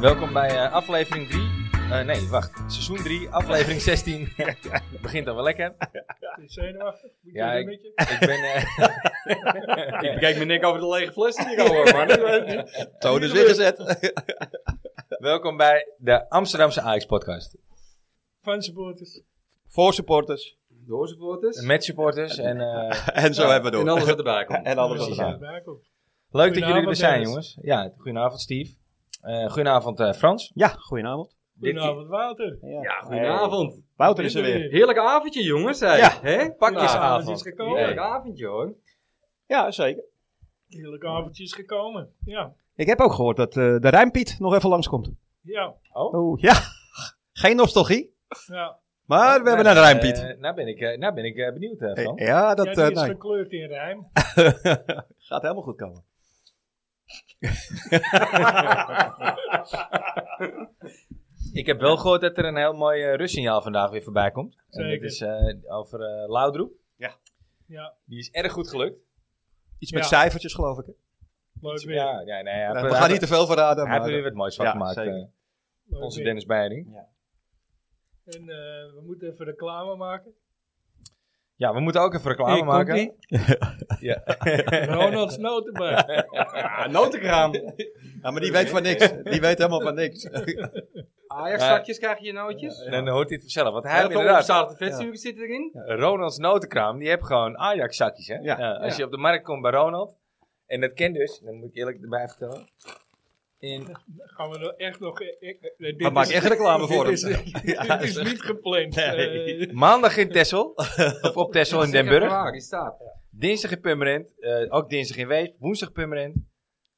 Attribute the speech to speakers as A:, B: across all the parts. A: Welkom bij eh, aflevering 3. nee, wacht. Seizoen 3, aflevering 16. Het begint al wel lekker.
B: Ben je zenuwachtig? Moet je
A: Ja,
B: dat
A: ik-
B: een beetje?
A: Ik ben. eh,
C: Ik bekijk me nek over de lege fles die ik al hoor, man.
D: Toon is weer gezet.
A: welkom bij de Amsterdamse Ajax-podcast.
B: Van supporters.
D: Voor supporters.
C: De hoorsupport
A: Met supporters. En, eh,
D: En zo hebben we
C: En
D: door.
C: alles wat erbij komt.
D: En alles
A: Precies,
D: wat
A: ja.
D: erbij.
B: erbij komt.
A: leuk dat jullie er
B: Goedenavond,
A: zijn,
B: Dennis.
A: jongens. Ja, goedenavond, Steve. Eh, goedenavond, eh, Frans.
D: Ja, goedenavond.
B: Goedenavond, Wouter.
C: Ja, goedenavond.
D: Wouter is er weer.
C: Heerlijk avondje, jongens. hè.
D: Ja,
C: Hè?
A: pakjesavond.
B: Het is gekomen.
C: Heerlijk avondje, hoor.
D: Ja, zeker.
B: Heerlijk avondje is gekomen. Ja.
D: Ik heb ook gehoord dat eh, de Rijnpiet nog even langskomt.
B: Ja.
D: Oh, ja. Geen nostalgie,
B: ja.
D: maar Ah, we hebben
A: Nou,
D: een Rijnpiet.
A: eh, nou ben ik, eh, nou ben ik eh, benieuwd, eh, Frans.
D: ja,
B: ja,
D: dat
B: die
D: eh,
B: is
D: nou,
B: gekleurd in rijm.
D: gaat helemaal goed komen.
A: Ik heb wel gehoord dat er een heel mooi eh, rustsignaal vandaag weer voorbij komt. En dat
B: Zeker.
A: is eh, over eh Laudroep.
B: Ja,
A: Die is erg goed gelukt.
D: Iets met
B: Ja.
D: cijfertjes, geloof ik.
B: leuk weer.
A: Ja, ja, nee, hij
D: Eh,
A: heeft-
D: we gaan niet te veel verraden.
A: Hij heeft
D: Maar,
A: er weer wat moois van
D: Ja,
A: gemaakt.
D: zeker.
A: eh,
B: leuk
A: onze
B: weer.
A: Dennis Beiring.
B: En eh, we moeten even reclame maken.
A: Ja, we moeten ook even reclame
C: Ik
A: maken.
C: komt-ie.
A: Ja.
B: Ronald Snotenberg. Ah,
C: Ja, notenkraam.
D: ja, maar die weet van niks. Die weet helemaal van niks.
C: Ajax-zakjes krijg je nootjes.
A: En dan hoort hij het vanzelf. Want hij
C: Heel
A: heeft
C: veel
A: inderdaad...
C: opgezouten vetzuur zit erin.
A: Ronald's notenkraam, die heeft gewoon Ajax-zakjes. Hè?
D: Ja.
A: Eh, als
C: Ja.
A: je op de markt komt bij Ronald, en dat kent dus, dan moet ik eerlijk erbij vertellen. In,
B: Gaan we er echt nog... eh, eh, eh, dit
D: Maar maak
B: is-
D: echt reclame voor
B: dit
D: hem.
B: is- Dit is niet gepland.
D: Nee.
B: Eh,
A: maandag in Texel, of op Texel in Den Burg.
C: Waar, die staat.
A: Dinsdag in Purmerend, eh, ook dinsdag in Wees, woensdag Purmerend.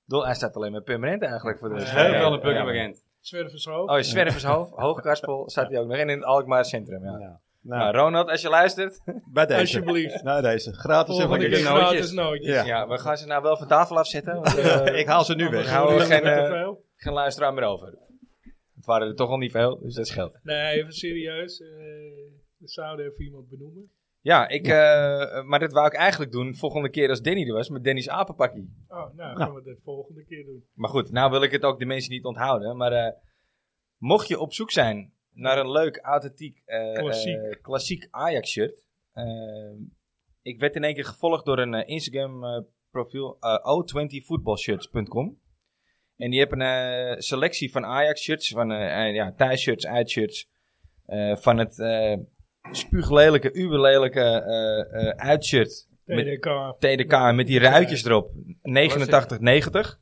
A: Dol- hij staat alleen maar Purmerend eigenlijk voor de rest.
C: Heel
A: Ja,
C: veel een
A: ja.
C: pukker bekend.
B: Zwervershoofd.
A: Oh, in Zwervershoofd, Hoogkarspel staat hij ook nog in, in het Alkmaar Centrum. Ja.
D: Ja.
A: Nou,
D: Nou,
A: Ronald, als je luistert,
D: bij deze.
B: Alsjeblieft.
D: Nou, deze. Gratis en van
B: Volgende
C: even
B: keer
D: niks.
C: kijken.
B: gratis nootjes.
D: Ja.
A: ja. we gaan ze nou wel van tafel afzetten. Want, eh,
D: Ik haal ze nu
B: Anders
D: weg.
A: houden we
B: doen
A: geen,
B: het
A: eh,
B: te veel.
A: geen luisteraar meer over. Het waren er toch al niet veel, dus dat scheelt.
B: Nee, even serieus. eh, we zouden even iemand benoemen.
A: Ja, ik, eh, maar dat wou ik eigenlijk doen volgende keer als Danny er was, met Danny's apenpakkie.
B: Oh, nou gaan we dat volgende keer doen.
A: Maar goed, nou wil ik het ook de mensen niet onthouden. Maar eh, mocht je op zoek zijn naar een leuk, authentiek, eh,
B: Klassiek.
A: eh, klassiek Ajax-shirt. eh, ik werd in één keer gevolgd door een eh, Instagram eh, profiel eh o20voetbalshirts.com. En die hebben een eh, selectie van Ajax-shirts, van eh eh, ja, thuis-shirts, uit-shirts. eh, van het eh spuuglelijke, uberlelijke eh eh, uitshirt met
B: TDK.
A: TDK met die ruitjes erop. 89,90.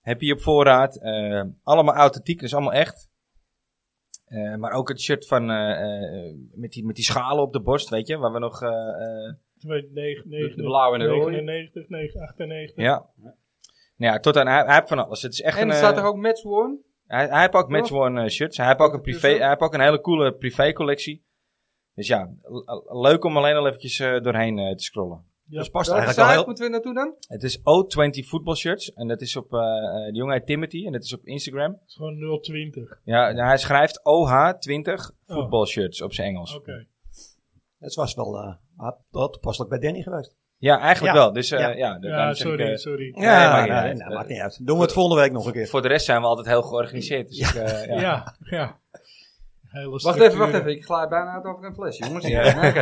A: Heb je op voorraad. eh, allemaal authentiek, dus allemaal echt. Eh, maar ook het shirt van, eh, eh, met, die, met die schalen op de borst, weet je, waar we nog... eh, eh,
C: De blauwe en de rode.
B: 99, 98.
A: ja. Nou ja, tot aan, hij, hij heeft van alles. Het is echt
C: En
A: een,
C: er staat
A: eh,
C: er ook match worn.
A: hij, hij heeft ook match-worn eh, shirts. Hij heeft ook een, privé, hij heeft ook een hele coole privé-collectie. Dus ja, l- leuk om alleen al eventjes eh, doorheen eh, te scrollen.
B: Ja.
D: Dus past
C: Welke
D: eigenlijk al
C: zaak
D: heel...
C: moeten we naartoe dan?
A: Het is O20 voetbalshirts. En dat is op eh, eh, de jongen heet Timothy. En dat is op Instagram.
B: Het is gewoon 020.
A: Ja, nou, hij schrijft OH20
B: Oh.
A: voetbalshirts op zijn Engels.
B: Oké.
D: Het was wel eh, wel toepasselijk bij Danny geweest.
A: Ja, eigenlijk
D: Ja.
A: wel. Dus eh, ja,
D: Ja.
A: dat-
B: Ja,
A: daarom zeg ik,
B: sorry,
A: eh,
B: sorry.
A: Ja,
D: Ja,
A: maakt
D: nee,
A: niet uit.
D: nou, maakt niet uit. Doen we het volgende week nog een keer.
A: eh, voor de rest zijn we altijd heel georganiseerd. Dus ik, eh, ja.
B: Ja, ja. Hele
C: Wacht even, wacht
B: structuur.
C: even. Ik glij bijna uit over een fles, jongens.
A: Ja.
C: Oké.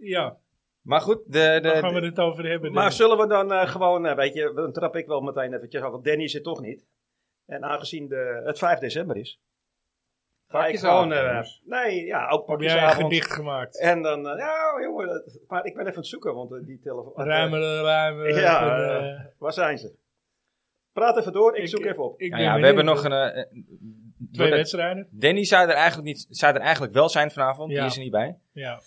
B: Ja,
A: Maar goed, de, de,
B: daar gaan we het over hebben.
E: Maar
B: Dennis.
E: zullen we dan eh, gewoon, eh, weet je, dan trap ik wel meteen eventjes af, want Danny zit toch niet. En aangezien de, het 5 december is, ga ik gewoon,
C: Pakjesavond,
E: eh,
C: jongens.
E: nee, ja, ook
B: heb jij een
E: pakjesavond.
B: gedicht gemaakt?
E: En dan, eh, ja jongen, dat- maar ik ben even aan het zoeken, want eh, die telefoon,
B: Ruimere, ruimere.
E: Ja,
B: van,
E: eh,
B: eh,
E: waar zijn ze? Praat even door, ik,
B: Ik-
E: zoek even op.
B: ik
A: nou
B: ben
A: ja, we
B: benieuwd.
A: hebben nog een... eh, eh,
B: Twee
A: doordat-
B: wedstrijden.
A: Danny zou er, eigenlijk niet, zou er eigenlijk wel zijn vanavond.
B: Ja.
A: Die is er niet bij.
B: Ja,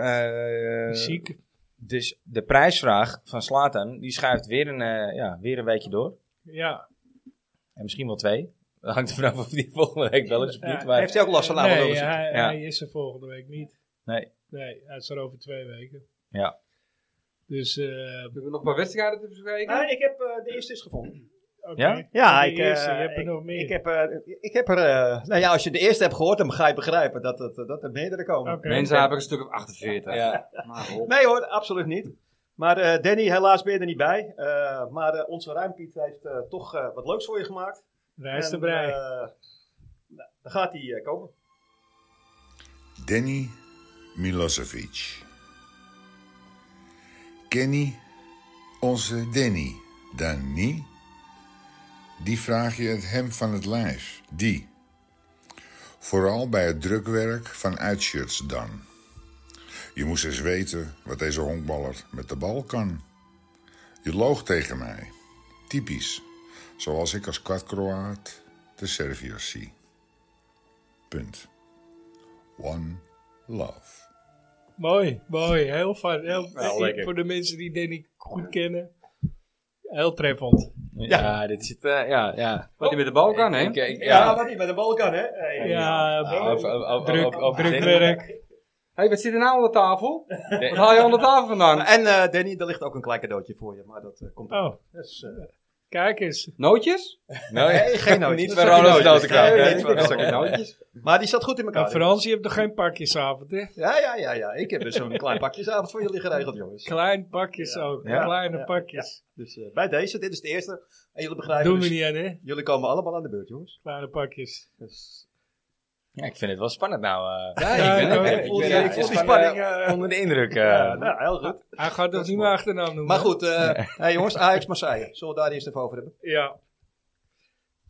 A: Eh,
B: ziek.
A: Dus de prijsvraag van Slatan, die schuift weer een, eh, ja, weer een weekje door.
B: Ja.
A: En misschien wel twee. Dat hangt er vanaf of die volgende week wel eens of niet.
B: Ja,
A: Maar
D: Heeft hij ook last van
B: nee,
D: lage
B: hij,
D: longen?
A: Ja.
B: hij is er volgende week niet.
A: Nee.
B: Nee, hij is er over twee weken.
A: Ja.
B: Dus, eh
C: We hebben nog een paar wedstrijden te bespreken.
E: Ah, ik heb, eh, de eerste is gevonden.
B: oké.
A: Ja?
B: De
D: Ja, ik, eh,
B: eerste, je hebt er
D: ik,
B: nog meer.
D: ik heb, eh, ik heb er... eh, nou ja, als je de eerste hebt gehoord, dan ga je begrijpen dat, het, eh, dat er meerdere komen.
B: Oké.
C: Mensen hebben een stuk of 48.
A: Ja.
C: Maar op.
D: Nee hoor, absoluut niet.
E: Maar eh, Danny, helaas ben je er niet bij. Eh, maar eh, onze Ruimpiet heeft eh, toch eh, wat leuks voor je gemaakt.
B: Reis te
E: En,
B: brei.
E: eh, nou, dan gaat hij eh, komen.
F: Danny Milosevic. Kenny, onze Danny, Danny, die vraag je het hem van het lijf, die. Vooral bij het drukwerk van uitshirts dan. Je moest eens weten wat deze honkballer met de bal kan. Je loog tegen mij. Typisch, zoals ik als kwadkroaat de Serviërs zie. Punt. One Love.
B: Mooi, mooi. Heel fijn. Heel, eh,
C: Wel lekker.
B: voor de mensen die Danny goed kennen. Heel treffend.
A: Ja, dit zit... eh, ja, ja.
C: Wat hij met de bal kan, hè?
A: Ik- ik-
E: Ja,
A: ja.
E: wat niet met de bal kan, hè? Hey,
B: Ja, eh,
A: Ja, over- over- over-
B: druk, eh.
A: over- over
B: drukwerk.
C: hey, wat zit er nou aan de tafel?
A: Danny.
C: Wat haal je aan de tafel vandaan?
E: En eh, Danny, er ligt ook een klein cadeautje voor je, maar dat eh, komt
B: Oh,
E: Dus, eh,
B: kijk eens. eh,
C: Nootjes?
A: Nou, ja.
E: nee, geen nootjes.
A: Niet bij Ronald's notenkraam.
E: Nee,
A: Nee,
E: niet
A: nee,
E: bij
A: nee.
E: Ronald's.
C: Nootjes?
E: Maar die zat goed in
B: En
E: elkaar.
B: Frans, je hebt nog geen pakjesavond, hè?
E: Ja, ja, ja, ja. Ik heb dus zo'n klein pakjesavond voor jullie geregeld, jongens.
B: Klein pakjes ook.
A: Ja.
B: Kleine
E: Ja.
B: pakjes.
E: Dus eh, bij deze, dit is de eerste. En jullie begrijpen
B: Doen we
E: dus,
B: niet aan, hè?
E: jullie komen allemaal aan de beurt, jongens.
B: Kleine pakjes.
E: Dus,
A: Ja, ik vind het wel spannend nou. eh.
C: Ja,
B: Ja,
C: ik ben
B: ik
C: er.
B: ook.
C: Ik
E: voel
C: ben
E: die-
C: er.
E: ik voel die
A: van,
E: spanning. eh,
A: Onder de indruk. eh.
E: ja, nou, heel goed.
B: Hij gaat
E: Dat
B: toch niet
E: is mooi.
B: mijn achternaam noemen?
E: Maar goed, eh, hey, jongens, Ajax Marseille. Zullen we daar eerst even over hebben?
B: Ja.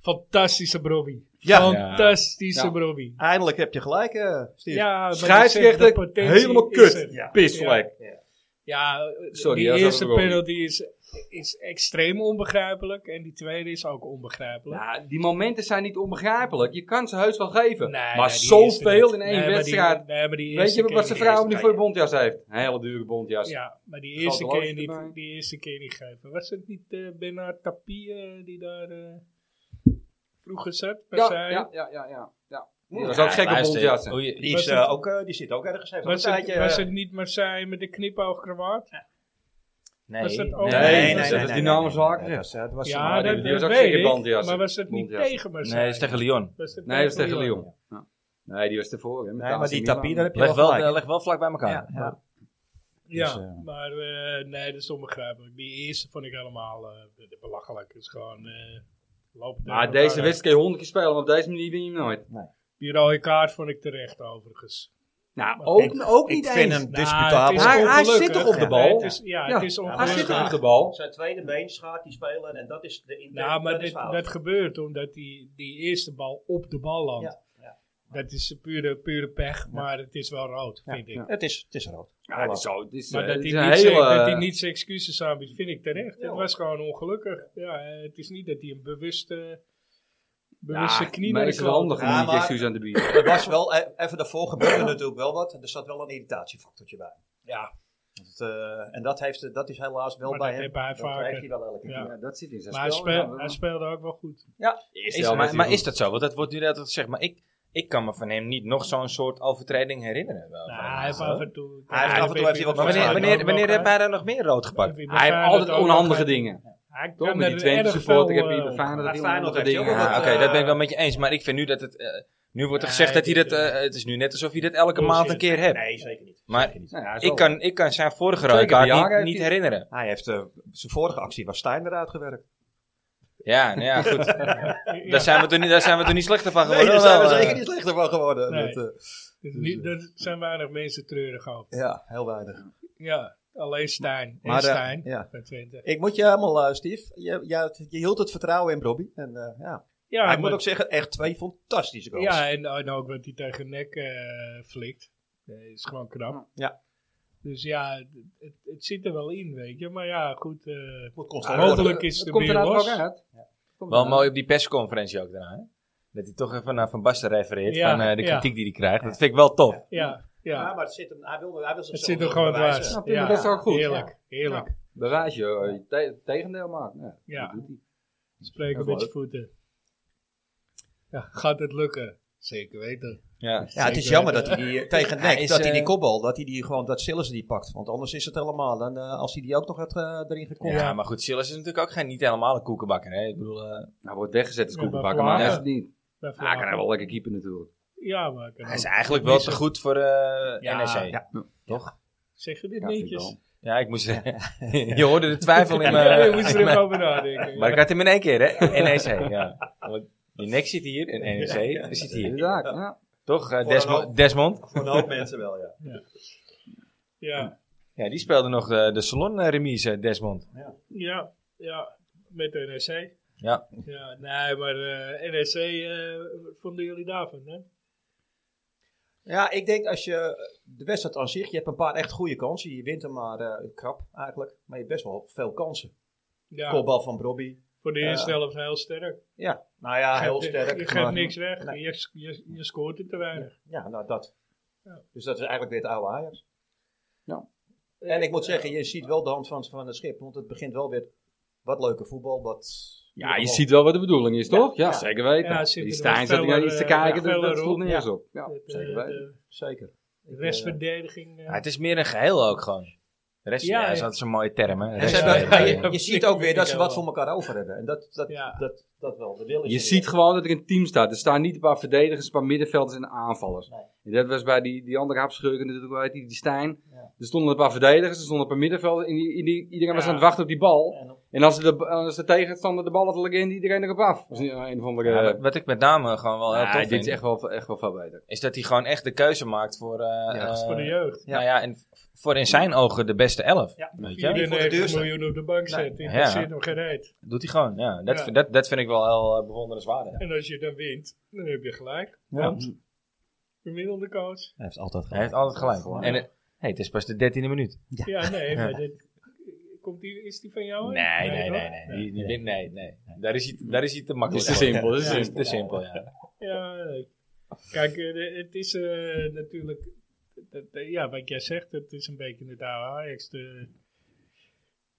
B: Fantastische Brobby.
E: Ja.
B: Fantastische
C: Ja.
B: Brobby.
E: Eindelijk heb je gelijk, eh Steve.
B: Ja, maar
C: Scheidsrechter,
B: de potentie
C: helemaal
B: is er.
C: kut.
E: Ja.
C: Pisvlek.
B: Ja,
C: Sorry,
B: die
C: ja, dat is
B: eerste
C: ook wel niet.
B: penalty is, is extreem onbegrijpelijk. En die tweede is ook onbegrijpelijk.
C: Ja, Nou, die momenten zijn niet onbegrijpelijk. Je kan ze heus wel geven. maar
B: die eerste
C: zoveel
B: niet.
C: in één
B: Nee, maar die-
C: wedstrijd.
B: nee, maar die
C: Weet
B: eerste
C: je
B: keer
C: wat zijn
B: niet.
C: vrouw nu voor je bondjas heeft? Een hele dure bondjas.
B: Ja, maar die
C: Grote
B: eerste,
C: loodje
B: keer
C: erbij.
B: niet, die eerste keer niet geven. Was het niet eh Bernard Tapie eh, die daar eh, vroeger zat? bij
C: ja,
B: zijn?
C: ja, ja. ja, ja, ja. Die was
E: Ja,
C: ook gek op
A: luister,
C: bondjassen.
A: hoe je-
E: Die,
B: Was
E: is, eh,
B: het-
E: ook, eh, die zit ook ergens even.
B: Was,
E: een
B: het,
E: tijdje,
B: was
E: eh,
B: het niet Marseille met de knipoogkrawaat?
A: Nee,
B: Was het ook-
A: nee,
C: Nee,
A: nee,
C: nee, dat is Dynamo Zaken.
E: nee, dat was, eh, dat was-
B: Ja,
C: maar
B: dat,
C: die- die was
B: dat
C: ook zeker
B: weet ik.
C: bandjassen.
B: Maar was het niet
C: Bandjassen.
B: tegen Marseille?
A: Nee, dat is tegen Lyon.
B: Was het
C: Nee, dat is tegen Lyon. Ja. Nee, die was tevoren. hè, met
E: Nee, maar
C: AC
E: die
C: Milan.
E: tapie, daar heb je
A: Leg wel,
E: gelijk.
A: eh, leg wel vlak bij elkaar.
E: Ja, ja.
B: Ja,
E: Dus, eh,
B: maar eh, nee, dat is onbegrijpelijk. Die eerste vond ik helemaal eh, de- de belachelijk. Het is gewoon eh lopen.
C: Maar
B: tegen
C: deze
B: elkaar.
C: wedstrijd kun je honderd keer spelen, maar op deze manier win je hem nooit.
B: Die rode kaart vond ik terecht overigens.
C: Nou,
B: Maar
C: ook,
E: ik-
C: ook
E: Ik
C: niet
E: vind
C: eens.
E: hem
B: Nou,
E: disputabel.
B: het is
C: Hij- hij
B: ongelukkig.
C: zit toch op de
B: Ja,
C: bal?
B: nee, het is- ja, het
C: Ja,
B: is
C: hij zit
B: ongelukkig.
C: op de bal.
E: Zijn tweede been schaart die speler en dat is de intent.
B: Nou, maar
E: dat is
B: dit,
E: fout.
B: dat gebeurt omdat die, die eerste bal op de bal landt.
E: Ja, ja.
B: Dat is pure, pure pech, maar het is wel rood,
E: Ja,
B: vind ik.
E: Het is, het is rood.
C: Ja, het is zo. Het is,
B: Maar
C: eh,
B: dat
C: het
B: hij,
C: is eh, een
B: niet
C: hele...
B: zijn, dat hij niet zijn excuses aanbiedt, vind ik terecht.
E: Ja.
B: Het was gewoon ongelukkig. Ja, eh, het is niet dat hij een bewuste,
C: Ja,
B: bewuste knie
C: maar
B: naar de
C: is wel
B: kant-
C: handig om
E: Ja,
C: niet
E: maar-
C: excuus aan te bieden.
E: Er was wel, e- even daarvoor gebeurde natuurlijk wel wat. Er zat wel een irritatiefactortje bij.
B: Ja.
E: Dat, eh, en dat, heeft, dat is helaas wel
B: Maar
E: bij
B: dat
E: hem.
B: heeft hij
E: dat
B: vaker.
E: krijgt hij wel elke keer.
B: Ja.
C: Ja, dat zit in zijn
B: Maar hij,
C: spel.
B: speel-
C: ja.
B: hij speelde ook wel goed.
A: Is,
C: Ja,
A: maar, maar
C: goed.
A: is dat zo? Want dat wordt nu net altijd gezegd. Maar ik, ik kan me van hem niet nog zo'n soort overtreding herinneren. Wel,
B: Nou,
A: van hem.
B: hij heeft af en toe...
E: Hij heeft af en toe heeft hij wat
A: maar wanneer, wanneer, wanneer heb hij daar nog meer rood gepakt?
C: Hij heeft altijd onhandige dingen.
B: Hij
C: Toch?
B: kan
C: Met die
B: er
C: Twente
B: erg
C: support.
B: veel,
C: Ik heb hier bij
B: eh,
C: Feyenoord
E: bij
C: heel
E: Feyenoord
C: andere
E: heeft hij
C: dingen.
E: ook wel
A: Ja,
E: wat,
A: Ah, oké,
C: Ja,
E: eh,
A: dat ben ik wel met je eens. Maar ik vind nu dat het... eh, nu wordt er gezegd
B: Nee,
A: dat hij
B: dit,
A: dat... eh, het is nu net alsof hij dat elke
B: bullshit.
A: maand een keer hebt.
E: Nee, zeker niet.
A: Maar
E: Zeker niet.
C: Nou ja, hij is
A: ik
C: wel-
A: kan, ik kan zijn vorige
C: Twee
A: rode
C: keer per jaar
A: kaart niet,
C: heeft
A: niet
C: hij-
A: herinneren.
E: Hij heeft, eh, zijn vorige actie was Stein eruit gewerkt.
A: Ja, nou ja, goed.
B: ja,
A: Daar zijn we toch niet, daar zijn we toch niet slechter van
E: Nee,
A: geworden.
E: daar zijn we
A: wel, eh.
E: zeker niet slechter van geworden.
B: Nee.
E: Dat, eh,
B: dus niet- Er zijn weinig mensen treurig over.
E: ja, heel weinig.
B: Ja, alleen Stijn. En
E: Maar, eh,
B: Stijn
E: ja.
B: van Twente.
E: Ik moet je helemaal, eh, Steve. Je, je, je hield het vertrouwen in Robbie. En, eh, ja.
B: Ja,
E: Hij
B: maar-
E: moet ook zeggen, echt twee fantastische goals.
B: Ja, en, en ook wat hij tegen nek eh, flikt. Dat is gewoon
C: Oh,
B: knap.
E: Ja.
B: Dus ja, het, het, het zit er wel in, weet je. Maar ja, goed. eh
E: moet constant
B: hopelijk is
C: Het
B: de
C: komt
B: bier
C: er nou
B: los.
C: ook uit. Komt
A: Wel
C: er-
A: mooi op die persconferentie ook daarna. Hè? Dat hij toch even naar Van Basten refereert.
B: Ja,
A: van eh, de
B: ja.
A: kritiek die hij krijgt. Dat vind ik wel tof.
B: Ja, ja.
E: Ja, maar het zit hem, hij wil, hij wil
B: Het
E: zichzelf
B: zit er
E: wel
B: gewoon
E: bewijzen.
B: dwars.
C: Ja, prima, dat is ook goed.
B: Heerlijk, heerlijk.
C: Bewijs je, eh, te- het tegendeel maakt. Ja.
B: Ja.
C: dat doet hij.
B: Spreken
C: Dat
B: met
C: is
B: je voeten. Ja, gaat het lukken? Zeker weten.
A: Ja.
E: Ja, het is
B: Zeker.
E: jammer dat hij die eh, tegen
A: Hij
E: Nek,
A: is,
E: dat hij die
A: eh,
E: kopbal, dat hij die gewoon, dat Sillissen die pakt. Want anders is het helemaal. En eh, als hij die ook nog had, eh, erin
A: Ja,
E: gekomen.
B: Ja.
A: maar goed, Silas is natuurlijk ook geen, niet helemaal een koekenbakker. Hè? Ik bedoel, eh,
C: Nou, wordt weggezet als
B: Ja, maar
C: koekenbakker, maar hij is
B: Vlagen-
C: het niet.
B: Bij
C: Ja, hij kan hij
B: Vlagen.
C: wel lekker keeper natuurlijk.
B: Ja, maar kan
A: hij is
B: ook.
A: eigenlijk wel te goed voor eh
B: Ja,
A: NEC.
E: ja.
B: Zeg je dit
C: Ja, vind ik
B: netjes?
C: wel.
A: Ja, ik moest... je hoorde de twijfel in
B: Ja,
A: mijn...
B: je moest
A: in
B: er
C: eh,
B: even
A: mijn-
B: over nadenken.
A: Maar ik had hem in één keer, hè? NEC, ja. Want Die nek zit hier en NEC zit hier.
C: Inderdaad, ja.
A: Toch, eh,
E: Voor
A: Desmo-
E: een hoop.
A: Desmond?
E: Voor een hoop mensen wel, ja.
B: ja,
A: Ja, die speelde nog de, de salon eh, remise, Desmond.
B: ja, ja, met NSC.
A: Ja.
B: ja nee, maar eh NSC, eh, wat vonden jullie daarvan? Hè?
E: Ja, ik denk als je de wedstrijd aan zich, je hebt een paar echt goede kansen. Je wint hem maar eh, krap eigenlijk, maar je hebt best wel veel kansen.
B: Ja,
E: Kopbal van Bobby.
B: voor de eerste
E: Ja.
B: helft heel sterk.
E: Ja, nou ja, heel
B: Je-
E: sterk.
B: Je geeft
E: maar-
B: niks weg,
E: Nee.
B: je, je, je scoort er te weinig.
E: Ja, nou dat.
B: Ja.
E: Dus dat is eigenlijk weer het oude Ajax.
C: Ja.
E: En ik moet zeggen, je ziet wel de hand van, van het schip, want het begint wel weer wat leuker voetbal. Wat,
C: Ja, je ziet wel wat de bedoeling is, toch? Ja, zeker weten.
B: Ja, zeker.
C: die
B: Er
C: Stijn
B: was
C: zat
B: veel,
C: naar iets te
B: eh,
C: kijken,
B: veel
C: dat, dat stond
B: erop,
C: niet
E: ja.
C: eens op. Ja,
B: De- eh, de-
C: zeker weten.
B: de
E: Zeker.
B: restverdediging. eh,
A: Ja, het is meer een geheel ook gewoon. De rest,
B: Ja,
A: ja, dat is
B: ja.
A: altijd zo'n mooie term, hè?
E: En ze
A: Rest-
E: hebben- maar
A: eh,
E: je, je ziet ook weer dat ze wat voor elkaar over hebben. En dat, dat,
B: Ja.
E: dat, dat wel. De wil is
C: Je
E: er
C: ziet
E: weer.
C: gewoon dat er een team staat. Er staan niet een paar verdedigers, een paar middenvelders en aanvallers.
E: Nee.
C: En dat was bij die, die andere hapschurken natuurlijk, hoe heet die, die Stijn.
E: Ja.
C: Er stonden een paar verdedigers, er stonden een paar middenvelders. En die, in die- iedereen was
B: Ja.
C: aan het wachten op die bal.
E: En-
C: En als de, als de tegenstander de bal had, dan ging iedereen erop af. Dat is een een of andere...
A: ja, wat- wat ik met name gewoon wel heel
C: Ah,
A: tof
C: dit
A: vind,
C: is echt wel, echt wel veel beter.
A: is dat hij gewoon echt de keuze maakt voor... eh, eh,
B: voor de jeugd.
A: Nou ja, en v- voor in zijn ogen de beste elf.
E: Ja.
A: Weet je?
B: 94
E: duurste.
B: miljoen op de bank
E: Nee.
B: zetten.
A: Ja.
B: Dat zit nog geen reet.
A: Doet hij gewoon, ja. Dat,
B: Ja.
A: vind- Dat, dat vind ik wel heel eh, bewonderenswaardig.
B: En als je dan wint, dan heb je gelijk.
E: Ja.
B: Want gemiddelde coach.
D: Hij heeft altijd
A: Hij heeft
D: gelijk.
A: altijd gelijk. En het, hey, het is pas de dertiende minuut.
B: Ja, nee, maar dit, komt die, is die van jou?
A: Nee, nee, nee.
B: toch?
A: nee. Die, die wint- nee, nee. Daar is hij, daar is hij te makkelijk
C: Dat is te
A: voor.
C: simpel, dat is
A: Ja,
C: te
A: dat te simpel, ja.
B: Ja, nee. kijk, eh, de- het is eh, natuurlijk, dat- eh, ja, wat jij zegt, het is een beetje het oude Ajax. De-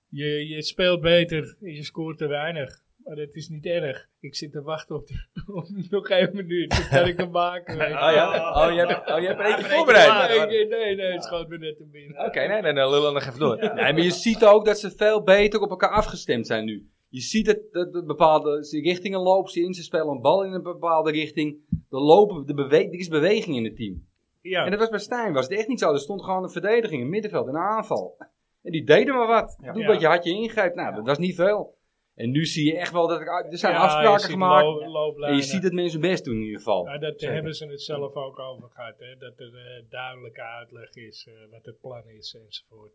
B: je, je speelt beter, en je scoort te weinig. Maar dat is niet erg. Ik zit te wachten op, die- op nog één minuut. Dat kan ik hem maken. weet je.
A: Oh ja? Oh, je hebt, oh, je hebt er eentje
B: Nee,
A: voorbereid?
B: ik- nee, nee, het schoot me net te binnen.
A: Oké, nee, dan eh, lullen we nog even door.
C: Nee, maar je ziet ook dat ze veel beter op elkaar afgestemd zijn nu. Je ziet dat, dat er bepaalde ze richtingen lopen ze in, ze spelen een bal in een bepaalde richting. Er, lopen, de bewe er is beweging in het team.
B: Ja,
C: En dat was bij Stijn, was het echt niet zo. Er stond gewoon een verdediging, een middenveld, en een aanval. En die deden maar wat.
E: Ja.
C: Doe
B: Ja.
C: wat je had je ingrijpt. Nou, dat was niet veel. En nu zie je echt wel dat er, er zijn
B: Ja, je
C: afspraken
B: ziet
C: gemaakt.
B: lo-
C: en
B: looplijnen.
C: je ziet dat mensen hun best doen in ieder geval.
B: Ja, dat hebben ze het zelf ook over gehad. Hè? Dat er eh, duidelijke uitleg is eh, wat het plan is enzovoort.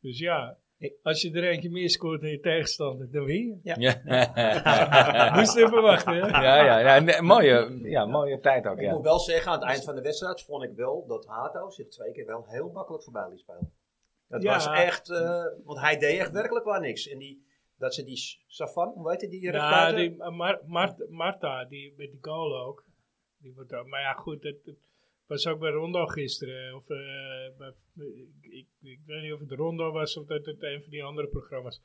B: Dus ja, als je er eentje meer scoort dan je tegenstander, dan win je.
A: Ja,
B: Moest je even wachten, hè?
A: ja, ja, ja, nee, mooie, ja mooie tijd ook,
E: Ik
A: ja.
E: moet wel zeggen, aan het eind van de wedstrijd vond ik wel dat Hato zich twee keer wel heel makkelijk voorbij liet spelen. Dat
B: Ja.
E: was echt, eh, want hij deed echt werkelijk waar niks. En die, dat ze die Safan, hoe heet die, die
B: Ja,
E: rechtsbuiten?
B: die, eh, Mar- Mart- Marta, die met die goal ook. Die wordt ook- maar ja, goed, dat, dat was ook bij Rondo gisteren. Of, eh, bij- ik, ik, ik weet niet of het Rondo was of dat het een van die andere programma's.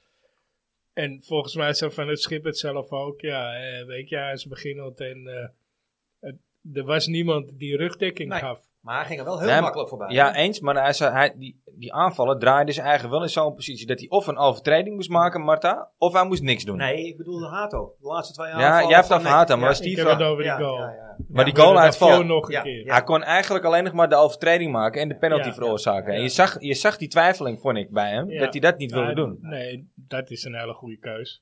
B: En volgens mij zei Van het Schip het zelf ook. Ja, eh, weet je, hij is beginnend en eh, het- er was niemand die rugdekking
E: Nee.
B: gaf.
E: Maar hij ging er wel heel
A: Nee, maar-
E: makkelijk voorbij.
A: Ja, eens, maar hij, zei- hij, die, die aanvallen draaiden ze eigenlijk wel in zo'n positie dat hij of een overtreding moest maken, Marta, of hij moest niks doen.
E: Nee, ik bedoel de Hato. De laatste twee jaar.
A: ja, jij hebt het over Hato, maar was
B: Ik
A: die
B: heb
A: van-
B: het over die
E: ja,
B: goal.
E: ja, ja.
A: Maar
B: Ja,
A: die goal
B: dat
A: uit
B: viel
A: val.
B: nog een
E: Ja,
B: keer.
E: ja.
A: Hij kon eigenlijk alleen nog maar de overtreding maken en de penalty
B: Ja.
A: veroorzaken.
B: Ja.
A: En je zag, je zag die twijfeling, vond ik, bij hem,
B: Ja.
A: dat hij dat niet wilde
B: Ja,
A: doen.
B: Nee, dat is een hele goede keus.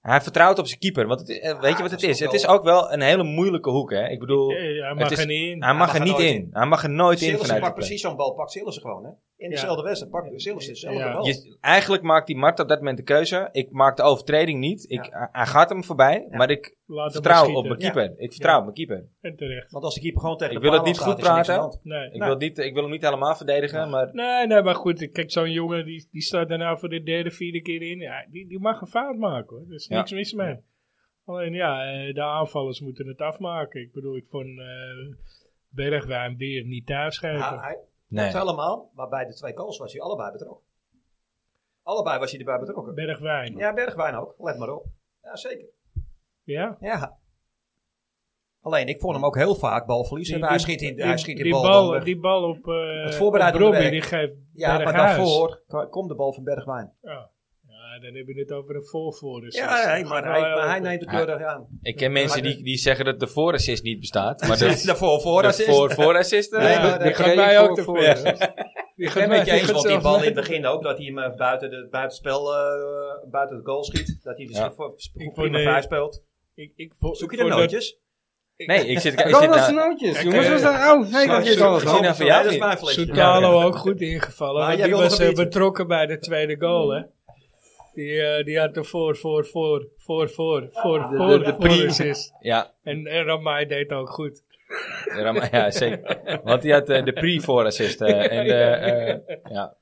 A: Hij vertrouwt op zijn keeper, want het, is- eh, weet je wat
E: dat
A: het
E: is
A: is?
E: ook
A: Het is
E: wel-
A: ook wel een hele moeilijke hoek, hè. Ik bedoel,
B: Eh, Hij mag
A: is-
B: er niet in.
A: hij mag er niet
E: nooit
A: in. Hij mag er nooit in
E: Sillissen
A: vanuit de
E: pakt
A: plek.
E: precies zo'n bal, pakt Sillissen gewoon, hè? In dezelfde wedstrijd, pakt Sillissen dezelfde
B: Ja.
E: bal.
A: Je- eigenlijk maakt die Mart op dat moment de keuze. Ik maak de overtreding niet. Ik, hij- Hij gaat hem voorbij, maar ik
B: Laat hem
A: vertrouw
B: maar
A: op mijn
B: schieten.
A: keeper. Ik vertrouw op mijn keeper.
B: En terecht.
E: Want als de keeper gewoon tegen
A: Ik
E: de
A: wil
E: paal
A: het niet
E: staat,
A: goed
E: is er niks aan de
A: praten.
E: hand.
B: Nee. Nou,
A: Ik, wil niet, ik wil hem niet helemaal
E: Nou.
A: verdedigen, maar
B: Nee, nee, maar goed. Kijk, zo'n jongen die, die staat daarna voor de derde, vierde keer in. Ja, die, die mag een fout maken hoor. Er is
A: Ja.
B: niks mis mee. Alleen ja, eh, de aanvallers moeten het afmaken. Ik bedoel, ik vond eh Bergwijn weer niet thuisgeven.
E: Ja, hij,
A: nee.
E: Dat helemaal, maar bij de twee goals was hij allebei betrokken. Allebei was hij erbij betrokken.
B: Bergwijn. Ja.
E: Ja, Bergwijn ook, let maar op. Ja, zeker. Ja. Alleen, ik vond hem ook heel vaak balverlies.
B: Die-
E: hebben. hij
B: die-
E: schiet in,
B: die-
E: hij schiet in
B: die
E: bal, dan weg.
B: die bal op, eh
E: Het
B: het
E: voorbereidende werk.
B: die geeft
E: Ja, maar
B: Berghuis.
E: daarvoor ko- komt de bal van Bergwijn.
B: Ja. ja, dan heb je het over een dus voorvoorder.
E: Ja, nee, maar, hij, maar hij neemt het
A: Hij-
E: keurig aan.
A: Ik ken mensen die, die zeggen dat de voorassist niet bestaat. Maar
E: Daarvoor, voor,
A: de
E: assist.
A: voor, voorassist, eh,
E: Nee, maar-
A: ja.
E: dat
B: dat
E: gaat
B: gaat mij ook te voor. Die
E: Ik ben het met je eens, want die
B: zelf-
E: bal in het begin ook, dat hij hem eh, buiten, de, buiten, het spel, eh, buiten het goal schiet. Dat hij de
A: Ja.
E: schiet voor- sp-
B: Ik
E: prima
B: vond, eh,
E: vrij speelt.
B: Ik, ik vo-
E: Zoek je de
B: vond dat-
E: nootjes?
A: Nee, ik zit... Ik
C: Kom
A: zit
C: dat
A: nou-
C: zijn nootjes,
B: Kijk,
C: jongens.
B: eh,
C: Was dat oud? Nee, dat
A: Sorry,
C: is alles
A: sorry,
C: al.
A: sorry.
E: Nee, dat is mijn flesje.
B: Soetalo ook goed ingevallen.
E: Maar
B: want
E: jij
B: die
E: wilde
B: was
E: nog
B: eh,
E: een beetje.
B: betrokken bij de tweede goal, hè? Die, eh, die had de voor, voor, voor, voor, voor, voor,
C: de-
B: voor,
C: de
B: voor
C: prime.
B: assist.
A: Ja,
B: En, en Ramai deed ook goed.
A: Ram- ja, zeker. Want die had eh, de pre voor assist. eh, en, eh, eh, ja.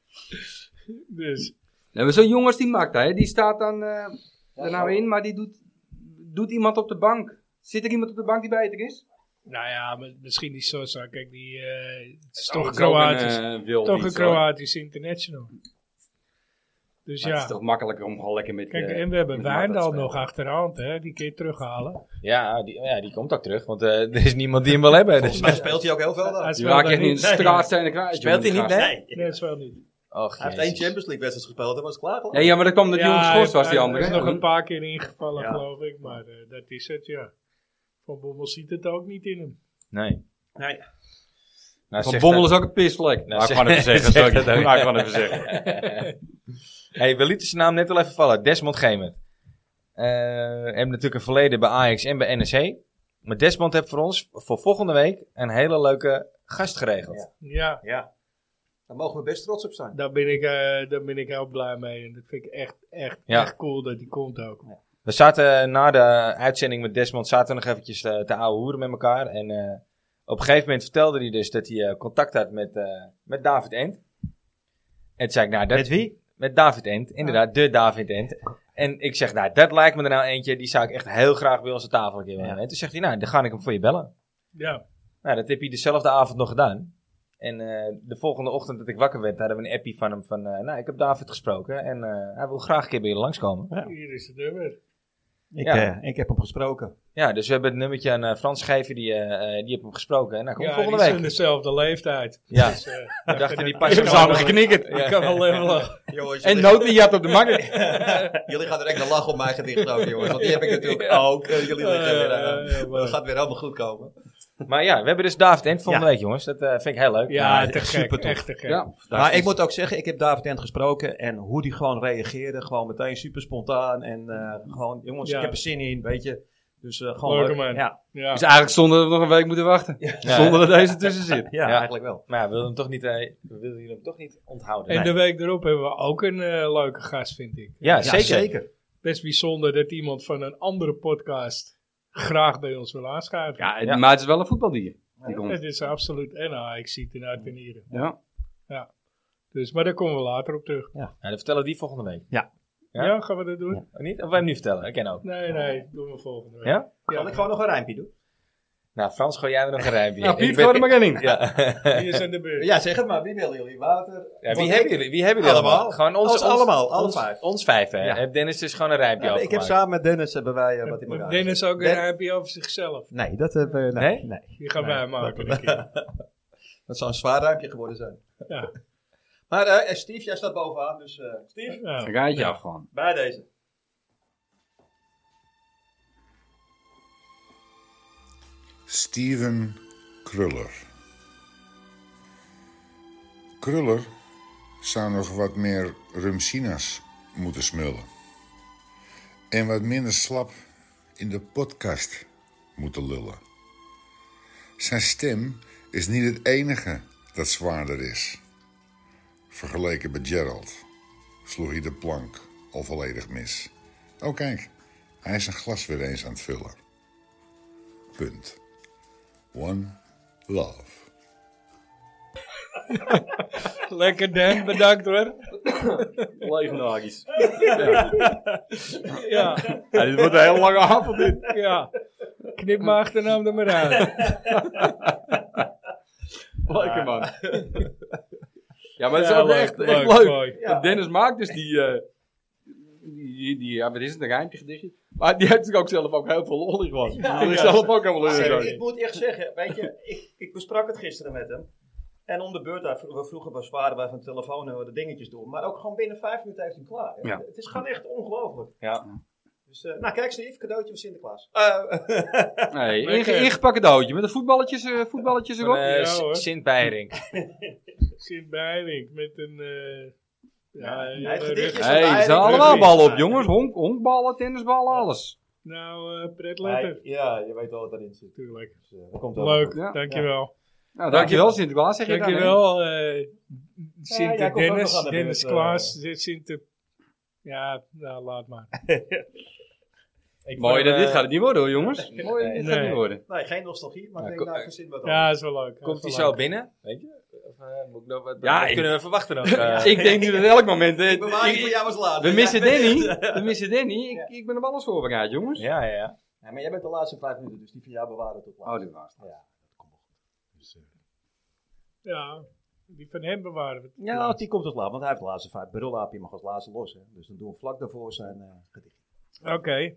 B: Dus,
C: Nee, Nou, maar zo'n jongens die maakt hij, die staat dan eh er nou in, maar die doet, doet iemand op de bank. Zit er iemand op de bank die beter is?
B: nou ja, maar misschien die Sosa. Kijk, die eh, het is toch
C: Dat
B: een
C: is ook
B: Kroatisch.
C: een, eh, wild
B: toch een
C: iets, hoor.
B: Kroatisch international. Dus
C: Maar Het
B: ja.
C: is toch makkelijker om gewoon lekker met...
B: Kijk,
C: eh,
B: en we hebben
C: met Marta te
B: Wijndal
C: spelen.
B: nog achterhand, hè? Die kun je terughalen.
A: Ja, die, ja, die komt ook terug. Want eh, er is niemand die hem wil hebben. Dus.
E: Volgens mij speelt hij ook heel veel. dan.
B: Hij
C: Die
B: speelt
C: raak je
B: daar
C: echt niet
B: niet.
C: in de straat zijn en kwijt.
A: Speelt hij
C: jongen,
A: niet
C: gast.
A: mee?
E: Nee.
B: Nee, dat is wel niet.
A: Och,
E: Hij heeft één
A: Oh, jezus.
E: Champions League wedstrijd gespeeld, dat was klaar toch?
C: Nee, ja, maar dat kwam dat die jongen geschorst was, die
B: hij-
C: andere.
B: Hij
C: hè?
B: is nog een paar keer ingevallen,
E: Ja.
B: geloof ik. Maar eh, dat is het, ja. Van Bommel ziet het ook niet in hem.
A: Nee.
E: Nee.
A: Nou,
C: Van
A: zegt
C: Bommel
A: dat-
C: is ook een pisvlek.
A: Nou, zeg- zeg dat ook.
C: Nou, ik kan even zeggen.
A: hey, we lieten zijn naam net al even vallen. Desmond Gemert. Eh hebben natuurlijk een verleden bij Ajax en bij NEC. Maar Desmond heeft voor ons voor volgende week een hele leuke gast geregeld.
E: Ja.
B: Ja,
E: Ja. Daar mogen we best trots op zijn.
B: daar ben, ik, eh, daar ben ik heel blij mee. En dat vind ik echt, echt,
A: Ja.
B: echt cool dat die komt ook.
A: We zaten na de uitzending met Desmond zaten we nog eventjes eh, te ouwe hoeren met elkaar. En eh, op een gegeven moment vertelde hij dus dat hij eh, contact had met, eh, met David Ent. En toen zei ik, nou, dat,
E: Met wie? Ah.
A: met David Ent, inderdaad, de David Ent. En ik zeg, nou, dat lijkt me er nou eentje, die zou ik echt heel graag bij onze tafel een keer willen. hebben. En toen zegt hij, nou, dan ga ik hem voor je bellen.
B: Ja,
A: Nou, dat heb hij dezelfde avond nog gedaan. En eh, de volgende ochtend dat ik wakker werd, hadden we een appie van hem van, eh, nou, ik heb David gesproken en eh, hij wil graag een keer bij je langskomen.
E: Ja.
B: hier is het nummer.
E: Ik,
A: Ja.
E: eh, ik heb hem gesproken.
A: Ja, dus we hebben het nummertje aan eh, Frans gegeven, die, eh, eh, die heeft hem gesproken. En hij komt
B: Ja, die
A: volgende
B: zijn
A: week.
B: dezelfde leeftijd.
A: Ja.
B: Dus, eh,
A: We dachten, die
C: Ik
A: passen
C: heb
A: wel.
C: samen geknikkerd.
A: Ja.
B: kan wel levelen.
E: Jongens,
C: En
E: jullie,
C: nood die jat op de markt.
E: jullie gaan direct een lach op mijn gedicht ook, jongens. Want die heb ik natuurlijk ook. Eh, Jullie liggen weer aan.
B: Eh,
E: Dat gaat weer allemaal goed komen.
A: Maar ja, we hebben dus David Ent volgende
E: Ja.
A: week, jongens. Dat eh, vind ik heel leuk.
B: Ja,
E: Ja,
B: te gek.
E: super tof.
B: Echt te gek.
C: Ja,
E: Maar ik moet ook zeggen, ik heb David Ent gesproken en hoe die gewoon reageerde. Gewoon meteen super spontaan en eh, gewoon, jongens,
B: Ja.
E: ik heb er zin in, weet je. Dus eh, gewoon
B: Leuke
E: leuk.
B: man.
E: Ja,
B: Ja.
C: Dus eigenlijk zonder dat we nog een week moeten wachten.
A: Ja.
C: Zonder dat deze tussen zit.
E: ja,
A: Ja.
E: eigenlijk wel.
A: Maar ja, we wilden hem toch niet, eh, we wilden hem toch niet onthouden.
B: En de week erop hebben we ook een eh, leuke gast, vind ik.
A: Ja, zeker.
B: Best bijzonder dat iemand van een andere podcast graag bij ons wil aanschuiven.
C: Ja,
A: Ja.
C: maar het is wel een voetbaldier. Die
B: Het
C: komt.
B: is absoluut. En ah, ik zie het in uit en ieren.
C: Ja.
B: Dus, maar daar komen we later op terug.
A: Ja, dan vertellen we die volgende week. Ja?
B: Ja, gaan we dat doen?
A: Of niet? Of wij hem nu vertellen? Ik ken ook.
B: Nee, nee, doen we volgende week.
A: Ja?
E: Kan ik gewoon nog een rijmpje doen?
A: Nou, Frans, gooi jij er nog een rijmpje in.
C: Nou,
A: Ik
C: Piet,
A: ben-
C: gooi er maar in.
A: Ja.
B: Wie is aan de beurt?
E: Ja, zeg het maar. Wie willen jullie? Water?
A: Ja,
E: Want
A: wie,
E: ik-
A: hebben jullie, wie hebben jullie allemaal?
E: Allemaal.
A: Gewoon ons,
E: Ons allemaal, alle
A: ons,
E: vijf.
A: Ons vijf, hè.
E: Ja.
A: Heeft Dennis dus gewoon een rijmpje
E: Ja,
A: ja,
E: ik heb samen met Dennis hebben wij eh, wat in elkaar.
B: Dennis ook
E: Den-
B: een happy over zichzelf.
E: Nee, dat hebben we...
A: Nee?
E: Nee? nee.
B: Die gaan wij maken. een keer.
E: Dat zou een zwaar ruimpje geworden zijn.
B: Ja.
E: Maar eh Steve, jij staat bovenaan, dus eh, Steve,
B: Ja.
C: Dan ga je het je af gewoon.
E: bij deze.
F: Steven Kruller. Kruller zou nog wat meer rumsina's moeten smullen. En wat minder slap in de podcast moeten lullen. Zijn stem is niet het enige dat zwaarder is. Vergeleken met Gerald sloeg hij de plank al volledig mis. Oh kijk, hij is een glas weer eens aan het vullen. Punt. One love.
B: Lekker Dan, bedankt hoor.
C: Legendarisch.
B: Ja,
C: Ja, dit wordt een heel lange avond dit.
B: ja. Knip mijn achternaam er maar uit.
C: Lekker man. Ja, maar het is
B: Ja,
C: ook
B: leuk,
C: echt,
B: leuk,
C: echt leuk.
B: leuk.
E: Ja.
C: Dennis maakt dus die, eh, die, die, Ja, wat is het? Een rijmpje gedichtje? Maar die heeft natuurlijk ook zelf ook heel veel lol in gehad. die is zelf ook helemaal
E: Maar
C: lullig.
E: ik, ik moet echt zeggen, weet je, ik, ik besprak het gisteren met hem. En om de beurt, daar, vro- we vroeger was waren wij van de telefoon en we de dingetjes doen. Maar ook gewoon binnen vijf minuten heeft hij hem klaar. hè.
C: Ja.
E: Het is gewoon echt ongelooflijk.
A: Ja.
E: Dus, eh, nou kijk Steve, cadeautje van Sinterklaas. Eh,
C: Nee, inge- ingepakken doodje met de voetballetjes, eh, voetballetjes erop.
A: Van, eh,
B: Ja, hoor.
A: Sint Beiring.
B: Sint Beiring met een... eh ja,
E: Ja,
B: een
E: het
B: hele
E: gedichtje
B: rug-
E: is-
C: Hey,
E: Eigenlijk
C: er zijn allemaal
B: rugby.
C: ballen op, jongens. Honk, honkballen, tennisballen, alles.
B: Nou, eh Pret
E: Hij-
B: Letter.
E: Ja, je weet wel wat erin zit.
B: Tuurlijk.
E: Dus, eh, dat komt wel
B: Leuk,
E: goed.
C: Ja.
B: dankjewel.
C: Nou, dankjewel Sinterklaas, zeg je dan. hè?
B: Dankjewel, eh
E: Ja,
B: Sint
E: jij komt ook nog aan
B: Dennis,
E: de
B: Dennis
E: beurt,
B: Klaas, Sint... eh, Ja, nou, laat maar.
A: Ik
C: Mooi,
A: vond,
C: dat dit
A: eh,
C: gaat het niet worden hoor, jongens.
E: Nee.
C: Mooi, dit gaat het niet
B: Nee.
C: worden.
E: Nee, geen nostalgie, maar
A: Ja,
E: ik
A: ko-
E: denk daar verzin wat
B: Ja, is wel leuk.
A: Oh. Komt hij
B: Is
A: zo
B: wel leuk.
A: binnen? Weet je? Of, eh, moet ik nog wat,
C: Ja,
A: wat
C: ik-
A: kunnen we verwachten nog? Eh,
C: Ik denk nu dat elk moment... eh,
E: Bewaring voor
C: ik-
E: jou was laat.
C: We
E: Ja.
C: missen Danny. We missen Danny. Ik- Ik ben op alles voorbereid, jongens.
A: ja, ja, ja.
E: Ja, maar jij bent de laatste vijf minuten, dus die van jou bewaren we tot laat.
C: Oh, dit was
E: Ja, dat komt wel goed. Dus, eh,
B: Ja, die van hem bewaren we.
E: ja, want die komt tot laat, want hij heeft de laatste vijf. Brulaapje mag als laatste los, hè. Dus dan doen we vlak daarvoor zijn eh gedicht.
B: Oké.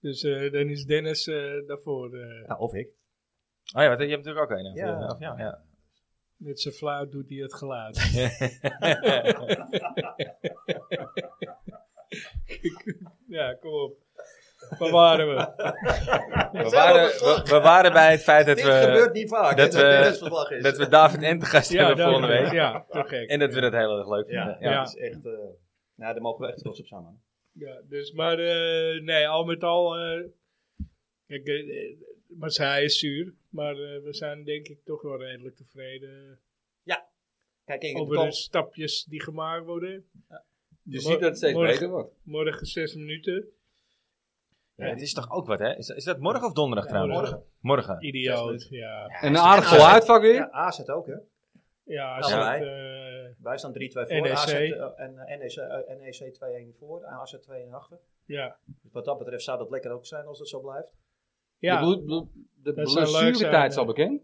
B: Dus eh, dan is Dennis eh, daarvoor eh,
E: Ja, of ik.
A: Oh ja, want je hebt natuurlijk ook een. of,
E: Ja.
A: eh, of ja, ja.
B: met zijn flauw doet hij het geluid. ja, kom op. Bewaren we.
A: We, waren, we, we waren bij het feit dat
E: Dit gebeurt
A: we,
E: niet vaak,
A: dat
E: dat, dat
A: we-
E: het restverslag is.
A: dat we David en te gast
B: Ja,
A: hebben volgende
B: dank je.
A: week.
B: Ja, te gek.
A: En dat we dat heel erg leuk
E: ja,
A: vinden.
E: ja,
A: Ja.
E: dat is echt... eh nou, daar mogen we echt trots op zijn, man.
B: Ja, dus, maar eh, nee, al met al. eh, kijk, eh, eh, maar zij is zuur. Maar eh, we zijn denk ik toch wel redelijk tevreden
E: Kijk, Inge, de
B: over de
E: kans-
B: stapjes die gemaakt worden.
C: Je ziet dat het steeds
B: Morgen.
C: beter wordt.
B: Morgen zes minuten.
A: Ja, het is toch ook wat, hè? Is, is dat morgen of donderdag
B: Ja,
A: trouwens?
E: morgen.
A: Morgen.
B: Idioot. Ja,
C: En een aardig vol uitvak weer.
E: Ja, AZ ook, hè.
B: ja,
E: Nou,
B: zet,
E: wij.
B: eh,
E: Wij staan 3-2 voor.
B: NEC.
E: AZ, eh, en eh, NEC, eh, NEC 2-1 voor. en AZ 2-1 achter.
B: ja.
E: Dus wat dat betreft zou dat lekker ook zijn als het zo blijft.
C: De
B: ja.
C: bloed- bloed- De
B: Dat zou leuk zijn,
C: blessuretijd is al
B: ja.
C: bekend.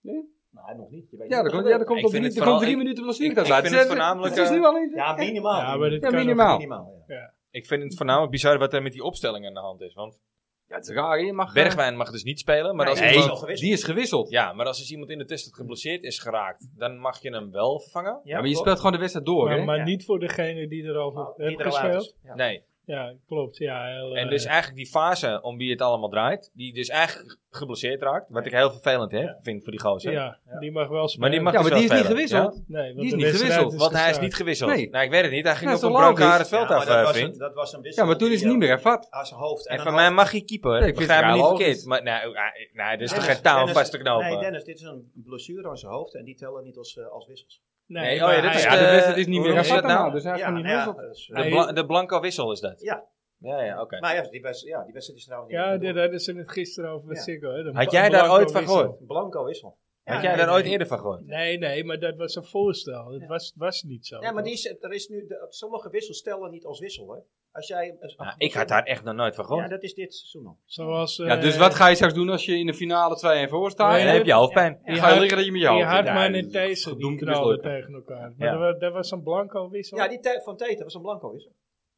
E: Nee, nog niet. Je weet
C: Ja,
E: niet
C: er komt,
E: wat
C: ja, er
E: gebeurt.
C: komt,
A: Ik vind
C: op drie,
A: het
C: er
A: vooral-
C: komt drie minuten blessure
A: ik
C: uit.
A: vind het voornamelijk,
C: is
A: eh,
C: nu al in.
E: Ja, minimaal.
B: Ja, maar dit
C: Ja,
B: kan nog-
C: minimaal.
E: Minimaal, ja.
A: Ik vind het voornamelijk bizar wat er met die opstellingen aan de hand is. Want
C: Ja, het is raar. Je mag, eh,
A: Bergwijn mag dus niet spelen. Maar als
E: Nee,
A: iemand,
E: al gewisseld.
C: die is gewisseld. Ja,
A: ja, maar als dus iemand in de test geblesseerd is geraakt, dan mag je hem wel vervangen?
E: Ja,
C: maar je
E: klopt.
C: speelt gewoon de wedstrijd door,
B: Maar,
C: hè?
B: maar
E: Ja.
B: niet voor degene die er al
E: Oh,
B: voor
E: die
B: heeft
E: er al uit is.
B: gespeeld.
E: Ja.
A: Nee.
B: Ja, klopt. Ja, heel,
A: En
B: eh,
A: dus eigenlijk die fase om wie het allemaal draait, die dus eigenlijk geblesseerd raakt. Wat ik heel vervelend hè, vind voor die gozer.
B: ja,
E: Ja.
B: die mag wel spelen.
A: Maar die mag
C: ja,
A: dus
C: maar die is
A: wel spelen,
C: niet gewisseld.
B: Nee, want
C: die is
B: de
C: niet
B: wedstrijd
C: gewisseld,
A: Want hij is
B: gestaakt.
A: niet gewisseld.
C: Nee.
A: Nou, ik weet het niet. Hij ging
C: Ja,
A: op
C: zo
A: een
C: logisch.
A: brancard het
E: Ja,
A: veld
E: maar
A: af,
E: dat
A: eh,
E: was een-
A: vriend.
E: Dat was een
C: Ja,
E: wissel.
C: maar toen is het niet meer hervat.
E: Aan zijn hoofd.
A: En
E: aan
A: van
E: haar
A: mij mag je keeper.
C: Nee,
A: ik
C: ik vind
A: begrijp me
C: het
A: niet
C: wel
A: verkeerd.
C: logisch.
A: Maar nou, eh, nou, er is toch
E: Dennis-
A: geen touw om
E: Dennis-
A: vast te knopen.
E: Nee, Dennis, dit is een blessure aan zijn hoofd en die tellen niet als, eh, als wissels.
B: Nee,
A: Nee, oh
B: maar
A: ja, dat
B: hij-
A: is
C: Ah Ja, de
A: eh,
C: wedstrijd is niet
A: hoe
C: meer
A: noem je
C: hervat.
A: dat nou?
C: nou, Dus hij is
E: ja,
C: gewoon niet
E: nou ja,
C: gewisseld.
E: dat is, eh,
A: de, bla- de blanco wissel is dat.
E: Ja.
A: Ja, ja, oké.
E: Maar ja, die wedstrijd ja, die wedstrijd is trouwens niet
B: Ja,
E: meer
B: daar hadden ze het gisteren over met
E: Ja.
B: Siggo. Hè?
A: Had
B: De Bla-
A: jij daar
B: Blanco
A: ooit van
B: wissel.
A: gehoord?
E: door. Blanco wissel.
A: Had
B: Ja,
A: jij
B: nee,
A: daar ooit
B: nee.
A: eerder van gehoord?
B: Nee, nee, maar dat was een voorstel. Het was, was niet zo.
E: Ja, maar die is, er is nu, de- sommige wissels tellen niet als wissel, hè. Als jij... als-
A: Nou, ik had daar echt nog nooit van
E: Ja,
A: gehoord.
E: dat is dit seizoen al.
B: Zoals, eh,
C: Ja, dus wat ga je straks doen als je in de finale 2-1 voor staat?
B: Nee,
A: En dan heb je hoofdpijn.
B: Die
C: Ga je
B: hard-
C: liggen dat je met jou
B: Die Hartman en Thijssen die knalden tegen elkaar. Maar
A: Ja.
B: dat wa- dat was een blanco wissel.
E: Ja, die te- van Tete was een Blanco wissel.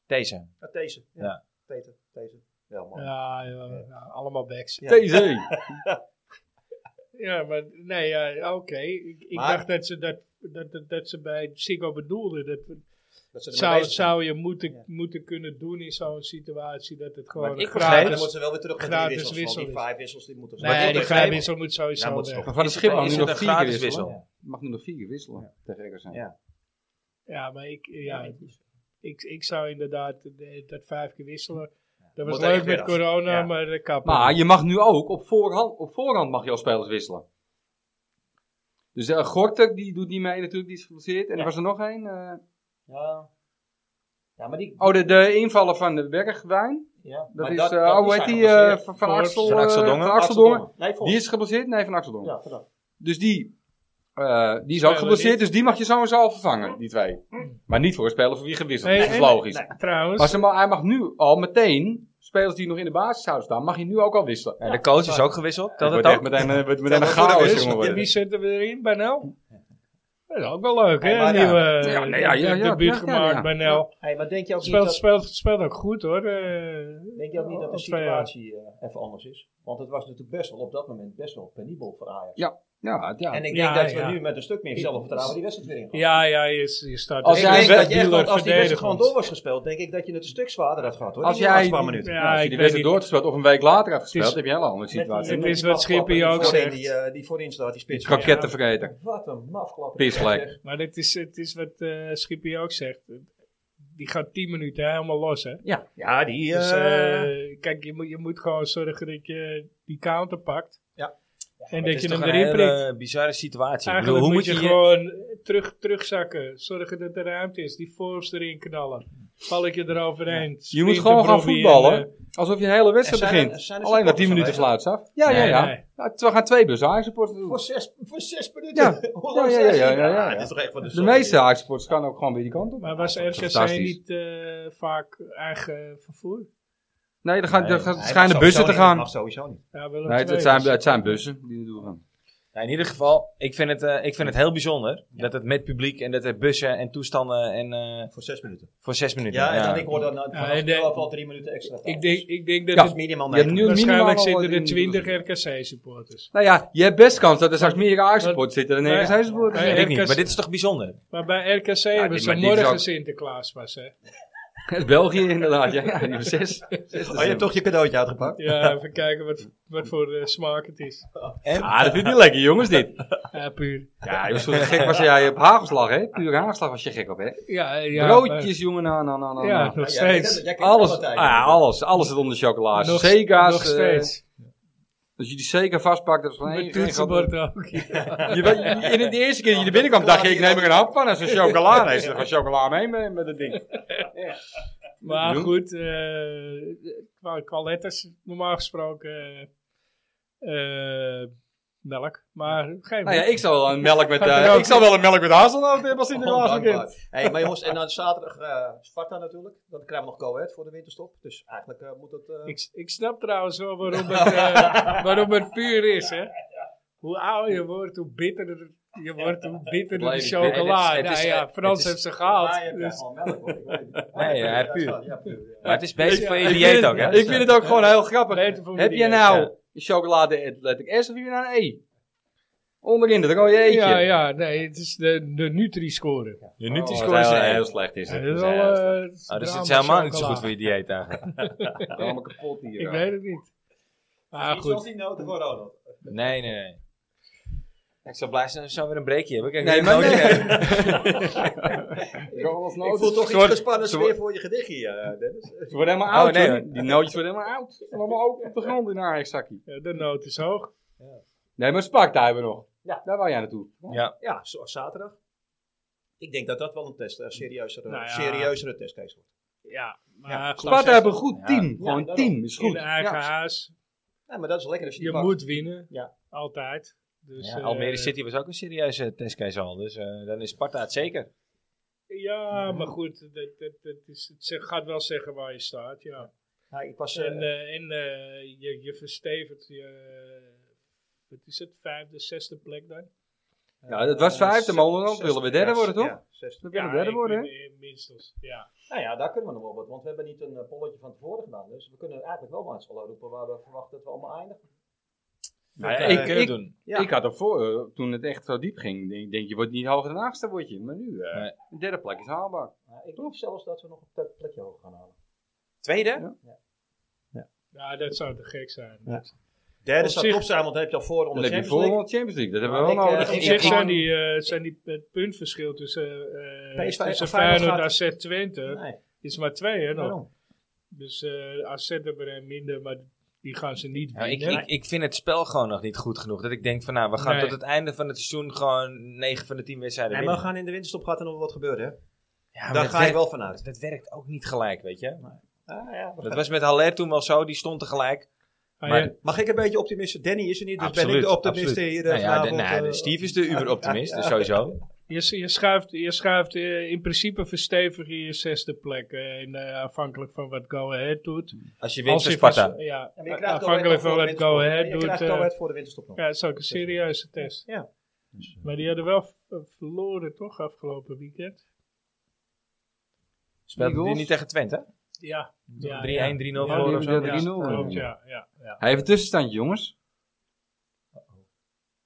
A: Deze.
E: Ja, Tese. Ja.
A: Ja.
E: Tete, Tete. Ja, man.
B: Ja, ja, ja, allemaal backs. Ja,
E: Ja.
C: TC.
B: maar nee, ja, oké. Ik, ik
E: Maar-
B: dacht dat ze, dat, dat, dat, dat ze bij Siggo bedoelden. Dat we-
E: Dat ze ermee
B: zou,
E: bezig zijn.
B: zou je moeten,
E: Ja.
B: moeten kunnen doen in zo'n situatie dat het gewoon
A: Wat ik
E: Ja,
A: begreep-
E: dan
B: gratis...
E: moeten ze wel weer terug naar die
B: gratis
E: wissels. want die
B: wissel is.
E: vijf wissels die moeten ze
A: Wat ik
B: Nee, die
A: begreep-
B: vrije wissel moet sowieso
A: Ja, moet
B: weg.
A: ze toch-
C: Maar van de
A: Is het-
C: Schip mag
A: is
C: nu
A: het
C: nog
A: een
C: vier keer
A: gratis
C: wisselen.
A: wissel?
C: Je mag nu nog vier keer wisselen tegen RKC.
E: Ja.
B: Ja, maar ik, eh, ja,
E: Ja,
B: ik, ik zou inderdaad eh, dat vijf keer wisselen. Dat was
E: Moet
B: leuk
E: echt weer
B: met
E: af.
B: corona,
E: Ja.
B: maar eh, de kappen.
C: Maar je mag nu ook op voorhand, op voorhand mag je al spelers wisselen. Dus eh Gortek, die doet niet mee natuurlijk, die is geblesseerd. En er was er nog één. eh,
E: ja. ja, maar die...
C: oh, de, de invallen van de Bergwijn.
E: ja.
C: Dat
E: maar
C: is,
E: dat-
C: eh,
E: dat
C: oh, hoe heet
E: zijn
C: die? eh,
E: geblesseerd.
C: van, van,
B: Forbes.
C: Axel,
A: Van
C: eh,
A: Axel Dongen.
C: van Axel
E: Axel
C: Dongen.
E: Dongen. Nee,
C: Die
E: volgens
C: is geblesseerd? Nee, van Axel Dongen.
E: Ja, vandaag.
C: Dus die, eh, die is ook
B: Spelen
C: geblesseerd,
B: niet.
C: dus die mag je sowieso al vervangen, die twee. Maar niet voor een speler voor wie gewisseld
B: Nee,
C: is, dat is
B: nee,
C: logisch.
B: Trouwens,
C: Maar ze ma- hij mag nu al meteen, spelers die nog in de basis zouden staan, mag je nu ook al wisselen.
A: En de coach is ook gewisseld.
C: Dat
A: Telt
C: wordt
A: dat
C: echt
A: ook?
C: meteen, een- wordt meteen een
E: dat voor de
C: chaos,
E: wissel.
C: jongen.
B: Ja,
C: worden.
B: wie zetten we erin? Banel? Dat is ook wel leuk, hè?
E: Ja, maar ja.
B: Nieuwe eh,
C: Ja, nee, ja, ja, ja,
B: debuut
C: ja, ja,
B: gemaakt,
C: ja.
B: Banel.
E: Hey, maar denk je ook
B: Speelt,
E: niet dat,
B: speelt, speelt ook goed, hoor. eh,
E: denk je ook niet dat de
B: op twee jaar.
E: situatie eh, even anders is? Want het was natuurlijk best wel op dat moment best wel penibel voor Ajax.
C: Ja. Ja, het- ja.
E: En ik denk
B: Nou, Ja,
E: dat we
B: ja.
E: nu met een stuk meer zelfvertrouwen die wedstrijd weer in gaan.
B: Ja, ja, je, je staat
C: Als
E: Ik
C: jij-
E: denk dat je echt,
B: wieler
E: want als die wedstrijd gewoon
B: verdedigend.
E: door was gespeeld, denk ik dat je het een stuk zwaarder had gehad hoor.
C: Als
E: die
C: jij-
E: laatste paar minuten.
B: Ja,
C: Nou, als je
B: ik
C: die
B: weet niet.
C: wedstrijd doorgespeeld of een week later had gespeeld,
B: Het is-
C: heb je een hele andere situatie.
B: Het is wat Schipper je ook
E: voorin
B: zegt.
E: Die, eh, die voorin staat, die spits.
C: Kroketten vergeten.
E: Wat een mafklapper.
C: Pisvlek.
B: Maar het is, het is wat eh Schipper ook zegt. Die gaat 10 minuten helemaal los, hè?
E: Ja, die... eh,
B: Dus eh, kijk, je moet, je moet gewoon zorgen dat je die counter pakt.
E: Ja.
B: En
A: Het
B: dat
A: is
B: je
A: toch
B: hem
A: een
B: erin prikt.
A: hele bizarre situatie. Ik bedoel,
B: Eigenlijk
A: hoe moet je hier-
B: gewoon terug, terugzakken. Zorgen dat er ruimte is. Die forms erin knallen. Valletje eroverheen.
C: Je moet
B: Sprinten,
C: gewoon gaan
B: Robbie en, eh,
C: voetballen. Alsof je een hele wedstrijd
E: Er zijn-
C: begint.
E: er zijn er
C: Alleen dat 10
E: supporters
C: minuten fluits af. Ja, ja,
B: Nee,
C: ja.
B: eh, nee.
C: Ja, Terwijl gaan twee bussen Ajax-supporters doen.
E: Voor zes, voor zes minuten.
C: Ja.
E: Hoe lang
C: Ja, ja,
E: zijn ze?
C: ja, ja, ja, ja.
E: het is toch echt van de
C: De
E: zon.
C: meeste Ajax-supporters gaan ook gewoon weer die kant op.
B: maar was RKC
C: Fantastisch.
B: niet eh, vaak eigen vervoer?
C: Nee, er, gaan, er
A: Nee,
C: gaan-
E: Nee,
C: schijnen
E: mag sowieso
C: bussen te
E: niet,
C: gaan.
E: Mag sowieso niet.
B: Ja, Willem
C: Nee, het,
B: II
C: het zijn,
B: was-
C: het zijn bussen die naartoe gaan.
A: Nou, in ieder geval, ik vind het, eh, ik vind het heel bijzonder dat het met publiek en dat er bussen en toestanden en eh,
E: Voor zes minuten.
A: voor zes minuten.
E: Ja, en dan ik hoor dan nou,
B: Ja,
E: vanaf
B: en de-
E: elf al drie minuten extra.
B: Ik denk, ik denk dat
E: Dat is
B: het-
E: minimaal
C: Je hebt
E: negen.
C: nu-
B: waarschijnlijk
C: minimaal
B: zitten
C: in
B: er
C: de
B: 20 RKC-supporters.
C: Nou ja, je hebt best kans dat er straks meer Ajax-supporters zitten dan
B: Nee.
C: RKC-supporters.
A: Dat weet ik niet,
B: RKC
A: maar dit is toch bijzonder?
B: Maar bij RKC
C: die-
B: hebben ze
C: maar die is
B: morgen
C: ook-
B: Sinterklaas pas, hè?
C: Het is België inderdaad, ja. ja die hebben zes. zes
E: Oh, je hebt toch je cadeautje uitgepakt?
B: Ja, even kijken wat, wat voor eh, smaak het is.
C: Ah, dat vindt hij lekker, jongens, dit.
B: Ja, puur.
C: Ja, jongens, hoe gek was jij op hagelslag, hè? Puur hagelslag was je gek op, hè?
B: Ja, ja,
C: Broodjes, jongen, nou, nou, nou,
B: maar-
C: nou.
A: Oh,
B: ja,
C: nou.
B: nog
E: Ja, jij
B: steeds.
E: kent- jij kent
C: Alles,
E: alle
C: ah,
E: tijden.
C: ja, alles, alles zit onder chocolaas.
B: nog,
C: Sega's,
B: nog
C: eh,
B: steeds.
C: als je die Sega vastpakt, dat is van één
B: Met
C: geen
B: toetsenbord ook.
C: gat- Je, weet- je- in de eerste keer dat je er binnenkwam, dacht je, ik neem er een hap van. Dat is een chocola. Nee, ze er gewoon chocola mee met, met dat ding.
B: Maar
C: Doen.
B: goed, eh, qua, qua letters, normaal gesproken eh, eh, melk. Maar geen
C: Nou ja, ik zal wel een melk met,
B: Gaat
C: eh,
B: er ook-
C: ik zal wel een melk met hazelnoot hebben als Sinterklaas
E: Oh,
C: bekend.
E: dankbaar. hey, maar jongens, en dan zaterdag eh Sparta natuurlijk. Dan krijgen we nog go voor de winterstop. Dus eigenlijk eh, moet dat... eh,
B: ik, ik snap trouwens wel waarom het, eh, waarom het puur is, hè. Hoe ouder je wordt, hoe bitterder je wordt, hoe bitterder de
C: Blijf ik
B: chocola.
A: bitter. Het is- het is-
B: Nou ja,
A: het
B: Frans
A: is-
B: heeft ze
E: ah, je
B: gehaald.
E: krijgt
B: Dus
E: gewoon melk, hoor. Ik weet het niet.
A: Nee, ja,
E: Ja,
A: puur.
E: ja, puur, ja.
A: Maar het is best voor je
C: Ik
A: dieet
C: vind
A: ook,
C: het-
A: hè?
C: Ik vind het ook gewoon heel grappig.
B: Beter voor
C: Heb
B: mijn
C: je
B: dieet,
C: nou
A: ja.
C: chocolade en letter S of heb je nou een E? Onderin dat rode eetje. Oh,
B: ja, ja, nee, het is de, de Nutri-score.
A: Je
C: Nu
A: nutri
C: scoren
A: is
C: heel,
A: één.
C: heel slecht is
B: Ja,
C: het.
B: dat is
C: Ja,
B: al,
C: ja,
A: Ah,
B: eh,
A: dus
B: drama
A: het is helemaal niet zo
B: chocola.
A: goed voor je dieet eigenlijk.
C: dat is allemaal kapot
B: Ik
C: hier. ja.
B: weet het niet.
C: Ah,
B: Maar
E: Niet zoals
B: goed.
E: die noten voor Ronald.
A: Nee, nee, nee. Ik zou blij zijn als we zo weer een breekje hebben. Kijk,
C: Nee,
A: dit
C: maar
A: is
C: nee.
A: nodig.
C: Ronald's
E: Ik
C: nootjes. Oh,
E: voel toch
C: dus Ze
E: iets
C: worden-
E: gespannends
C: ze worden-
E: weer voor je gedicht hier, eh, Dennis.
C: Ze worden helemaal
A: Oh,
C: oud,
A: nee,
C: hoor.
A: hoor.
C: Die nootjes worden helemaal oud. Ze zijn allemaal open op de grond in haar zakje.
B: Ja, de noot is hoog.
C: Nee, maar Spark, daar hebben we nog.
E: Ja.
C: Daar wou jij naartoe.
A: Ja.
E: Ja, zo- zaterdag. Ik denk dat dat wel een test, een serieuzere,
B: Nou ja.
E: serieuzere testcase wordt.
B: Ja, maar
C: Sparta hebben een goed
A: Ja.
C: team.
E: Ja,
C: Gewoon
E: daarom.
C: team, is
B: in
C: goed.
B: de eigen
C: Ja.
B: huis.
E: Ja, maar dat is lekker als je,
B: Je
E: die pakt.
B: moet winnen.
E: Ja.
B: Altijd. Dus,
A: Ja,
B: eh,
A: Almere City was ook een serieuze testcase al. Dus eh, dan is Sparta het zeker.
B: Ja, maar goed. Dat, dat, dat is, het ze- gaat wel zeggen waar je staat, ja.
E: Ja, ik was, eh,
B: En, eh, en eh, je, je verstevigt je... Wat is het? Vijfde, zesde plek dan?
C: Ja, dat was
E: eh,
C: vijfde, maar
E: zes-
C: onderhand
E: zes-
C: willen we derde
E: ja,
C: worden, toch?
E: Ja,
C: We
E: zesde.
C: willen derde
B: ik
C: worden, hè?
B: vind, eh, Minstens, ja.
E: Nou ja, daar kunnen we nog wel wat, want we hebben niet een eh, polletje van tevoren gedaan. Dus we kunnen eigenlijk wel maar al roepen waar we verwachten dat we allemaal eindigen.
A: Nou,
E: eh,
A: ik,
C: ik-
A: doen.
E: Ja.
C: Ik had er voor, eh, toen het echt zo diep ging, denk, denk je wordt niet hoger dan achtste, word je. Maar nu, eh,
A: Nee.
C: een derde plek is haalbaar.
E: Ja, ik denk zelfs dat we nog een plekje hoger gaan halen.
A: Tweede?
B: Ja, Nou, dat zou te gek zijn.
E: Ja. Derde
B: Op
E: zou
B: zich-
E: top zijn, want dan heb je al voor
C: Dan
E: onder
C: heb je
E: Champions League.
C: volgende Champions League, dat hebben we
E: Maar
C: wel
E: ik, eh,
C: nodig.
B: Op
E: ik-
B: zich
E: ik-
B: zijn die, eh, zijn die, het puntverschil tussen, eh
E: PSV
B: tussen
E: en Feyenoord
B: Feyenoord
E: gaat-
B: en AZ Twente
E: Nee,
B: is maar twee, hè? Nog.
E: waarom?
B: Dus eh AZ hebben er een minder, maar die gaan ze niet
A: Nou, ik,
B: winnen.
A: ik, ik vind het spel gewoon nog niet goed genoeg. Dat ik denk van nou, we gaan
B: Nee.
A: tot het einde van het seizoen gewoon 9 van de 10 wedstrijden
E: Nee, maar we
A: winnen.
E: gaan in de winterstop gaat er nog wat gebeuren, hè?
A: Ja, maar
E: Daar
A: dat
E: ga je
A: werkt-
E: wel vanuit.
A: Dat werkt ook niet gelijk, weet je.
E: Ah, ja, we
A: Dat
E: gaan-
A: was met Haller toen wel zo, die stond tegelijk.
B: Ah,
A: maar-
B: ja,
E: Mag ik een beetje optimist? Danny is er niet, dus ben
A: Absoluut,
E: ik de optimist
A: absoluut.
E: hier. eh,
A: Nou ja, de,
E: vanavond,
A: nou,
E: eh,
A: de Steve is de uber-optimist, dus sowieso.
B: je, s- je schuift, je schuift eh, in principe verstevig je je zesde plek. eh, en, eh, afhankelijk van wat Go Ahead doet.
A: Als je wint van
B: je
A: Sparta.
B: vers- ja,
E: Ja, maar je krijgt
B: afhankelijk
E: Go
B: van
E: Ahead
B: wat
E: nog
B: Go
E: voor de
B: Ahead
E: winterstop. Je
B: doet.
E: krijgt
B: eh,
E: Go Ahead voor de winterstop nog.
B: Ja, het is ook een serieuze test.
E: Ja.
B: Maar die hadden wel v- verloren toch afgelopen weekend?
A: Speelde die
C: Eagles.
A: niet tegen Twente?
B: Ja. ja
A: 3-1, 3-0
B: Ja,
A: verloren of
C: die
A: zo.
C: hebben 3-0
B: ja, klopt,
C: gewonnen.
B: ja, ja, ja.
C: Hij heeft een tussenstandje, jongens.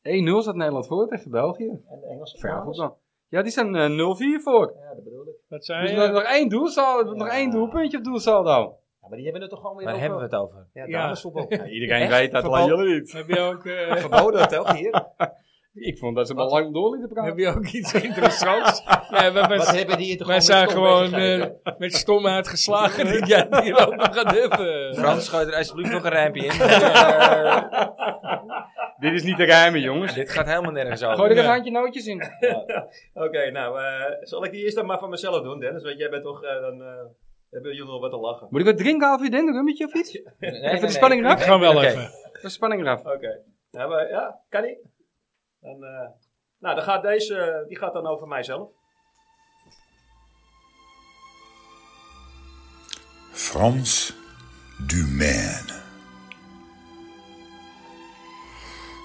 C: 1-0 staat Nederland voor tegen België.
E: En de Engelse
C: Vanavond
E: dames?
C: dan. Ja, die zijn eh, 0-4 voor.
E: Ja, dat bedoel ik.
B: Wat zei
C: Dus
B: je?
C: nog, nog één doelsaldo,
E: Ja.
C: nog één doelpuntje op doelsaldo.
E: Ja, maar die hebben het toch gewoon weer
A: Waar
E: over-
A: hebben we het over?
E: Ja,
B: Ja.
E: damesvoetbal.
C: iedereen
E: Echt?
C: weet dat,
E: Verbal-
C: alleen jullie niet.
B: heb je ook, eh,
E: Verboden toch hier?
C: Ik vond dat ze maar lang door lieten praten.
B: heb je ook iets interessants? nee, we,
E: Wat hebben die hier toch
B: wij
E: gewoon
B: zijn
E: met
B: gewoon
E: stom bezig?
B: eh, met stomheid geslagen dat jij het hier over gaat hebben.
A: Frans, schuit er alsjeblieft nog een rijmpje in. Eh,
C: Dit is niet te rijmen, jongens.
A: Dit gaat helemaal nergens
C: Gooi
A: over.
C: er een
B: Ja.
C: handje nootjes in.
E: Oké, nou, eh, zal ik die eerst dan maar van mezelf doen, Dennis? Want jij bent toch, eh, dan eh, hebben jullie nog wat te lachen.
C: Moet ik wat drinken half je denkt, een rummetje of iets?
A: Nee, nee,
C: Even de
A: nee.
C: spanning
B: Ik
C: eraf.
B: ga wel
A: Oké.
B: even.
C: De spanning eraf.
E: Oké. Nou, maar, ja, kan die? Dan, eh, nou, dan gaat deze, eh, die gaat dan over mijzelf.
F: Frans Dumaine.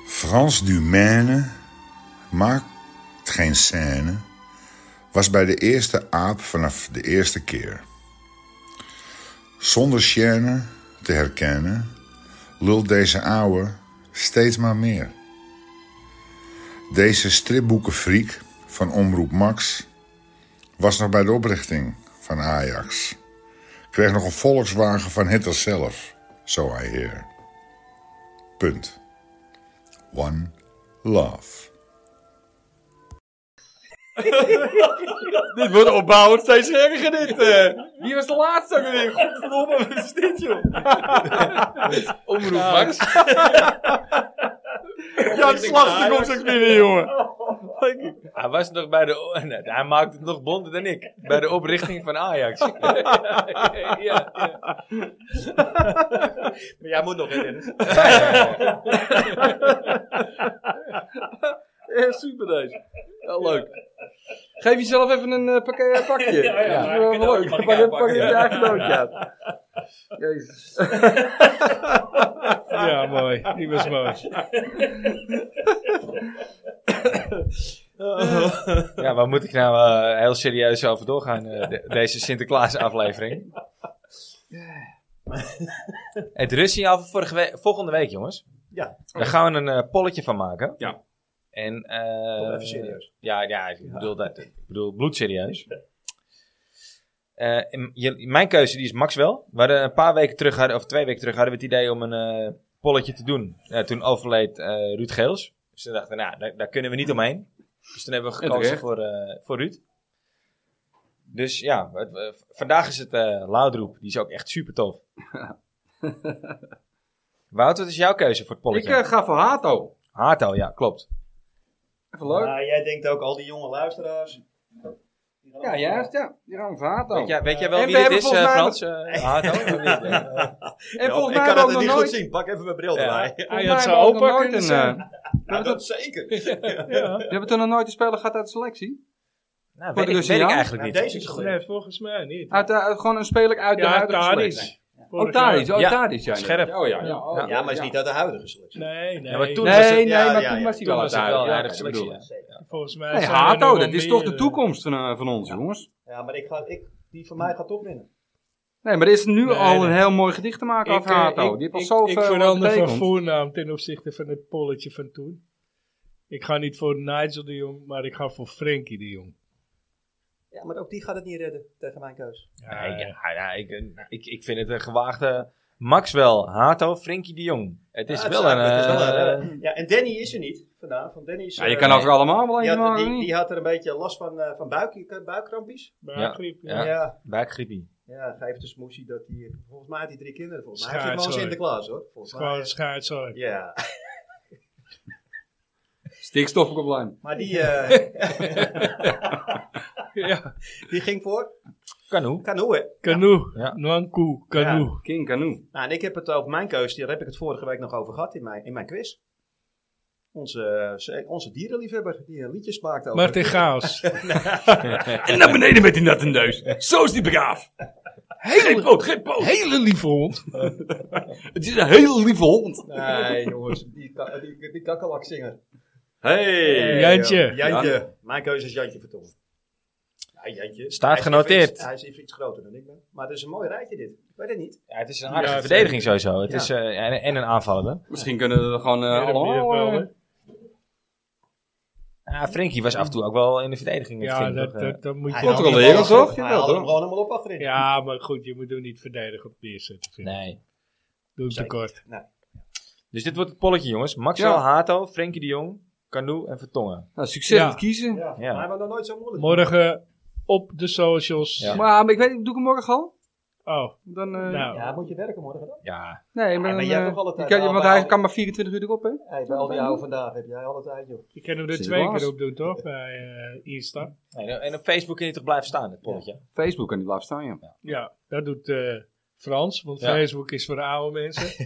F: Frans Dumaine maakt geen scène, was bij de eerste aap vanaf de eerste keer. Zonder scène te herkennen, lult deze ouwe steeds maar meer. Deze stripboekenfreak van Omroep Max was nog bij de oprichting van Ajax kreeg nog een Volkswagen van Hitler zelf, zo I hear. Punt. One love.
C: Dit wordt opbouwend steeds erger, dit. eh. Wie was de laatste ook weer? Godverdomme, wat is dit, joh? Omroep Max. Jan Slachter komt ook binnen, jongen.
A: Hij was nog bij de... o- nee, Hij maakte het nog bonder dan ik. Bij de oprichting van Ajax.
B: ja, ja.
E: Maar jij moet nog, hè, Dennis?
C: Ja, super deze. Heel leuk. Geef jezelf even een eh, pak- eh, pakje.
E: Ja, ja, maar
C: wel
E: ik kan ook
C: leuk.
E: een
C: Pak
E: pakje
C: je pak je je eigen
E: aanpakken,
C: nootje uit. Jezus.
B: ja, mooi. Die was mooi.
C: Eh.
A: Ja, waar moet ik nou eh, heel serieus over doorgaan, eh, de- deze Sinterklaas-aflevering? Het rustsignaal van vorige we- volgende week, jongens.
E: Ja.
A: Daar gaan we een eh, polletje van maken.
C: Ja.
A: En, eh,
E: Toch even serieus.
A: Ja, ja ik, bedoel dat, ik bedoel bloedserieus. Eh, in- je- mijn keuze die is Maxwell. We hadden een paar weken terug, hadden, of twee weken terug, hadden we het idee om een eh, polletje te doen. Eh, toen overleed eh, Ruud Geels. Dus toen dachten we, nou, daar, daar kunnen we niet omheen. Dus toen hebben we
C: En
A: gekozen
C: terecht.
A: voor, eh, voor Ruud. Dus ja, het- eh, v- vandaag is het eh Laudroep. Die is ook echt super tof. Wouter, wat is jouw keuze voor het
C: Ik
A: polletje?
C: eh, ga voor Hato.
A: Hato, ja, klopt.
C: Even leuk.
E: Nou, jij denkt ook al die jonge luisteraars.
C: Ja, juist, ja. Die gaan we voor Hato.
A: Weet jij, weet jij
C: En
A: wel
C: we
A: wie dit
C: hebben
A: is,
C: volgens
A: eh,
C: mij-
A: Frans? Eh, Hato? Nou,
C: En
E: Ja,
C: volgens
E: ik
C: mij
E: kan
C: hebben
E: het
C: we ook
E: niet
C: nog
E: goed
C: nooit...
E: zien. Pak even mijn bril
A: Ja.
E: erbij.
B: Hij
C: mij
B: had zijn
C: hebben we ook
B: opa
C: nog
B: kunnen
C: nooit een,
B: zijn.
E: Ja, dat zeker.
B: Ja.
C: We hebben toen nog nooit een speler gehad uit de selectie.
A: Nou,
C: Voor
A: weet
C: de
A: ik, weet ik
C: Russiaan?
A: eigenlijk
E: Nou,
A: niet.
E: deze is goed.
B: Nee, volgens mij niet.
C: Uit, de- uit- gewoon een speler uit de
B: Ja,
C: huidige
B: Tadic.
C: selectie. Oh, Tadic. Oh,
A: Ja.
C: Tadic. Ja,
A: Scherp.
C: Oh, ja. Ja, oh,
E: Ja, maar is niet uit de huidige selectie.
B: Nee, nee.
A: Ja, maar toen
C: Nee,
A: was het-
C: nee,
E: ja,
C: maar
E: ja,
C: toen
E: ja.
C: was hij
A: Toen
C: wel
A: was het
C: uit
A: wel
C: de
A: een
C: huidige
A: aardige
C: selectie.
A: selectie.
C: bedoel ik.
E: Zeker.
B: Volgens mij
C: Nee,
B: zijn er nog
C: Hato,
B: wel
C: dat is toch de
B: meer.
C: toekomst van, eh, van ons, jongens.
E: Ja, maar ik ga, ik, die van mij gaat opwinnen.
C: Nee, maar er is nu
B: Nee,
C: al
B: nee.
C: een heel mooi gedicht te maken over
B: eh,
C: Hato. Die heeft al
B: ik-
C: zoveel eh,
B: Ik verander van
C: betekend.
B: voornaam ten opzichte van het polletje van toen. Ik ga niet voor Nigel de Jong, maar ik ga voor Frenkie de Jong.
E: Ja, maar ook die gaat het niet redden tegen mijn keus.
B: Ja,
A: Nee, ja, ja, ik, eh, ik, ik vind het een gewaagde... Maxwell, Hato, Frenkie de Jong. Het is
E: Ja,
A: wel een...
E: het is wel
A: eh,
E: een, eh, ja, en Danny is er niet vandaag. Want Danny is,
C: Ja, je
E: eh,
C: kan over allemaal eh, wel
E: die,
C: eentje
E: had,
C: maken, of
E: die,
C: niet?
E: die had er een beetje last van, eh, van buik, buikkrampjes.
B: buikgriep, ja.
A: Ja.
E: ja.
A: buikgriepie.
E: Ja, geef de smoesie dat hij. Volgens mij had hij drie kinderen. Volgens mij heeft hij
B: Schaats,
E: gewoon
B: hoor.
E: Sinterklaas hoor. Volgens mij.
B: Gewoon schaatsel.
E: Ja,
C: Stikstofprobleem.
E: maar die, eh,
B: Ja,
E: die ging voor
A: Kanoe.
E: Kanoe. hè?
B: Canoe.
A: Ja.
B: Nanku, Canoe.
C: King Canoe.
E: Nou, en ik heb het over mijn keus. Daar heb ik het vorige week nog over gehad in mijn, in mijn quiz. Onze, eh, ze- onze dierenliefhebber die een liedjes maakt over.
B: Martin Gaals.
C: En naar beneden met die natte neus. Zo is die braaf. Geen poot, geen poot.
B: Hele lieve hond.
C: Het is een heel lieve hond.
E: Nee, jongens, die, ka- die, die kakkelakzinger.
C: Hey.
B: Jantje.
E: Eh, Jantje. Mijn keuze is Jantje Vertongen. Ja, Jantje.
A: Staat
E: Hij is even
A: genoteerd.
E: iets- hij is even iets groter dan ik ben. Maar het is een mooi rijtje dit. Ik weet het niet.
A: Ja, het is een aardige
B: Ja,
A: verdediging sowieso. Het
E: Ja.
A: is, eh, en, en een aanvallende.
C: Misschien kunnen we er gewoon eh,
B: Ja, dat
C: allemaal...
B: weet ik wel,
C: eh,
B: hè.
A: Ah, Frenkie was af en toe ook wel in de verdediging.
B: Ja,
A: vind ik
B: dat,
A: toch, eh.
B: dat, dat moet je...
E: Hij
C: Controleren,
E: haalde hem
C: toch?
E: gewoon-
C: Jawel,
E: Hij haalde hem
C: toch?
E: gewoon helemaal op achterin.
B: Ja, maar goed, je moet hem niet verdedigen op neerzetten. vind ik.
A: eh, Nee.
B: Doe hem
E: Zeker.
B: tekort.
A: Dus dit wordt het polletje, jongens. Maxwell,
C: Ja.
A: Hato, Frenkie de Jong, Canoe en Vertongen.
C: Nou, succes
B: Ja.
C: met kiezen.
E: Ja,
A: Ja.
E: Maar hij was nog nooit zo moeilijk.
B: Morgen op de socials.
A: Ja.
C: Maar, maar ik weet niet, doe ik hem morgen al?
B: Oh,
C: Dan, eh,
B: nou.
E: Ja, moet je werken morgen dan?
A: Ja.
C: Nee, maar,
E: maar
C: dan,
E: jij
C: eh,
E: hebt nog alle tijd.
C: ik kan-
E: Nou,
C: Want
E: wij-
C: hij kan maar 24 uur erop, hè?
E: Hey, bij al die oude vandaag heb jij al het tijd, joh.
B: Je kan hem er
C: Zit
B: twee
C: er
B: keer
C: was.
B: op doen, toch? Bij eh, Insta.
A: Nee, nou, En op Facebook kun je toch blijven staan, het polletje.
C: Facebook kan niet blijven staan, ja.
B: Ja, dat doet eh, Frans, want
A: Ja.
B: Facebook is voor de oude mensen.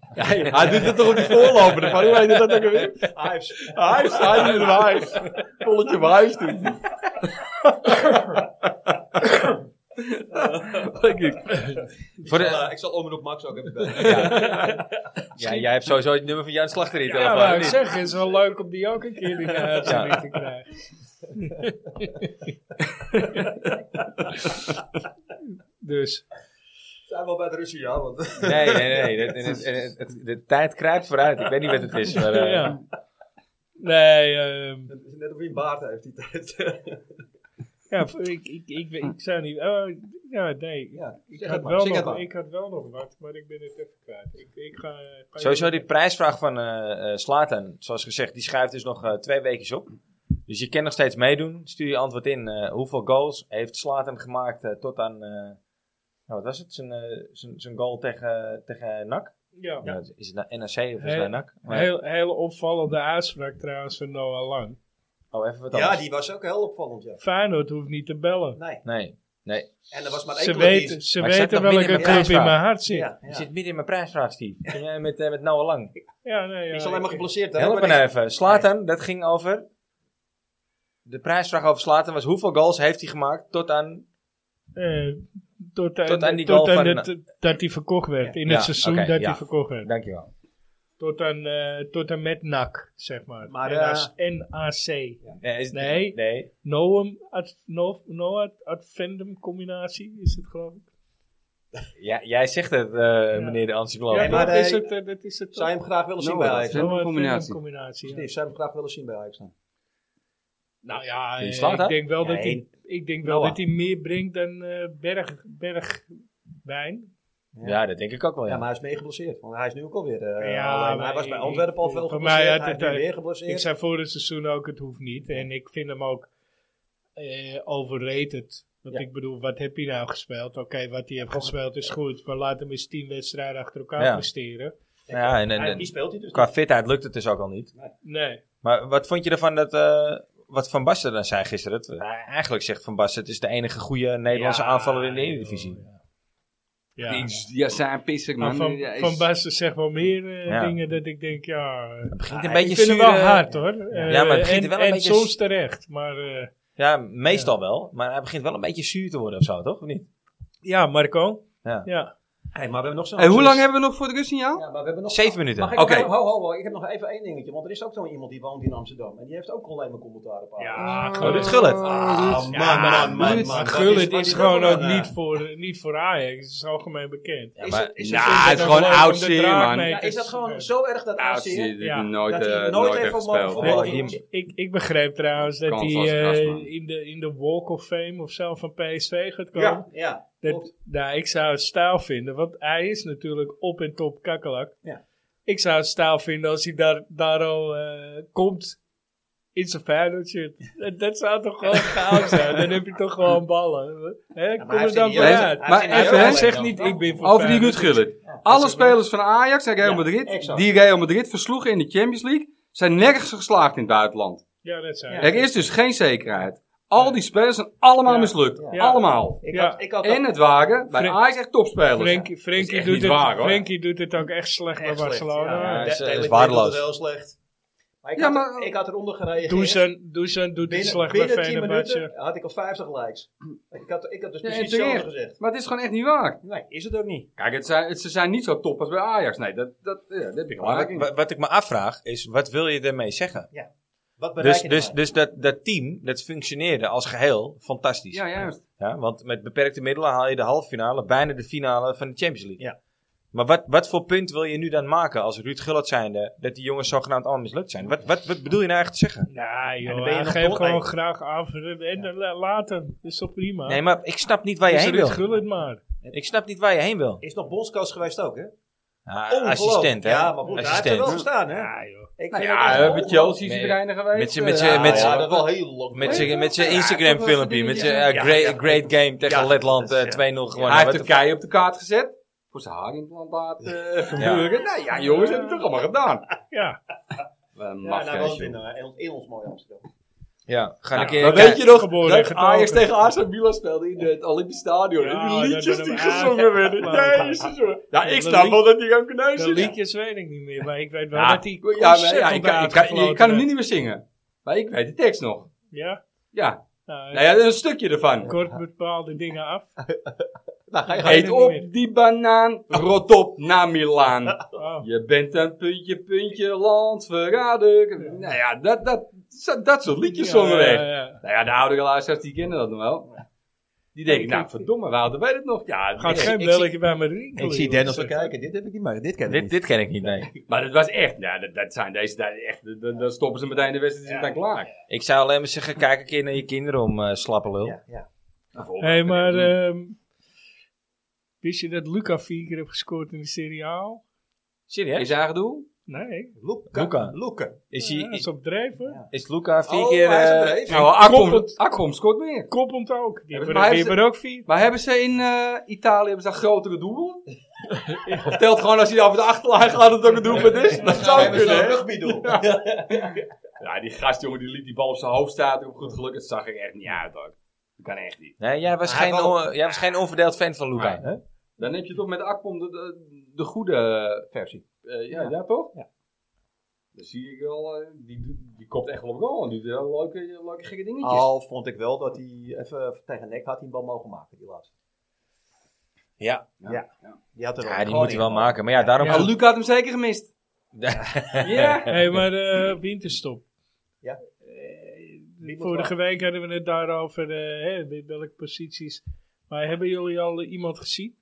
C: Hij doet het toch op die voorloper, dan hoe weet dat ook weer?
E: Hives.
A: Ah.
C: Hij staat in het huis. Polletje op huis doen.
A: Voor de,
E: ik zal Omroep Max ook even bellen.
A: ja, jij hebt sowieso het nummer van Jan Slachter in je
B: Ja,
A: telefoon.
B: maar
A: of
B: ik
A: niet?
B: zeg, het is wel leuk om die ook een keer in de uitzending te krijgen. dus,
E: Zijn we al bij de Russen, ja. Want
A: Nee, nee, nee. Het- het- het- het- de tijd kruipt vooruit. Ik weet niet wat het is. Maar, eh,
B: ja. Nee, ehm,
E: het is net of hij een baard heeft die tijd.
B: ja, voor- ik, ik, ik, ik, zou niet... Oh, ja, nee.
E: ja,
B: Ik
E: zeg
B: had,
E: het maar,
B: wel
E: zeg het
B: nog,
E: maar.
B: ik had wel nog wat, maar ik ben het even kwijt. Ik, ik ga, eh, kan
A: Sowieso
B: je-
A: die prijsvraag van eh eh, Slatan, zoals gezegd, die schuift dus nog eh, twee weekjes op. Dus je kan nog steeds meedoen. Stuur je antwoord in. eh, hoeveel goals heeft Slatan gemaakt eh, tot aan, eh, nou, wat was het, zijn, eh, zijn, zijn goal tegen, tegen NAC?
B: Ja.
A: Ja, Is het nou NAC of is het
B: Heel-
A: nou NAC? Maar-
B: Heel, hele opvallende uitspraak trouwens van Noah Lang.
A: oh, even wat anders.
E: ja, die was ook heel opvallend, ja.
B: Feyenoord hoeft niet te bellen.
E: Nee,
A: Nee, nee.
E: en er was maar één
B: Ze
E: club die-
B: weten, ze
A: Maar ik zat
B: weten
A: nog
B: welke
A: midden in mijn
B: club in
A: prijsvraag.
B: mijn hart zit. Ja,
E: Ja, ja.
A: Je zit midden in mijn prijsvraag, Steve. Kom jij met, eh, met Noah Lang.
B: nee, ja,
E: Die is alleen maar
B: ik-
E: geblesseerd. hè?
A: Help
E: Maar
A: me
E: die-
A: nou even. Slatan, dat ging over... De prijsvraag over Slatan was hoeveel goals heeft hij gemaakt tot aan
B: eh, tot,
A: Tot aan
B: aan,
A: die
B: tot
A: goal
B: aan
A: van-
B: dat, dat hij verkocht werd. In
A: Ja,
B: het seizoen
A: oké,
B: dat
A: ja.
B: hij verkocht werd.
A: Dankjewel.
B: Tot aan, eh, tot aan met NAC, zeg maar.
E: Maar,
B: NAC. NAC.
A: Nee. is-
B: Nee.
A: nee.
B: Noam, ad, no, no ad, advendum combinatie is het geloof ik.
A: Ja, jij zegt het, eh, meneer de Ansikloof.
B: Ja,
E: maar
B: dat
E: hij-
B: is het. eh, Dat is het
E: Zou je hem graag willen zien
C: Nou,
E: bij
C: dat
E: Ajax?
C: is-
E: dan?
B: Noah advendum
C: combinatie.
B: combinatie, ja.
E: Steve, zou je hem graag willen zien bij Ajax dan?
B: Nou ja,
A: Die
B: eh,
A: slaat, hè? Nou
B: ik denk wel, dat, hij,
A: Nee.
B: ik denk wel
E: Noah.
B: dat hij meer brengt dan eh berg, Bergwijn.
A: Ja, dat denk ik ook wel, ja.
E: Ja, maar hij is mee geblesseerd. Want hij is nu ook alweer... eh
B: Ja,
E: alleen maar
B: maar
E: hij was bij
B: ik-
E: Antwerpen al
B: ik-
E: veel
B: voor
E: geblesseerd.
B: mij
E: Mij,
B: had
E: hij
B: het
E: is nu
B: uit-
E: weer
B: Ik
E: geblesseerd.
B: zei voor het seizoen ook, het hoeft niet. En ik vind hem ook eh overrated. Want
E: Ja.
B: ik bedoel, wat heb je nou gespeeld? Oké, wat hij heeft gespeeld is goed. Maar laat hem eens tien wedstrijden achter elkaar
A: Ja.
B: presteren.
A: ja, en, en-
E: Hij-
A: en
E: Die speelt hij dus
A: qua
E: niet.
A: fitheid lukt het dus ook al niet.
B: Nee.
A: Maar wat vond je ervan dat, eh, wat Van Basten dan zei gisteren? Dat, eh, eigenlijk zegt Van Basten, het is de enige goede Nederlandse
B: Ja,
A: aanvaller in de
B: joh,
A: Eredivisie.
B: Ja. Ja.
C: Ja, zijn pissig,
B: Maar
C: man.
B: van,
C: Ja, is-
B: van Basten zegt wel meer eh,
A: Ja.
B: dingen dat ik denk, ja... eh,
A: Het begint
E: Ja,
A: een
E: ik
A: beetje eh,
B: ik vind hem wel
A: zure-
B: hard hoor.
A: Ja, maar het begint
B: Eh, en,
A: wel een
B: en
A: beetje-
B: soms terecht. Maar eh,
A: Ja, meestal wel. Maar hij begint wel een beetje zuur te worden of zo, toch? Of niet?
B: ja, Marco.
A: Ja.
B: ja.
E: Hey, maar we hebben nog zo'n...
C: Hey, hoe lang hebben we nog voor het rustsignaal?
E: Ja, maar we hebben nog...
A: Zeven minuten.
E: Mag ik
A: Oké.
E: nog even- ho, ho, ho, ik heb nog even één dingetje. Want er is ook zo'n iemand die woont in Amsterdam. En die heeft ook alleen maar commentaar op Ajax.
B: Ja,
A: Oh,
B: gewoon-
A: dit Gullit.
E: Ah,
B: Ja,
E: man,
B: maar
E: man, man,
B: Gullit-
E: man, dat
B: Gullit
E: is- maar
B: is
E: die
B: gewoon
E: wil
B: ook
E: dan, eh,
B: niet voor, niet voor Ajax. Het is algemeen bekend.
A: Ja,
E: Is
A: maar,
E: het- is
C: Nou,
E: het-
C: hij is
B: dat
C: gewoon
B: leuk om
C: oud
B: de
C: zeer, man.
B: draagmeters
E: Ja, is dat
B: te
E: gewoon
B: doen?
E: zo erg dat
C: Ja,
E: AFC...
C: zie je,
E: Ja,
C: dit
B: Ja.
C: nooit,
E: Dat hij
C: eh,
E: nooit heeft
C: heeft
E: gemogen
C: gespeeld.
E: voetballen.
A: Nee, die-
B: Ik, ik begreep trouwens dat
C: Kans
B: hij
C: was
B: eh,
C: gras, man.
B: in, de, in de Walk of Fame of zo van PSV gaat komen.
E: ja, ja.
B: dat,
E: klopt.
B: nou, ik zou het staal vinden, want hij is natuurlijk op en top kakkelak.
E: Ja.
B: Ik zou het staal vinden als hij daar, daar al eh, komt in zijn Feyenoord shirt. Dat, dat zou toch gewoon chaos zijn? Dan heb je toch gewoon ballen. Hè, kom
E: hij
B: er
E: heeft
B: dan
E: in die-
B: vooruit.
E: hij
C: Maar
E: heeft in die
C: even,
B: Hij
E: jeugd-
C: hè?
B: zegt niet, ik ben voor
C: Over die Ruud
B: Feyenoord.
C: Gullit. Alle spelers van Ajax en Real
E: Ja,
C: Madrid,
E: exact.
C: die Real Madrid versloegen in de Champions League, zijn nergens geslaagd in het buitenland.
B: Ja, dat zou
E: Ja.
C: Er is dus geen zekerheid. Al die spelers zijn allemaal
B: Ja.
C: mislukt.
E: Ja.
B: Ja.
C: Allemaal.
E: Ik
B: Ja.
E: had, ik had
C: En het waren bij
B: Fren-
C: Ajax echt topspelers.
B: Frenkie, Frenkie
C: echt
B: doet
C: niet
B: het,
C: waar, hoor.
B: Frenkie doet het ook echt slecht bij
E: Echt slecht,
B: Barcelona.
E: ja.
A: Ja,
E: Ja,
A: dat is-
E: Taylor
A: dat is
E: Twint
A: waardeloos.
E: doet het heel slecht. Maar ik,
C: Ja,
E: had,
C: maar-
E: ik had eronder gereageerd.
B: Dusan, Dusan doet het
E: binnen,
B: slecht bij
E: binnen 10 minuten
B: Fenerbahce.
E: had ik al 50 likes. Ik had, ik had dus
C: Ja, en
E: precies
C: terecht.
E: hetzelfde gezegd.
C: Maar het is gewoon echt niet waar.
E: Nee, is het ook niet.
C: Kijk, het zijn, het, ze zijn niet zo top als bij Ajax. Nee, dat, dat, ja, dat heb ik gelijk
A: wat,
C: in.
A: wat- wat ik me afvraag is, wat wil je ermee zeggen?
E: Wat bereik
A: Dus,
E: je
A: dus,
E: ermee?
A: dus dat, dat team, dat functioneerde als geheel fantastisch.
C: Ja, juist.
A: Ja, want met beperkte middelen haal je de halve finale, bijna de finale van de Champions League.
E: Ja.
A: Maar wat, wat voor punt wil je nu dan maken als Ruud Gullit zijnde dat die jongens zogenaamd allemaal mislukt zijn? Wat, wat, wat bedoel je nou eigenlijk te zeggen?
B: Nou
A: dan ben
B: joh,
A: je
B: hij
A: nog
B: geeft
A: dol-
B: gewoon
A: nee.
B: graag af. En dan la- laat hem. Is toch prima?
A: Nee, maar ik snap niet waar je
B: Is
A: heen
B: Ruud
A: wil.
B: Gullit maar.
A: Ik snap niet waar je heen wil.
E: Is nog bondscoach geweest ook, hè?
A: Ah,
E: Ongelooflijk.
A: assistent, hè?
E: Ja, maar goed, daar heeft hij wel
A: assistent.
E: gestaan, hè?
B: Ja joh.
E: Ik
C: Nou
E: vind
C: ja,
E: het
C: we
E: echt Ah,
C: hebben Chelsea
A: Nee.
C: zijn trainer geweest. eh,
A: Met z'n- met z'n-
C: Ja,
A: met
E: Ja,
A: z'n-
E: ja, dat is wel heel lang.
A: Met zijn met zijn
C: Ja,
A: Instagram
C: toch wel
A: filmpje, met zijn
C: dingetjes.
A: eh, great,
E: Ja, ja.
A: great game tegen
E: Ja,
A: Letland
E: dat is,
A: eh,
E: ja.
A: 2-0 gewonnen.
C: Hij
A: Wat
C: heeft
A: de
C: Turkije op de kaart gezet. Voor zijn haarimplantaat eh gebeuren. Nou ja, jongens, dat heb ik toch allemaal gedaan.
B: Ja.
C: Wat een
E: Ja, nou
C: mafkees,
E: was het
C: joh.
E: in, eh, in ons- in ons mooie Amsterdam.
A: Ja, ga ik
C: Nou,
A: keer.
C: maar
A: kijk-
C: weet je nog
B: geboren
C: dat
B: en
C: Ajax
B: getogen.
C: tegen AC Milan speelde in het Olympisch Stadion? en
B: Ja,
C: die liedjes
B: dat-
C: die
B: dat-
C: gezongen
B: ah,
C: werden.
B: ja.
C: Jezus, jongen. Ja,
B: Ja,
C: ik
B: dat
C: snap
B: lied-
C: wel dat hij kan kneuzen.
B: De liedjes weet ik niet meer. Maar ik weet wel
C: Ja,
B: dat hij
C: ja, maar, ja, ik,
B: ontzettend
C: kan, ik, kan, ik kan
B: uitgefloten
C: hem nu
B: werd.
C: niet meer zingen. Maar ik weet de tekst nog.
B: Ja.
C: Ja,
B: Nou,
C: nou ja een stukje ervan.
B: Kort bepaalde dingen af.
E: Nou, ga je
B: Hey.
E: gaan.
C: Eet
B: niet
C: op
B: meer.
C: die banaan, rot op naar Milaan.
B: Oh.
C: Je bent een puntje, puntje, landverrader. Nou ja, dat, dat, zo- dat soort liedjes zongen we echt.
B: Ja, ja.
C: Nou ja, de oudere luisteraars die kennen dat nog wel. Die denken, nou verdomme, we hadden wij dat nog. Ja,
B: Gaat
C: nee.
B: geen
A: ik
B: belletje bij me rinkelen.
E: Ik zie
B: joh.
E: Dennis wel kijken. Dit heb ik niet meer. Dit ken ik
A: dit,
E: niet.
A: dit ken ik niet, nee.
C: maar dat was echt, nou, dat, dat zijn deze, daar echt, dan, dan stoppen ze meteen de wedstrijd, is het meteen klaar.
A: Ik zou alleen maar zeggen, kijk een keer naar je kinderen om eh slappe lul.
E: Ja, ja.
C: Nou,
B: Hé, hey, maar ehm, wist je dat Luca vier keer heeft gescoord in de Serie A?
A: Serieus?
B: eh,
C: Is haar doel?
B: Nee.
E: Luca.
A: Luca.
E: Luca.
A: Is,
B: Ja,
A: hij,
B: dat is
A: is,
B: op drijven.
A: is Luca vier
E: Oh,
A: keer...
E: hij is
A: eh,
E: een dreef.
C: Nou, Akkom, Akkom scoort meer.
B: Koppend ook. Die
C: Ja,
B: hebben
C: maar
B: er,
C: hij
B: die
C: heeft-
B: hebben er ook vier.
C: Maar hebben ze in eh, Italië hebben ze daar grotere doelen? Of telt gewoon als hij over de achterlijn gaat dat het ook een doelpunt is? Dat
E: We
C: zou
E: hebben
C: kunnen,
E: zo'n
C: hè?
E: rugbydoel.
C: Ja, die gast, jongen, die liet die bal op zijn hoofd staan. Op goed geluk, dat zag er echt niet uit, ook. Dat kan echt niet.
A: nee, jij was,
E: Hij
A: geen,
E: wel-
A: on- jij was geen onverdeeld fan van Luca. hè?
C: Dan heb je toch met Akpom de, de, de goede versie. Eh, ja, ja, toch? Ja. Dan zie ik wel, eh, die, die komt echt wel op goal. en Die doet wel leuke, leuke gekke dingetjes.
E: Al vond ik wel dat hij even tegen nek had hij een bal mogen maken, die laatste.
A: Ja.
E: Ja. Die had er
A: Ja, die moet hij wel maken. Maar ja, daarom...
C: Maar Luca had hem zeker gemist.
B: Hé, maar eh, winterstop.
E: Ja.
B: Eh, vorige week hadden we het daarover, eh, hè, met welke posities. Maar hebben jullie al iemand gezien?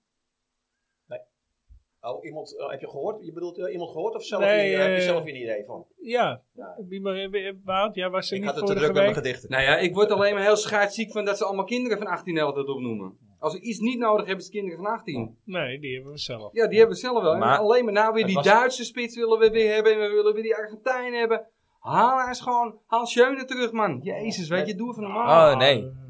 E: Oh, iemand, eh, heb je gehoord? Je bedoelt eh, iemand gehoord of zelf
B: Nee,
E: in- eh, heb je
B: eh,
E: zelf een idee van?
B: Ja.
E: Ja.
B: Wie maar- eh, eh, Wout, jij was er
E: Ik
B: niet
E: had het te
B: vorige
E: druk met mijn
B: week.
E: gedichten.
C: Nou ja, ik word alleen maar heel schaatsziek van dat ze allemaal kinderen van 18 elf dat opnoemen. Als ze iets niet nodig hebben, is het kinderen van 18.
B: Nee, die hebben we zelf.
C: Ja, die hebben we zelf wel.
A: Maar-
C: En alleen maar nou weer
E: Het
C: die
E: was-
C: Duitse spits willen we weer hebben. En we willen weer die Argentijn hebben. Haal haar eens gewoon, haal Schöne terug, man. Jezus, weet je, doe even normaal.
A: Oh, nee.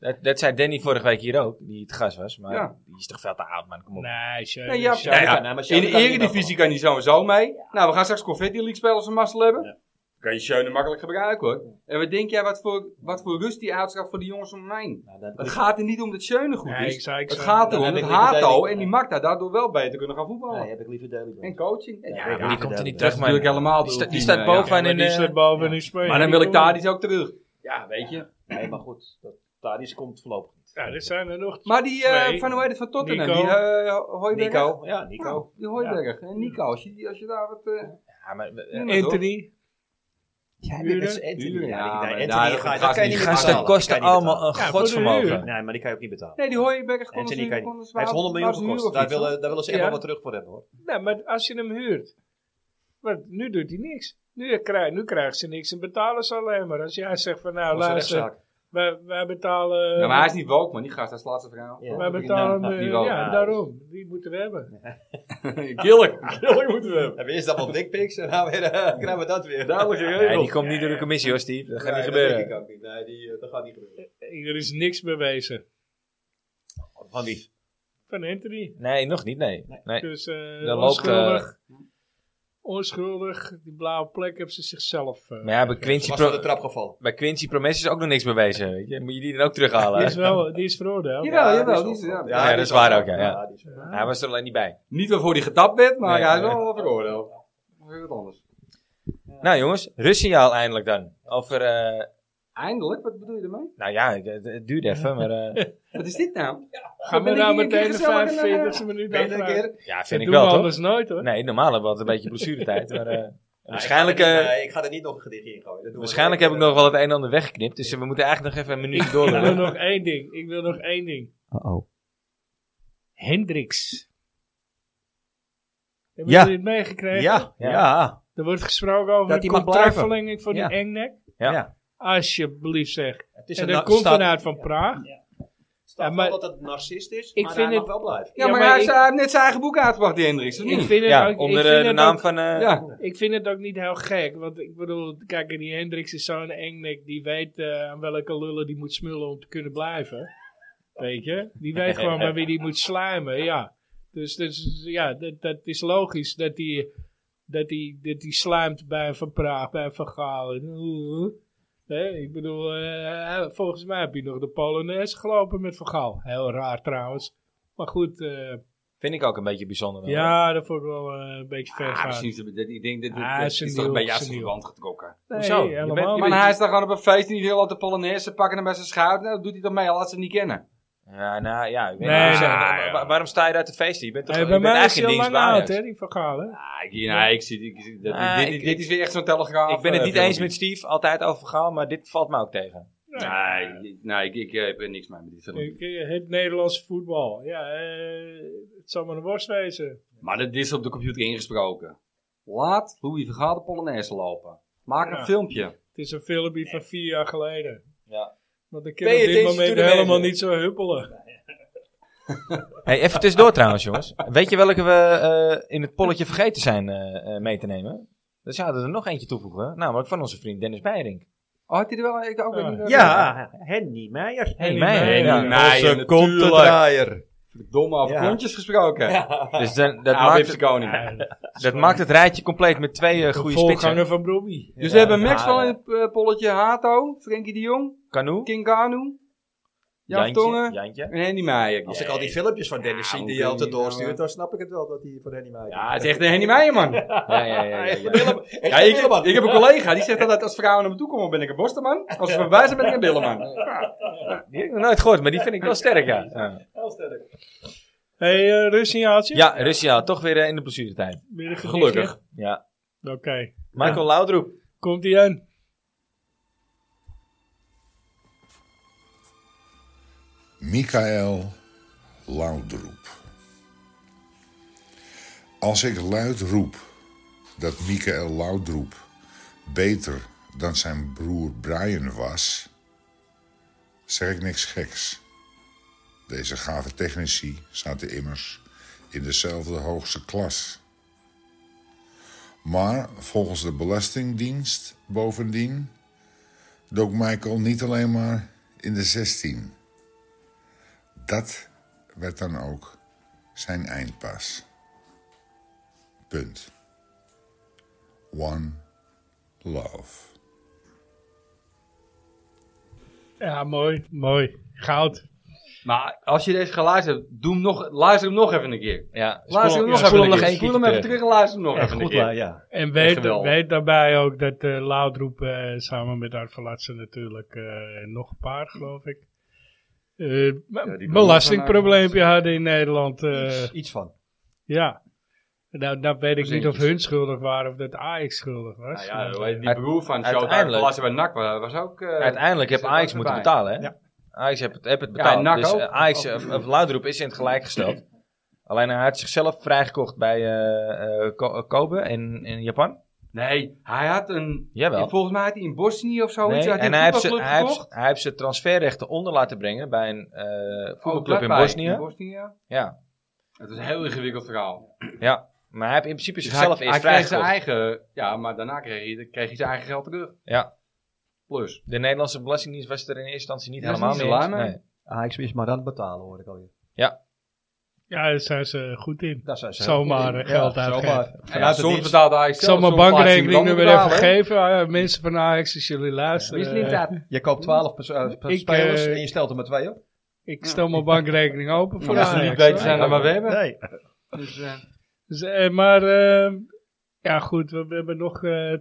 A: Dat, dat zei Danny vorige week hier ook, die het gas was. Maar
C: Ja.
A: die is toch veel te oud, man. Kom op.
B: Nee, sorry,
C: Nee, ja,
B: sorry.
C: nou ja,
E: kan, hè, maar
C: in
E: Schöne
C: de
E: kan niet
C: eredivisie
E: meevallen.
C: kan hij sowieso mee. Nou, we gaan straks Confetti League spelen als we mazzel hebben. Kan je Schöne makkelijk gebruiken hoor. En wat denk jij, wat voor, wat voor rust die uitstraalt voor de jongens om mij?
E: Nou, dat-
C: Het gaat er niet om dat Schöne goed
B: Nee, ik
C: is.
B: zei, ik
C: Het
B: zei-
C: gaat
E: Dan
C: erom
E: heb
C: dat
E: ik liever
C: Hato
E: Daily-
C: en die Magda daardoor wel beter kunnen gaan voetballen.
E: Nee, heb ik liever Daily
C: En
E: Blind.
C: coaching. Ja,
E: ja,
A: die komt er niet
C: dat
A: terug,
C: is
A: man.
C: natuurlijk helemaal
A: Die,
C: door
A: sta-
C: het
A: die
C: team,
A: staat
C: eh,
A: bovenaan
B: maar
A: in...
B: die
A: eh,
B: staat boven in Spanje.
C: Maar dan wil ik Tadis ook terug. Ja, weet je.
E: Nee, maar goed. Dat, Thadis komt voorlopig niet.
B: Ja, er zijn er nog.
C: Maar die eh,
B: Nee.
C: van hoe heet het, van Tottenham,
B: Nico.
C: die eh Hooiberg.
E: Nico. Ja, Nico.
C: die Hooiberg. En Nico, als je, als je daar wat... eh,
A: ja, maar, eh,
C: maar
B: Anthony.
E: Ja,
B: Uren.
E: dat is Anthony.
C: Ja,
E: Ja,
C: maar
E: nee,
C: daar-
E: Anthony
C: dat
E: ga-
C: gaat
E: dat kan je
A: die
E: niet
C: niet
E: betalen.
A: gasten
C: betalen.
A: kosten
E: Kan je niet betalen.
A: allemaal een
B: Ja, voor de
A: godsvermogen.
B: huur.
E: Nee, maar die kan je ook niet betalen.
C: Nee, die Hooiberg kon
E: Anthony
C: ze-
E: kan je
C: kon ze
E: Hij heeft 100 miljoen
C: waar ze nu
E: gekost. eh,
C: of
E: Daar
C: iets, hoor.
E: willen, daar willen ze echt
B: Ja.
E: wel wat terug voor hebben hoor.
B: Nee, Nou, maar als je hem huurt. Maar nu doet hij niks. Nu, krijg, nu krijgt ze niks en betalen ze alleen maar. Als jij zegt van nou
E: Dat is een
B: luister,
E: rechtszaak.
B: wij, wij betalen...
C: Ja, maar hij is niet woke, man. Die gast, dat is het laatste verhaal.
E: Ja. nou,
B: wij betalen...
C: Ja,
B: eh,
C: die
B: ja,
C: wel. Ja.
B: daarom. Die moeten we hebben.
C: Gillig. Gillig moeten we hebben.
E: Hebben we eerst allemaal dickpics en dan weer, eh, krijgen we dat weer.
C: Duidelijk geregeld.
A: Nee, die komt niet door de commissie hoor, Steve. Dat gaat
E: Nee,
A: niet
E: Dat
A: gebeuren.
E: denk ik ook niet. Nee, die, eh, dat gaat niet gebeuren.
B: Er is niks bewezen.
E: Van wie?
B: Van Anthony.
A: Nee, nog niet, nee. nee.
B: Dus eh,
A: loopt,
B: onschuldig. Onschuldig. Die blauwe plek hebben ze zichzelf... eh,
A: Maar ja, bij
E: Ze
A: Quincy,
E: was van de
A: Pro-
E: trap gevallen.
A: bij Quincy Promes is ook nog niks bewezen. Weet je? Moet je die dan ook terughalen?
B: die, is wel, die is veroordeeld.
C: Ja. Jawel, jawel,
E: die is
C: die is-
E: wel-
C: ja.
A: Ja,
E: die
A: dat is
E: wel-
A: waar ook, ja, ja.
E: die is wel-
A: Hij was er alleen niet bij.
C: Niet waarvoor hij getapt werd, maar
A: Nee,
C: hij is
A: nee.
C: wel veroordeeld. Of weer wat anders.
A: Nou jongens, rustsignaal eindelijk dan. Over, eh,
C: Eindelijk, wat bedoel je ermee?
A: nou ja, het, het duurt even, maar eh,
C: Wat is dit nou?
B: Gaan we
C: Ben ik
B: nou
C: hier een keer
B: meteen de
C: gezellig en, eh,
B: 45e minuut
E: Ben je er een
B: aanvragen?
E: keer?
A: ja,
B: Dat
A: vind ik
B: doen we
A: wel toch?
B: anders nooit hoor.
A: Nee, normaal hebben we altijd een beetje blessuretijd. Maar, eh, waarschijnlijk,
E: Nee, ik ga er
A: eh,
E: niet- nee, ik ga er niet nog een gedichtje in gooien. Dat doen we
A: waarschijnlijk
E: niet.
A: heb ik nog wel het een en ander weggeknipt. Dus eh, we moeten eigenlijk nog even een minuutje door.
B: Ik wil nog één ding. Ik wil nog één ding.
D: Uh-oh.
B: Hendricks. Hebben
D: Ja.
B: jullie het meegekregen?
D: Ja,
A: Ja.
D: ja.
B: Er wordt gesproken over
D: Dat
B: een
D: die mag
B: contractverlenging voor
D: Ja.
B: die engnek.
A: Ja.
B: Alsjeblieft zeg.
E: Het is
B: en
E: een
B: dat
E: na-
B: komt
E: staat-
B: vanuit van Praag.
E: staat
B: Ja, maar-
E: wel dat het narcist is,
B: Ik
E: maar
B: vind
E: hij
B: het-
E: mag wel blijven.
C: Ja,
B: Ja,
C: maar,
B: maar
C: hij,
B: ik-
C: hij heeft net zijn eigen boek uitgebracht, die Hendricks, of
B: Ik
C: niet?
B: vind het
A: Ja,
B: ook,
A: onder
B: ik vind
A: eh, de
B: het
A: naam
B: ook-
A: van... eh,
C: Ja.
B: Ik vind het ook niet heel gek. Want ik bedoel, kijk, die Hendricks is zo'n engnek. Die weet eh, aan welke lullen die moet smullen om te kunnen blijven. Weet je? Die weet gewoon bij wie die moet slijmen, ja. Dus, dus ja, dat, dat is logisch dat die, dat, die, dat die slijmt bij een Van Praag, bij een Van Gaal. en oeh. Nee, ik bedoel, eh, volgens mij heb je nog de Polonaise gelopen met Van Gaal. Heel raar trouwens. Maar goed, eh,
A: Vind ik ook een beetje bijzonder. wel.
B: ja, dat vond ik wel eh, een beetje ver
C: Ah,
B: gaan.
C: misschien is het- ik denk dat dat-
B: Ah,
C: dat
B: zijn
C: is toch
B: nieuw,
C: bij jou
B: zijn nieuw.
C: verband getrokken.
B: Nee,
A: Hoezo? Je
B: helemaal
A: bent- je
B: niet.
C: Maar hij is dan gewoon op een feest en die wil altijd de Polonaise pakken en bij zijn schouder. Nou, dat doet hij toch mee, al laat ze het niet kennen.
A: Ja, nou ja. Ik weet
B: Nee,
A: niet.
B: nou,
A: Wa-
B: ja.
A: wa- waarom sta je daar te feesten? Je bent toch
B: Hey,
A: je
B: bij
A: bent
B: mij is
A: eigenlijk
B: hij al
A: in
B: lang
A: dienst bij
B: oud,
A: Ajax.
B: hè, die vergalen.
C: Ah, ik, nou, ik zie, ik zie- dat-
A: Ah,
C: dit,
A: ik-
C: dit is weer echt zo'n telegraaf.
A: Ik ben het
C: eh,
A: niet
C: filmpje.
A: eens met Steve, altijd over Gaal, maar dit valt me ook tegen.
C: Nee, ik- nee ik, ik heb er niks mee met dit film.
B: eh, Het Nederlandse voetbal. Ja, eh, het zal maar een worst wezen.
C: Maar dit is op de computer ingesproken. Laat Louis Vergaal de Polonaise lopen. Maak een
B: Ja.
C: filmpje.
B: Het is een filmpje van vier jaar geleden.
A: Ja.
B: Want ik kan
A: Ben
B: op
A: je
B: dit
A: deze
B: moment
A: toernooi?
B: helemaal niet zo huppelen.
A: Hey, even tussendoor trouwens, jongens. Weet je welke we eh, in het polletje vergeten zijn eh, eh, mee te nemen? Dan zouden we er nog eentje toevoegen, namelijk van onze vriend Dennis Beirink.
C: Oh, had hij er wel? Ik ook
B: Ja.
C: niet. eh,
D: Ja, Henny Meijer.
A: Henny
B: Meijer,
A: Meijer,
B: ja.
A: ja.
C: Nee,
D: Onze
C: natuurlijk.
D: kontendraaier.
C: Domme over
D: Ja.
C: kontjes gesproken.
B: Nou.
A: Dus dan, dat,
C: Dat
A: maakt, het,
C: koning.
A: dat maakt het rijtje compleet met twee eh,
B: De
A: goede spitsen.
B: voorganger van Brobbey.
C: Dus we hebben Max
A: ja,
C: van
A: ja.
C: het eh, polletje Hato, Frenkie de Jong,
A: Canoe,
C: King Kanu, Jan
A: Jantje,
C: Tongen
A: Jantje.
C: en Henny Meijer.
E: Als ik al die filmpjes van Dennis
C: Ja,
E: zie
C: hoe
E: die je
C: kun je
E: altijd
C: nou, eh?
E: doorstuurt, dan snap ik het wel dat hij voor Henny maakt.
C: Ja, het is echt een Henny Meijer, man.
A: Ja, ja, ja. ja, ja.
C: Ja, ik, ik heb een collega die zegt altijd: als vrouwen naar me toe komen, ben ik een borstenman. Als ze voorbij zijn, ben ik een billenman.
A: Die heb ik nog nooit gehoord, maar die vind ik wel sterk, ja. Ja,
B: Hé, hey, eh, rustsignaaltje?
A: ja Russia, toch weer eh, in de blessuretijd.
B: Weer een gedichtje?
C: Gelukkig.
A: Ja.
B: Oké.
A: Michael Laudroep.
B: Komt ie aan.
F: Michael Laudroep. Als ik luid roep dat Michael Laudroep beter dan zijn broer Brian was, zeg ik niks geks. Deze gave technici zaten immers in dezelfde hoogste klas. Maar volgens de Belastingdienst bovendien dook Michael niet alleen maar in de 16. Dat werd dan ook zijn eindpas. Punt. One love.
B: Ja, mooi. Mooi. Goud.
C: Maar als je deze geluisterd hebt, doe hem nog, luister hem nog even een keer.
A: Ja,
C: Luister hem nog
A: spoel
C: even een
A: nog
C: keer.
A: één
C: Spoel
A: keertje
C: hem even
A: terug.
C: terug en luister hem nog
D: Echt
C: even een
D: goed,
C: keer.
D: ja.
B: En
C: Echt
B: weet,
C: geweldig.
B: weet daarbij ook dat eh Laudroep eh, samen met Art Verlatsen natuurlijk eh, en nog een paar, geloof ik, eh, belastingprobleempje hadden in Nederland. eh,
D: Iets van.
B: ja. Nou, nou weet ik niet of
C: Verzintjes.
B: hun schuldig waren of dat Ajax schuldig was. eh,
C: Nou ja, hoe heet die
A: Uit-
C: broer van Showtime
A: uiteindelijk-
C: Palace bij NAC wa- was ook... eh,
A: Uiteindelijk heb
C: zit
A: Ajax
C: ook
A: moeten
C: erbij.
A: betalen, hè? Ajax heeft het, heeft het betaald.
C: en NAC
A: dus
C: ook.
A: eh, Ajax, eh, of Laudroep is in het gelijk gesteld. Alleen hij had zichzelf vrijgekocht bij eh, eh, Ko- eh, Kobe in, in Japan.
C: Nee, hij had een...
A: Jawel.
C: Volgens mij had hij in Bosnië of zo.
A: Nee,
C: iets, had
A: en hij heeft, ze,
C: voetbalclub
A: hij, heeft,
C: gekocht.
A: ze- hij heeft zijn transferrechten onder laten brengen bij een eh
C: Oh,
A: voetbalclub in
C: daarbij,
A: Bosnië.
C: Bosnië.
A: Ja,
C: Het is een heel ingewikkeld verhaal.
A: ja, maar hij heeft in principe
C: Dus
A: zichzelf
C: hij,
A: eerst
C: hij kreeg zijn
A: vrijgekocht.
C: eigen... Ja, maar daarna kreeg hij, kreeg hij zijn eigen geld terug.
A: Ja.
C: Plus.
A: De Nederlandse Belastingdienst was het er in eerste instantie niet
C: Dat is
A: helemaal
C: niet
A: mee
C: zo
A: eens.
C: lui, maar-
A: Nee.
D: Ajax Ah, is maar aan het betalen, hoor ik alweer.
B: Ja, daar zijn ze goed in.
D: Daar zijn ze
B: Zomaar
D: heel goed in.
B: geld
D: Ja,
B: uitgeven.
D: zomaar.
C: Ja, ja,
D: Vanuit het
C: soms
D: niets.
C: betaalde Ajax
B: Ik zal
C: zelf,
B: mijn
C: soms laat hij hem
B: bankrekeningnummer
C: dan
B: even
C: betalen.
B: geven. Ah, ja, mensen van Ajax, als jullie luisteren.
C: Wist niet
B: eh,
C: dat.
D: Je koopt 12 pers- eh,
B: Ik,
D: spelers
B: eh,
D: en je stelt er maar twee op.
B: Ik stel mijn bankrekening open voor
C: Maar als ze
B: Ajax.
C: niet beter
B: hoor.
C: zijn dan wat we hebben.
D: Nee.
C: Dus, eh,
B: Dus, eh, maar, eh, ja goed, we, we hebben nog eh,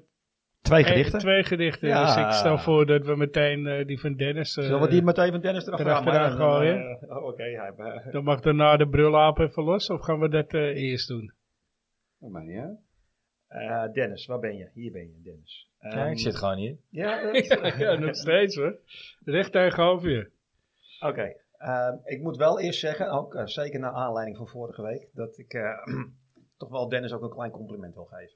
D: Twee
B: Eh,
D: gedichten.
B: Twee gedichten.
D: Ja.
B: Dus ik stel voor dat we meteen eh, die van Dennis. eh,
D: Zullen we die meteen van Dennis erachteraan
B: erachteraan
D: maken? Dan,
B: gooien?
D: eh, oh, Oké, hij... eh,
B: Dan mag daarna de brulaap even los. Of gaan we dat eh, eerst doen? Oh,
C: dat maakt niet uit.
D: eh, Dennis, waar ben je? Hier ben je, Dennis.
A: Ja,
E: Ehm,
A: ik zit gewoon hier.
D: Ja, eh,
B: ja, nog steeds hoor. Recht tegenover je.
D: Oké, ehm, ik moet wel eerst zeggen, ook eh, zeker naar aanleiding van vorige week, dat ik eh,
E: toch wel Dennis ook een klein compliment wil geven.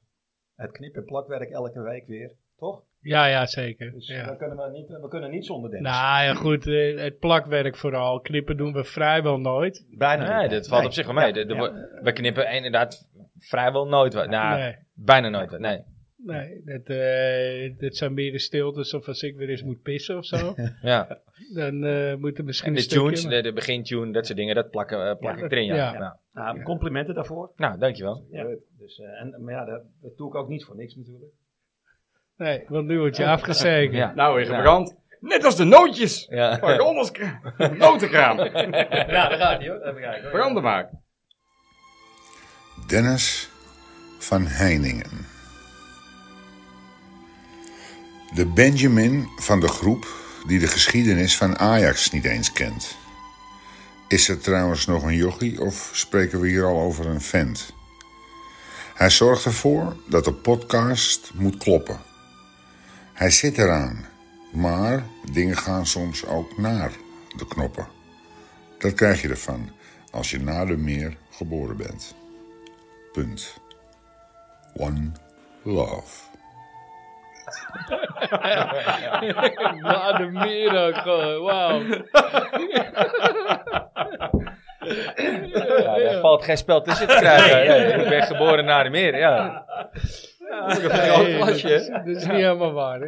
E: Het knip- en plakwerk elke week weer, toch?
B: Ja, ja, zeker.
E: Dus
B: ja.
E: we, kunnen we, niet, we kunnen niet zonder Dennis.
B: Nou ja, goed, eh, het plakwerk vooral. Knippen doen we vrijwel nooit.
E: Bijna
A: Nee,
E: niet.
A: dat valt
E: Nee.
A: op zich wel mee.
E: Ja,
A: De- de-
E: ja.
A: We knippen inderdaad vrijwel nooit wat. Nou,
B: Nee,
A: bijna nooit wat. Nee.
B: nee dat, eh, dat zijn meer de stiltes of als ik weer eens moet pissen of zo.
A: Ja.
B: dan eh moet er misschien
A: En de
B: een stukje-
A: tunes, de, de begintune, dat soort dingen, dat plak, eh, plak
B: Ja.
A: ik erin. Ja.
B: Ja.
A: Nou,
E: Nou, complimenten daarvoor.
A: nou, dankjewel.
E: Ja. Dus, eh, en, maar ja, dat, dat doe ik ook niet voor niks natuurlijk.
B: Nee, want nu word je afgezekerd.
A: Ja.
C: Nou, weer gebrand. Net als de nootjes.
A: Ja.
C: Waar ik anders notenkraam.
A: Nou, daar gaat hij hoor. Even kijken.
C: Branden maar.
F: Dennis van Heiningen. De Benjamin van de groep die de geschiedenis van Ajax niet eens kent. Is er trouwens nog een jochie of spreken we hier al over een vent? Hij zorgt ervoor dat de podcast moet kloppen. Hij zit eraan, maar dingen gaan soms ook naar de knoppen. Dat krijg je ervan als je na de meer geboren bent. Punt. One love.
B: Maar de meer ook gewoon, wauw.
A: Ja, daar valt geen spel tussen te krijgen. Nee, ik ben geboren naar de meer, ja.
B: Nee, dat,
A: glasje,
B: is, dat is niet helemaal waar, hè?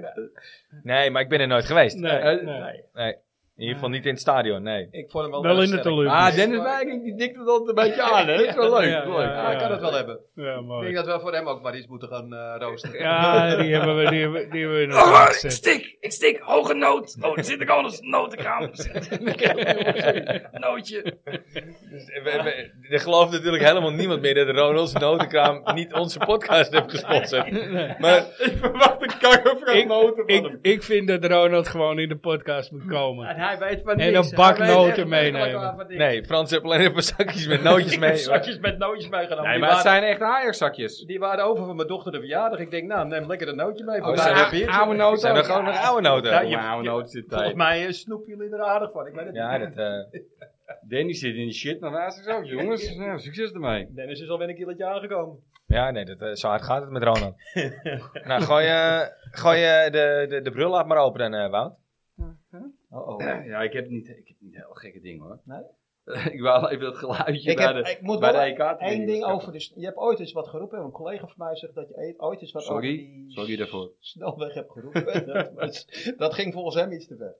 A: Nee, maar ik ben er nooit geweest.
B: Nee, nee.
A: Nee. In ieder geval niet in het stadion, nee.
E: Ik vond hem wel,
B: Wel
E: erg
B: in het
E: sterk.
B: Olympisch.
C: Ah, Dennis Wijking, die dikt het altijd een beetje aan, hè? Dat is wel leuk.
B: Ja,
C: leuk.
B: ja,
E: Ja, Ah, ik kan het wel hebben.
B: Ja,
E: Ik
B: mooi.
E: denk dat we voor hem ook maar iets moeten gaan eh, roosteren.
B: Ja, die hebben we, die hebben, die hebben we nog
C: Ah,
B: oh, gezet.
G: stik, ik stik, hoge noot. Oh, er zit ik anders notenkraam. Nootje.
A: We- we- Er gelooft natuurlijk helemaal niemand meer dat Ronald's Notenkraam niet onze podcast heeft gesponsord. Maar
C: Ik verwacht een kakker van
B: Ik-
C: noten van
B: Ik, ik vind dat Ronald gewoon in de podcast moet komen.
C: En hij weet van
B: En
C: niks.
B: een bak
C: Hij weet echt
B: noten
C: werkelijk
B: meenemen.
C: waar van niks.
A: nee, Frans heeft alleen even zakjes met nootjes mee.
E: zakjes met nootjes meegenomen.
C: Nee,
E: die,
C: maar het
E: waren,
C: zijn echt Ajax-zakjes.
E: die waren over van mijn dochter de verjaardag. Ik denk, nou, neem lekker een nootje mee.
A: Oh,
E: Voor
A: zijn
E: mij.
A: er-
C: oude noten.
A: zijn er gewoon nog oude noten.
C: Ja,
A: Ja,
C: je oude noten zit
E: Volgens
C: daar.
E: mij eh, snoepen jullie er aardig van. Ik weet het niet.
A: dat, eh,
C: Danny zit in de shit naar Ajax ook, jongens. Nou, succes ermee.
E: Dennis is alweer een keertje aangekomen.
A: ja nee, dat, eh, zo hard gaat het met Ronald. nou, gooi, eh, gooi eh, de, de, de brullenlaap maar open dan, eh, Wout.
E: Oh, oh.
C: Ja, ik heb niet, ik heb niet heel gekke dingen, hoor.
E: Nee?
C: ik wou even dat geluidje
E: Ik,
C: bij
E: heb,
C: de...
E: ik moet
C: bij
E: wel
C: de E EK te
E: één
C: doen.
E: ding over. Dus, je hebt ooit eens wat geroepen. Een collega van mij zegt dat je eet- ooit eens wat
C: Sorry.
E: over die
C: Sorry daarvoor.
E: snelweg hebt geroepen. dat, was- dat ging volgens hem iets te ver.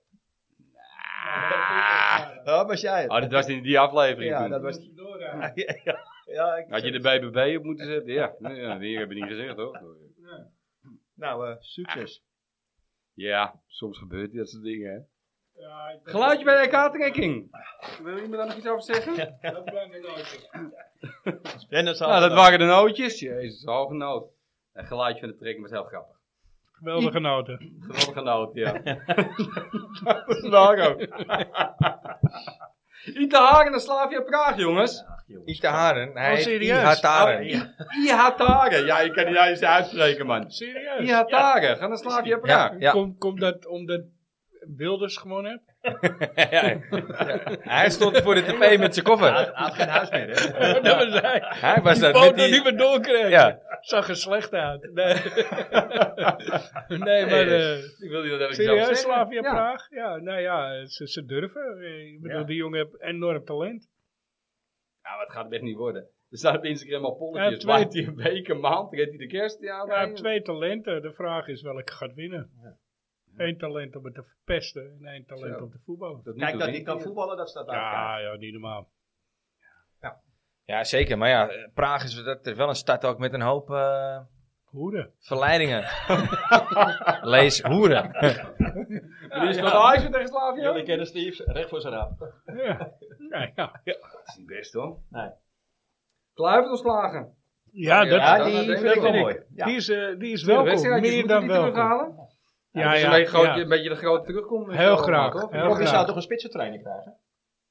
E: Dat was jij het.
C: Oh, dat was in die aflevering
E: Ja,
C: toen.
E: dat was... Ja, ja, ik-
C: Had je de BBB op moeten zetten? Ja, nee, ja die hebben niet gezegd, hoor.
E: Nou, eh, succes.
C: Ja, soms gebeurt dat soort dingen, hè.
B: Ja, ik ben-
C: Geluidje bij de kaartrekking. Wil iemand daar nog iets over zeggen?
B: Dat blijft een nootje.
E: Dennis had
C: Nou, dat
E: het
C: waren de nootjes. Jezus, hoge noot. Het geluidje van de trekking was heel grappig.
B: Geweldige noten.
C: Geweldige noot, ja. dat is waar ook. IH Hagen en Slavia Praag, jongens.
A: Ite Haren. Hij
B: Oh,
A: heet
B: serieus?
A: IH Haren.
C: IH Hagen. Ja, ik kan niet eens uitspreken, man.
B: Serieus?
C: IH Hagen. Ga naar Slavia Praag.
A: Ja, ja.
B: Komt komt dat omdat Wilders gewonnen heeft?
A: Ja. Hij stond voor de tv met zijn koffer.
E: had geen huis meer, hè?
B: Dat was hij.
A: Hij was daar met
B: Foto
A: die...
B: niet meer doorkreeg.
A: Ja.
B: Zag er slecht uit. Nee, nee maar... eh,
C: Ik wil niet dat ik zelf
B: Serieus,
C: zeggen.
B: Slavia Praag? Ja, nou ja, ze, ze durven. Eh, Ik bedoel, die jongen heeft enorm talent.
C: Ja, maar het gaat hem echt niet worden. Er staan op Instagram al
B: Ja,
C: polletjes.
B: twee.
C: Waait hij een week, een maand, redt hij de kerst? Ja,
B: Hij
C: nee.
B: heeft twee talenten. De vraag is welke gaat winnen. Eén talent om het te verpesten en één talent
C: Zo.
B: om te voetballen.
C: Tot nu
E: Kijk,
C: toe
E: dat
C: wint
E: hij kan
C: hij.
E: voetballen, dat staat daar.
B: Ja, ja, niet normaal.
A: Ja, zeker. Maar ja, eh, Praag is dat er wel een stad ook met een hoop eh,
B: Hoeren.
A: verleidingen. Lees hoeren.
C: Dit is van Ajax tegen Slavia.
E: Jullie kennen Steve, recht voor zijn raap.
B: Ja, ja, ja.
C: is niet best hoor.
E: Nee.
C: Kluivert ontslagen.
B: ja dat,
E: Ja,
C: dat-
E: die
C: dat- dat
E: vind ik wel
C: vind ik.
E: mooi. Ja.
B: die is, eh, die is
C: Welkom.
B: welkom. Meer dan welkom.
C: terughalen.
B: Ja,
C: een,
B: ja,
C: beetje groot,
B: ja.
C: een beetje de grote terugkomen.
B: Heel graag.
C: Toch?
B: Heel
E: Rob, je zou
B: graag.
E: toch een spitsentraining krijgen?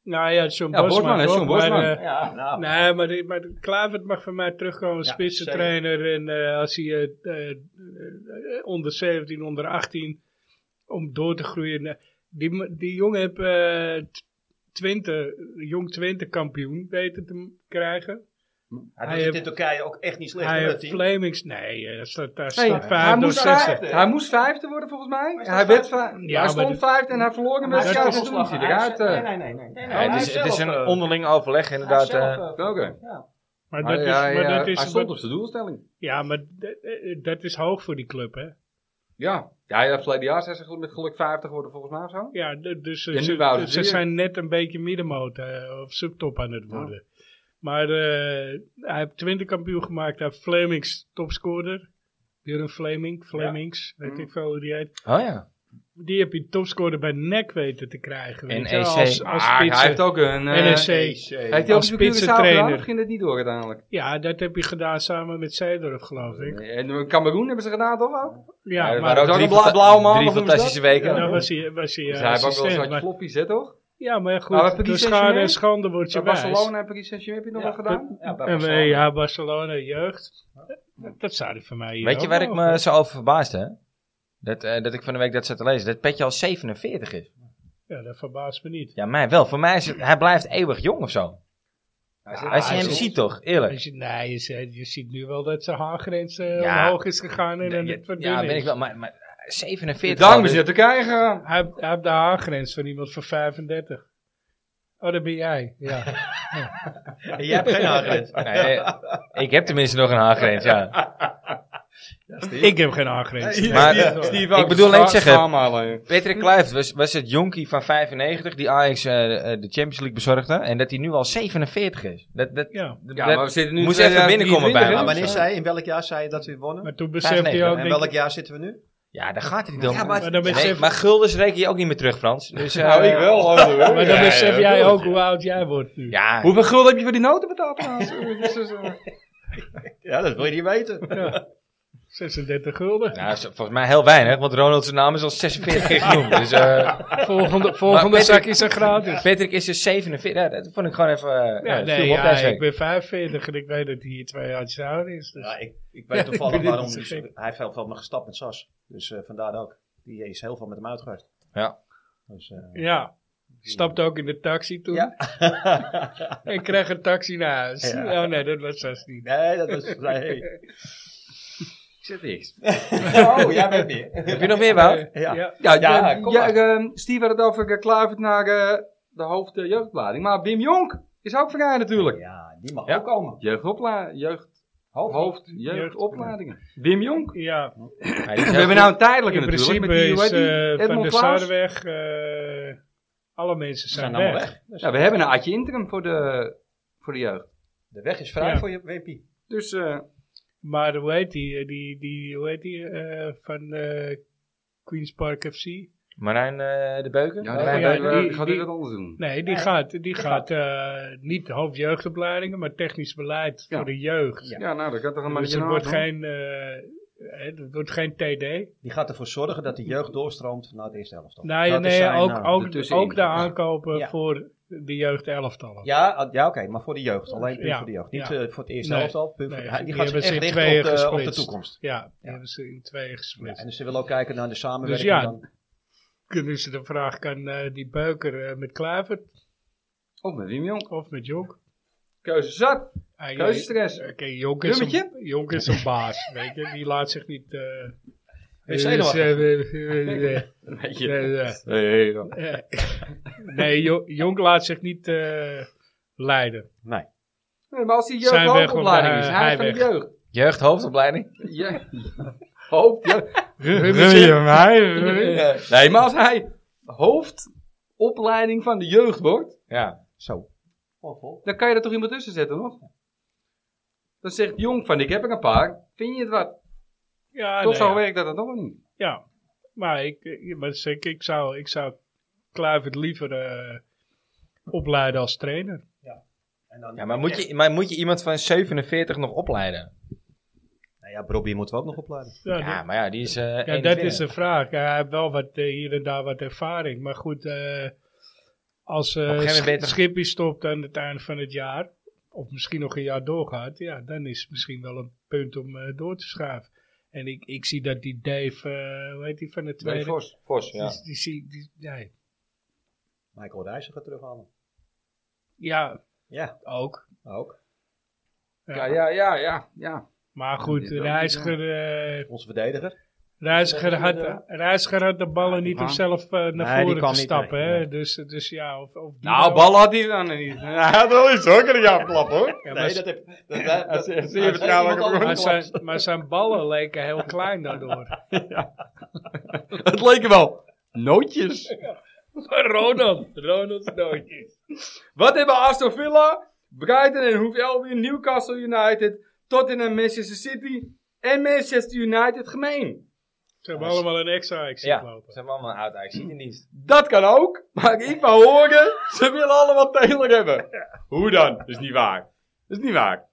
B: Nou ja, John
C: Ja, Bosman,
B: Bosman.
C: hè,
B: toch?
C: John Bosman.
B: Maar, eh,
E: Ja, nou.
B: Nee, maar, die- maar Klavert mag van mij terugkomen als
E: Ja,
B: spitsentrainer. En eh, als hij eh, eh, eh, onder 17, onder 18, om door te groeien. Nou, Die, m- die jongen heeft eh, t- Twente, jong Twente kampioen weten te m- krijgen. Hij
E: Hij doet het in
B: heeft-
E: Turkije ook echt niet slecht.
B: Hij
E: hoor, dat
B: heeft
E: team.
B: Flemings, nee, eh, daar staat, daar
C: Hey,
B: staat
C: Oh hij,
B: vijf door
C: moest
B: zesde.
C: vijfde, hij moest vijfde worden volgens mij. Hij,
E: staat
C: werd
E: vijfde.
C: vijfde.
B: Ja,
C: hij
B: maar
C: stond
B: dit-
C: vijfde en hij verloor hem
E: Maar
C: bij
E: hij
B: dat
E: is
C: Skype.
B: is
C: Dus toen moest hij
E: ontslagen.
C: eruit.
E: Hij eh,
C: eh.
E: is- Nee, nee, nee. nee, nee,
A: Ja, het, is, het is een onderling overleg inderdaad. eh.
C: Oké.
B: Maar
C: Maar
B: dat is,
C: Ah, ja,
B: maar
C: ja,
B: dat
C: Hij
B: is,
C: stond op
B: wat-
C: zijn doelstelling.
B: ja, maar dat- eh, dat is hoog voor die club, hè?
C: Ja, ja, ja verleden jaar zijn ze geluk- met geluk 50 worden volgens mij of zo.
B: Ja, d- dus ze,
C: Ja, nu
B: ze-
C: wouden
B: ze
C: ze weer.
B: zijn net een beetje middenmoot eh, of subtop aan het worden. Maar eh, hij heeft 20 kampioen gemaakt. Hij heeft Flemings topscorer. Björn Fleming, Flemings, weet
C: Mm.
B: ik veel hoe die heet.
A: Oh ja.
B: Die heb je topscorer bij NEC weten te krijgen. weet
A: En
B: je wel,
A: EC.
B: Als, E als
C: E Maar
B: spitsen.
C: Ah, hij heeft ook een... eh,
B: NSC.
C: Heeft hij ook
B: Als
C: een Curaçao gedaan
B: spitsentrainer.
C: of ging dat niet door uiteindelijk?
B: Ja, dat heb je gedaan samen met Zeedorf, geloof ik.
C: En Cameroen hebben ze gedaan toch ook?
B: Ja,
A: er
B: maar
A: waren ook
C: Zo'n
A: drie,
C: bla-
A: fanta-
C: blauwe maandag
A: drie
C: noemen ze
A: fantastische
C: dat?
A: weken.
C: Ja,
B: dan was hij, was hij
C: Dus
B: eh,
C: hij heeft ook wel
B: assistent.
C: zo'n
B: maar-
C: floppies, hè toch?
B: ja, maar
C: Maar wat
B: goed,
C: heb je
B: door
C: die
B: schade en
C: seizoen?
B: schande word je
C: Bij
B: wijs.
C: Barcelona en Paris Saint-Germain heb je nog wel gedaan?
E: Ja, bij
B: En we-
E: Barcelona.
B: ja, Barcelona, jeugd. Dat zou hij voor mij hier
A: Weet je
B: ook
A: waar
B: wel
A: ik me zo over verbaasde? Dat, eh, dat ik van de week dat zat te lezen. Dat Petje al 47 is.
B: Ja, dat verbaast me niet.
A: Ja, mij wel. Voor mij is het, hij blijft eeuwig jong of zo. Als je
B: hij
A: hem
B: is-
A: ziet toch, eerlijk.
B: Als je, nee, je, ziet- je ziet nu wel dat zijn haargrens eh,
A: Ja.
B: omhoog is gegaan en
A: Ja,
B: dan het
A: ja,
B: verdun
A: ben ik
B: is.
A: wel. Maar, maar 47
C: Daarom
A: al,
C: is
A: dus-
C: hij naar Turkije gegaan.
B: Hij, heeft- hij heeft de haargrens van iemand van 35. Oh, dat ben jij. Ja.
E: Jij hebt geen haargrens.
A: Nee, eh, ik heb tenminste nog een haargrens, ja.
B: ik heb geen haargrens.
C: Steve-
A: Maar,
C: Steve-
A: eh,
C: Steve ook.
A: ik bedoel alleen te
C: Scha-
A: zeggen-
C: schaamhalen, joh.
A: Patrick Kluivert was, was het jonkie van 95 die Ajax eh, eh, de Champions League bezorgde. En dat hij nu al 47 is. Dat, dat,
B: Ja.
A: dat-
C: Ja,
A: dat-
C: maar we zitten nu
A: moest
C: in
A: even binnenkomen bij
C: 2023,
E: Maar
A: me.
E: wanneer zei in welk jaar zei je dat we wonnen?
B: Maar toen besefte hij
A: 95,
B: ook,
E: En
B: denk
E: welk
B: ik,
E: jaar zitten we nu?
A: ja, daar gaat het niet om.
E: Ja,
A: maar,
E: maar-
B: maar dan besef,
A: maar guldens reken je ook niet meer terug, Frans. Dus, eh,
C: Nou, ik wel. hoor, hoor.
B: maar dan besef jij ook hoe oud jij wordt nu.
A: Ja,
C: Hoeveel gulden heb je voor die noten betaald? trouwens? Dus, dus, eh,
E: Ja, dat wil je niet weten.
B: Ja. 36 gulden.
A: nou, is volgens mij heel weinig, want Ronald zijn naam is al 46 keer genoemd. Dus, eh,
B: Volgende, volgende
A: Patrick-
B: zak is er gratis.
A: Patrick is dus 47. Ja, dat vond ik gewoon even. eh,
B: Ja,
A: ja,
B: nee,
A: viel me op
B: ja,
A: deze
B: ik
A: week.
B: ben 45 en ik weet dat hij hier twee jaar ouder is. Dus.
E: Ja, ik, ik weet toevallig
B: Ik ben
E: waarom.
B: niet zo
E: hij heeft heel veel me gestapt met Sas. Dus eh, vandaar ook. Die is heel veel met hem uitgegaan.
A: Ja.
E: Dus, eh,
B: Ja. Stapte ook in de taxi toen. en kreeg een taxi naar huis.
E: Ja.
B: Oh nee, dat was zelfs niet.
E: nee, dat is. Nee.
C: Ik zit niks.
E: Oh, jij bent weer.
A: Heb je nog meer, Wout?
E: Ja.
B: Ja.
C: Ja,
E: Ja,
C: eh,
E: kom
C: ja,
E: maar.
C: eh, Steve had het over eh, Kluivert naar eh, de hoofdjeugdopleiding. Maar Wim Jonk is ook vrij natuurlijk.
E: Ja, die mag
A: Ja.
E: ook komen.
C: Jeugdopla jeugd
E: Hoofd.
C: hoofdjeugdopleidingen. Wim Jonk.
B: Ja,
A: Ja,
C: We hebben nou een tijdelijke
B: in principe
C: natuurlijk. met die, hoe
B: is
C: heet die?
B: eh, Van
C: Edmond
B: der
C: Klaas.
B: Sar weg. eh, alle mensen zijn,
E: allemaal
B: weg.
C: Ja, we hebben een Adje Interim voor de, voor de jeugd.
E: De weg is vrij
B: Ja.
E: voor je WP.
C: Dus eh,
B: Maar hoe heet die? eh, die, die hoe heet die? eh, van eh Queen's Park FC?
A: Marijn eh, de Beuken?
C: ja,
A: Marijn
C: wij-
B: ja,
A: Beuken.
C: wij- wij-
B: die-
C: gaat dit
B: die-
C: wat anders doen.
B: Nee, die gaat, die gaat eh, niet hoofdjeugdopleidingen, maar technisch beleid
C: Ja.
B: voor de jeugd.
C: Ja. nou, dat kan toch een
B: Dus
C: mannetje
B: het
C: aan
B: wordt
C: doen.
B: geen, eh, eh, het wordt geen TD.
E: Die gaat ervoor zorgen dat de jeugd doorstroomt naar de eerste helft.
B: Nee,
E: Dat is
B: nee
E: zijn,
B: ook,
E: eh,
B: ook,
C: ertussenin.
B: ook de aankopen
E: Ja.
B: voor de jeugd elftallen.
E: Ja, ah, ja oké, maar voor de jeugd. Alleen puur
B: Ja.
E: voor de jeugd. Niet eh, voor het eerste
B: Nee.
E: helft al. puur
B: Nee,
E: voor-
B: die
E: hij- die gaat
B: hebben
E: zich
B: ze in
E: echt
B: tweeën
E: richten op, de- op de
B: gesplitst.
E: toekomst.
B: Ja, die hebben ze in tweeën
E: Ja,
B: gesplitst.
E: en dus ze willen ook kijken naar de samenwerking.
B: Dus ja,
E: dan.
B: Kunnen ze de vraag, kan eh, die beuker eh, met Kluivert
C: Of Oh, met Wim Jonk.
B: of met Jonk?
C: Keuze zat.
B: Ah,
C: Keuzestress.
B: ja, Oké, Jonk is
C: Dummetje?
B: een- Jonk is een baas, weet je. Die laat zich niet... eh,
E: Is
B: eh,
E: zenuwachtig.
B: eh, eh, eh, eh, eh, eh, Nee, Jo- Jonk laat zich niet eh, leiden.
C: Nee, maar als die
B: Zijn weg,
C: jeugdhoofdopleiding
B: want,
C: is,
B: eh,
C: hij is van
B: hij
C: de jeugd.
A: Jeugdhoofdopleiding?
C: Ja. Hoofd, ja. Nee, maar als hij hoofdopleiding van de jeugd wordt,
A: Ja.
E: Zo. Oh, oh.
C: dan kan je er toch iemand tussen zetten nog? Dan zegt Jong van, ik heb er een paar, vind je het wat?
B: Ja,
C: Tot
B: Ah, nee,
C: zo
B: ja.
C: werkt dat dan nog niet.
B: Ja, maar ik, ik, maar ik, ik zou, ik zou Kluivert liever eh, opleiden als trainer.
E: En dan,
A: Ja, maar moet, je, maar moet je iemand van 47 nog opleiden?
E: Nou ja, Robbie moeten we ook nog opleiden.
B: Ja,
A: Ja,
B: dat-
A: maar ja, die is eh
B: ja, dat is de vraag. Ja, hij heeft wel wat, eh, hier en daar wat ervaring. Maar goed, eh, als
A: een
B: eh
A: gegeven
B: Sch-
A: moment ben je-
B: Schippie stopt aan het einde van het jaar, of misschien nog een jaar doorgaat, ja, dan is het misschien wel een punt om eh, door te schuiven. En ik, ik zie dat die Dave, eh, hoe heet die van de tweede?
C: Vos.
A: ja.
B: Die, die, zie- die, nee.
E: Michael Reiziger terughalen.
B: ja,
E: Ja,
B: ook.
E: ook.
C: Ja, ja, ja, ja. ja.
B: Maar goed,
C: Ja,
B: Reiziger, eh,
E: Onze verdediger.
B: Reiziger, had,
E: Ja.
B: Reiziger had de ballen
C: Ja, die
B: niet om
C: kwam.
B: zelf eh, naar
A: die
B: voren
A: kwam
B: te
A: niet,
B: stappen.
A: nee,
B: hè?
A: nee.
B: Dus, dus ja, of, of die
C: Nou, bal had hij dan niet. Hij had wel eens hoor, een afklap hoor.
B: Ja, maar
E: Nee,
B: z-
E: dat heb dat- dat- dat-
C: zie je
E: dat- dat-
C: vertrouwen
E: iemand
C: ook
B: maar,
E: anders
B: zijn,
E: klapt.
B: maar zijn ballen leken heel klein daardoor.
C: Het leek wel nootjes.
B: Ronald, Ronald Nootjes.
C: Wat hebben Aston Villa, Brighton en Hoef Albion, Newcastle United, Tottenham, Manchester City en Manchester United gemeen?
B: Ze hebben allemaal een extra actie
A: Ja, ze
B: lopen.
A: hebben allemaal een oud Ajax in dienst.
C: Dat kan ook, maar ik wou horen, ze willen allemaal Taylor hebben. Hoe dan? Dat is niet waar. Dat is niet waar.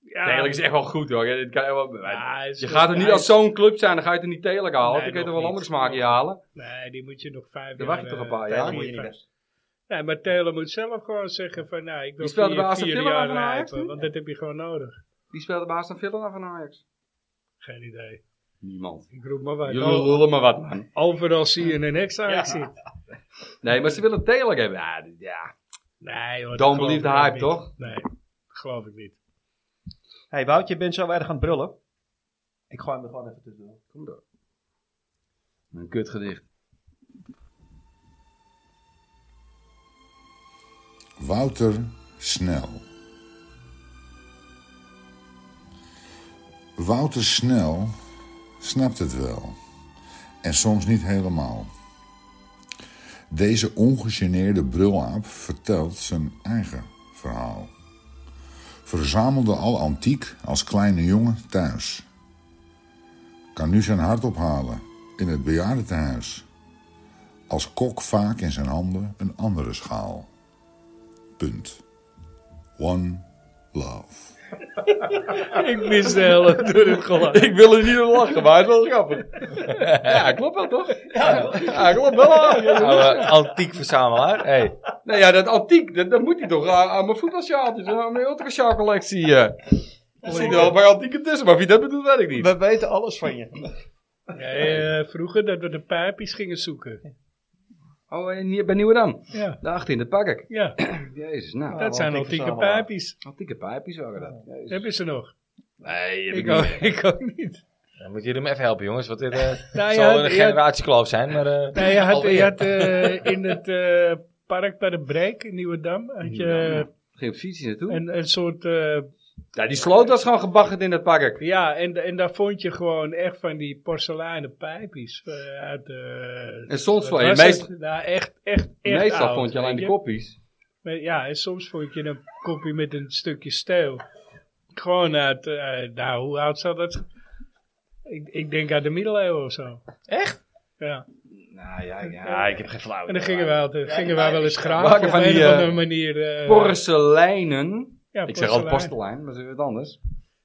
B: Ja,
C: Taylor is echt wel goed hoor. Dit kan heel wat-
B: Ah. Ja, hij is
C: je
B: goed.
C: gaat er niet
B: Hij
C: als
B: is-
C: zo'n club zijn, dan ga je er niet Taylor halen.
B: Nee,
C: dan kun
B: nog
C: je er wel
B: niet.
C: andere smaakje halen.
B: Nee, die moet je nog vijf
C: Dan
B: jaar...
C: wacht je toch een
B: eh,
C: paar
E: Ja,
C: jaar.
E: dat moet je niet
B: Taylor-
E: best.
B: Nee, maar Taylor moet zelf gewoon zeggen van... Nou, ik wil
C: Die speelde bij
B: vier,
C: Aston
B: vier
C: Villa
B: jaar
C: van Ajax,
B: rijpen,
C: hè?
B: Want dat heb je gewoon nodig.
C: Die speelde bij Aston Villa van Ajax.
B: Geen idee.
C: Niemand.
B: Ik roep maar wat.
C: Jullie lullen maar wat man.
B: Overal zie je een extra actie.
C: Nee, maar ze willen Taylor hebben. Ja, dit- ja.
B: Nee, hoor.
C: Don't
B: dat
C: believe the
B: geloof ik
C: hype,
B: niet.
C: toch?
B: Nee, geloof ik niet.
E: hey, Wout, je bent zo erg aan het brullen. Ik gooi hem er gewoon even tussendoor. Kom door.
C: Een kutgedicht.
F: Wouter Snel. Wouter Snel snapt het wel en soms niet helemaal. Deze ongegeneerde brulaap vertelt zijn eigen verhaal. Verzamelde al antiek als kleine jongen thuis. Kan nu zijn hart ophalen in het bejaardentehuis. Als kok vaak in zijn handen een andere schaal. Punt. One love.
B: Ik mis de hele door het gelach.
C: Ik wil er niet om lachen, maar het is wel grappig. ja, klopt wel toch? Ja, klopt wel.
B: Nou, eh,
A: Oude antiek verzamelaar. Hey.
C: Nou ja, dat antiek, dat, dat moet hij toch aan, aan mijn voetbalsjaaltjes, aan mijn ultrasjaalcollectie. eh. Er zit er wel bij antieke tussen, maar wie dat bedoelt, weet ik niet.
E: We weten alles van je.
B: Nee, eh, vroeger dat we de pijpjes gingen zoeken.
C: Oh, en hier bij Nieuwedam.
B: Ja,
C: Daarachter in het park.
B: ja
C: Jezus, nou.
E: Ja,
B: dat zijn
E: want ik
B: antieke
E: verzamel haar.
B: pijpjes.
C: Antieke pijpjes waren dat. Jezus.
B: Heb je ze nog?
C: Nee, heb
B: Ik
C: ik niet.
B: ook, ik ook niet.
A: Dan moeten jullie me even helpen, jongens. Want dit eh,
B: Nou,
A: zal
B: ja,
A: een
B: ja,
A: generatiekloof zijn. Maar, eh,
B: Nee, je had,
A: Alweer.
B: je had eh, in het eh, park bij de Breek in Nieuwedam had je eh,
C: Ging op fietsje naartoe.
B: een, een soort... eh,
C: Ja, die sloot was gewoon gebaggerd in het park.
B: ja, en, en daar vond je gewoon echt van die porseleinen pijpjes. eh, uit, de-
C: En soms
B: wat
C: vond je-
B: was het?
C: meest-
B: Nou, echt, echt, echt
C: Meestal
B: oud,
C: vond je alleen
B: weet
C: de koppies.
B: Maar ja, en soms vond je een kopje met een stukje steel. Gewoon uit, eh, nou, hoe oud zou dat? Ik, ik denk uit de middeleeuwen of zo.
A: Echt?
B: Ja.
A: Nou ja, ja, ik heb geen flauw.
B: En dan gingen wij, altijd, gingen wij wel eens
C: maken
B: graven op
C: van
B: een
C: die,
B: of andere
C: eh,
B: manier. eh,
C: Porseleinen.
B: ja,
C: Ik zeg altijd postelijn, maar dat is weer wat anders.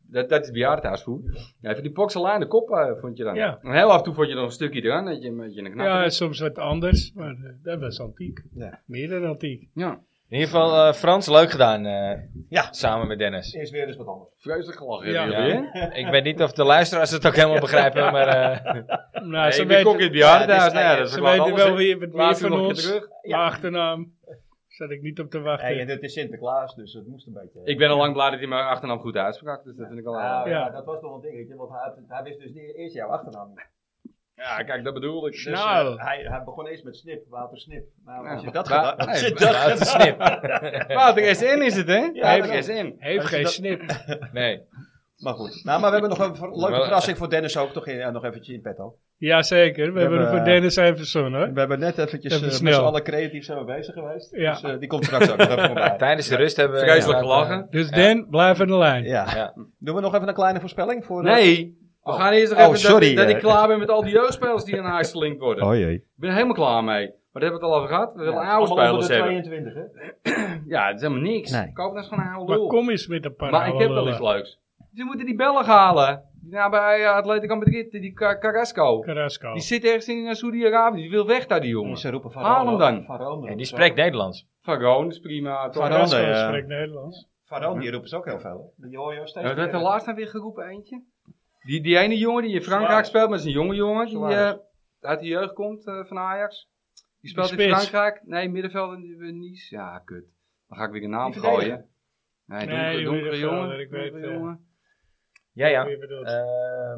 C: Dat, dat is bejaardenhuisvoer. Ja, even die porseleinen kop eh, vond je dan.
B: Ja.
C: En heel af en toe vond je nog een stukje eraan, dat je een beetje een knap.
B: Ja, en soms wat anders, maar eh, dat was antiek.
E: Ja.
B: Meer dan antiek.
C: ja.
A: In ieder geval, eh, Frans, leuk gedaan. eh,
E: Ja.
A: Samen met Dennis.
E: Eerst weer eens wat anders.
C: Vreselijk gelachen
B: Ja.
C: hebben jullie, hè?
A: Ik weet niet of de luisteraars het ook helemaal begrijpen, maar... eh,
B: Nou,
C: Nee,
B: ze
C: ik ben kok in
B: weten,
C: het bejaardenhuis. nou ja, dat is
B: ze
C: gewoon
B: weten
C: alles,
B: wel
C: hè.
B: weer wat meer
C: Laatst
B: van
C: nog een keer
B: ons.
C: terug.
B: Mijn achternaam. Zat ik niet op te wachten.
E: Hey, en het is Sinterklaas, dus het moest een beetje.
C: Ik ben al lang blij dat hij mijn achternaam goed uitsprak, dus dat vind ik al...
E: Ah, ja,
B: Ja.
E: dat was nog een dingetje, want hij, had- hij wist dus niet eerst jouw achternaam. niet.
C: ja, kijk, dat bedoel ik.
E: Dus,
C: Dus,
B: Nou.
E: eh, hij, hij begon eerst met Snip, Wouter Snip. Nou, als je
C: Ja.
E: dat
C: Wa-
E: gedaan als
C: Nee,
E: je dat
A: nou, het is snip.
C: eh, Wouter SN is het, hè?
E: Ja,
C: Wouter SN.
B: Heeft
E: als je
B: geen
E: dat-
B: snip.
A: Nee.
E: Maar goed. Nou, maar we hebben nog een ver- leuke
A: Wel-
E: verrassing voor Dennis ook toch in, ja, nog eventjes in petto.
B: Jazeker, we, hebben er
E: hebben,
B: voor
E: eh,
B: Dennis even verzonnen hoor.
E: We hebben net eventjes
B: Even
E: eh, met
B: snel.
E: z'n allen creatief zijn we bezig geweest.
B: Ja.
E: Dus eh, die komt straks ook nog even voorbij.
A: Tijdens de rust hebben we...
C: Vreselijk
A: inderdaad,
C: gelachen.
B: Dus Dan, blijf aan de lijn.
E: Ja.
A: Ja.
E: Doen we nog even een kleine voorspelling? voor? eh,
C: Nee, we
E: Oh.
C: gaan eerst nog
E: Oh,
C: even
E: sorry,
C: dat, dat
E: eh.
C: ik klaar ben met al die jeugdspelers die aan huis gelinkt worden.
E: Oh jee.
C: Ik ben er helemaal klaar mee. Maar daar hebben we het al over gehad. We willen
E: Ja,
C: oude
E: allemaal onder de
C: spelers hebben.
E: 22, hè?
C: Ja, dat is helemaal niks.
E: Nee.
C: Koop nou eens gewoon een oude
B: Maar
C: lul.
B: kom eens met een paar
C: maar ik heb wel
B: oude
C: iets
B: lullen.
C: leuks. Ze moeten die Belg halen. Die daar bij eh, Atletico Madrid, die Ca- Carrasco.
B: Carrasco.
C: Die zit ergens in eh, Saudi-Arabië. Die wil weg daar, die jongen.
E: Ze roepen van
C: Haal hem
E: Rome-
C: dan.
E: Van Rome.
A: En die spreekt Nederlands.
C: Fagon is prima. Toch?
E: Van
C: Ja,
E: Rome,
B: Carrasco
E: ja.
B: spreekt Nederlands.
E: Van Rome, die roepen ze ook heel veel. hè? Die hoor je ook steeds.
C: Wat werd er
E: meer.
C: laatst nou weer geroepen, eentje? Die, die ene jongen die in Frankrijk
E: Suarez.
C: speelt, maar is een jonge jongen. Die eh,
E: Suarez.
C: uit de jeugd komt eh, van Ajax. Die speelt in
B: spits.
C: Frankrijk. Nee, middenveld in in Nice. Ja, kut. Dan ga ik weer een naam
E: Die
C: gooien.
B: Nee,
C: Nee,
E: verdediger.
C: donkere,
B: die
C: donkere
B: weet ik wel,
C: jongen.
B: ik weet,
C: donkere
B: eh.
C: jongen.
A: Ja, ja.
B: Wie bedoelt?
A: Eh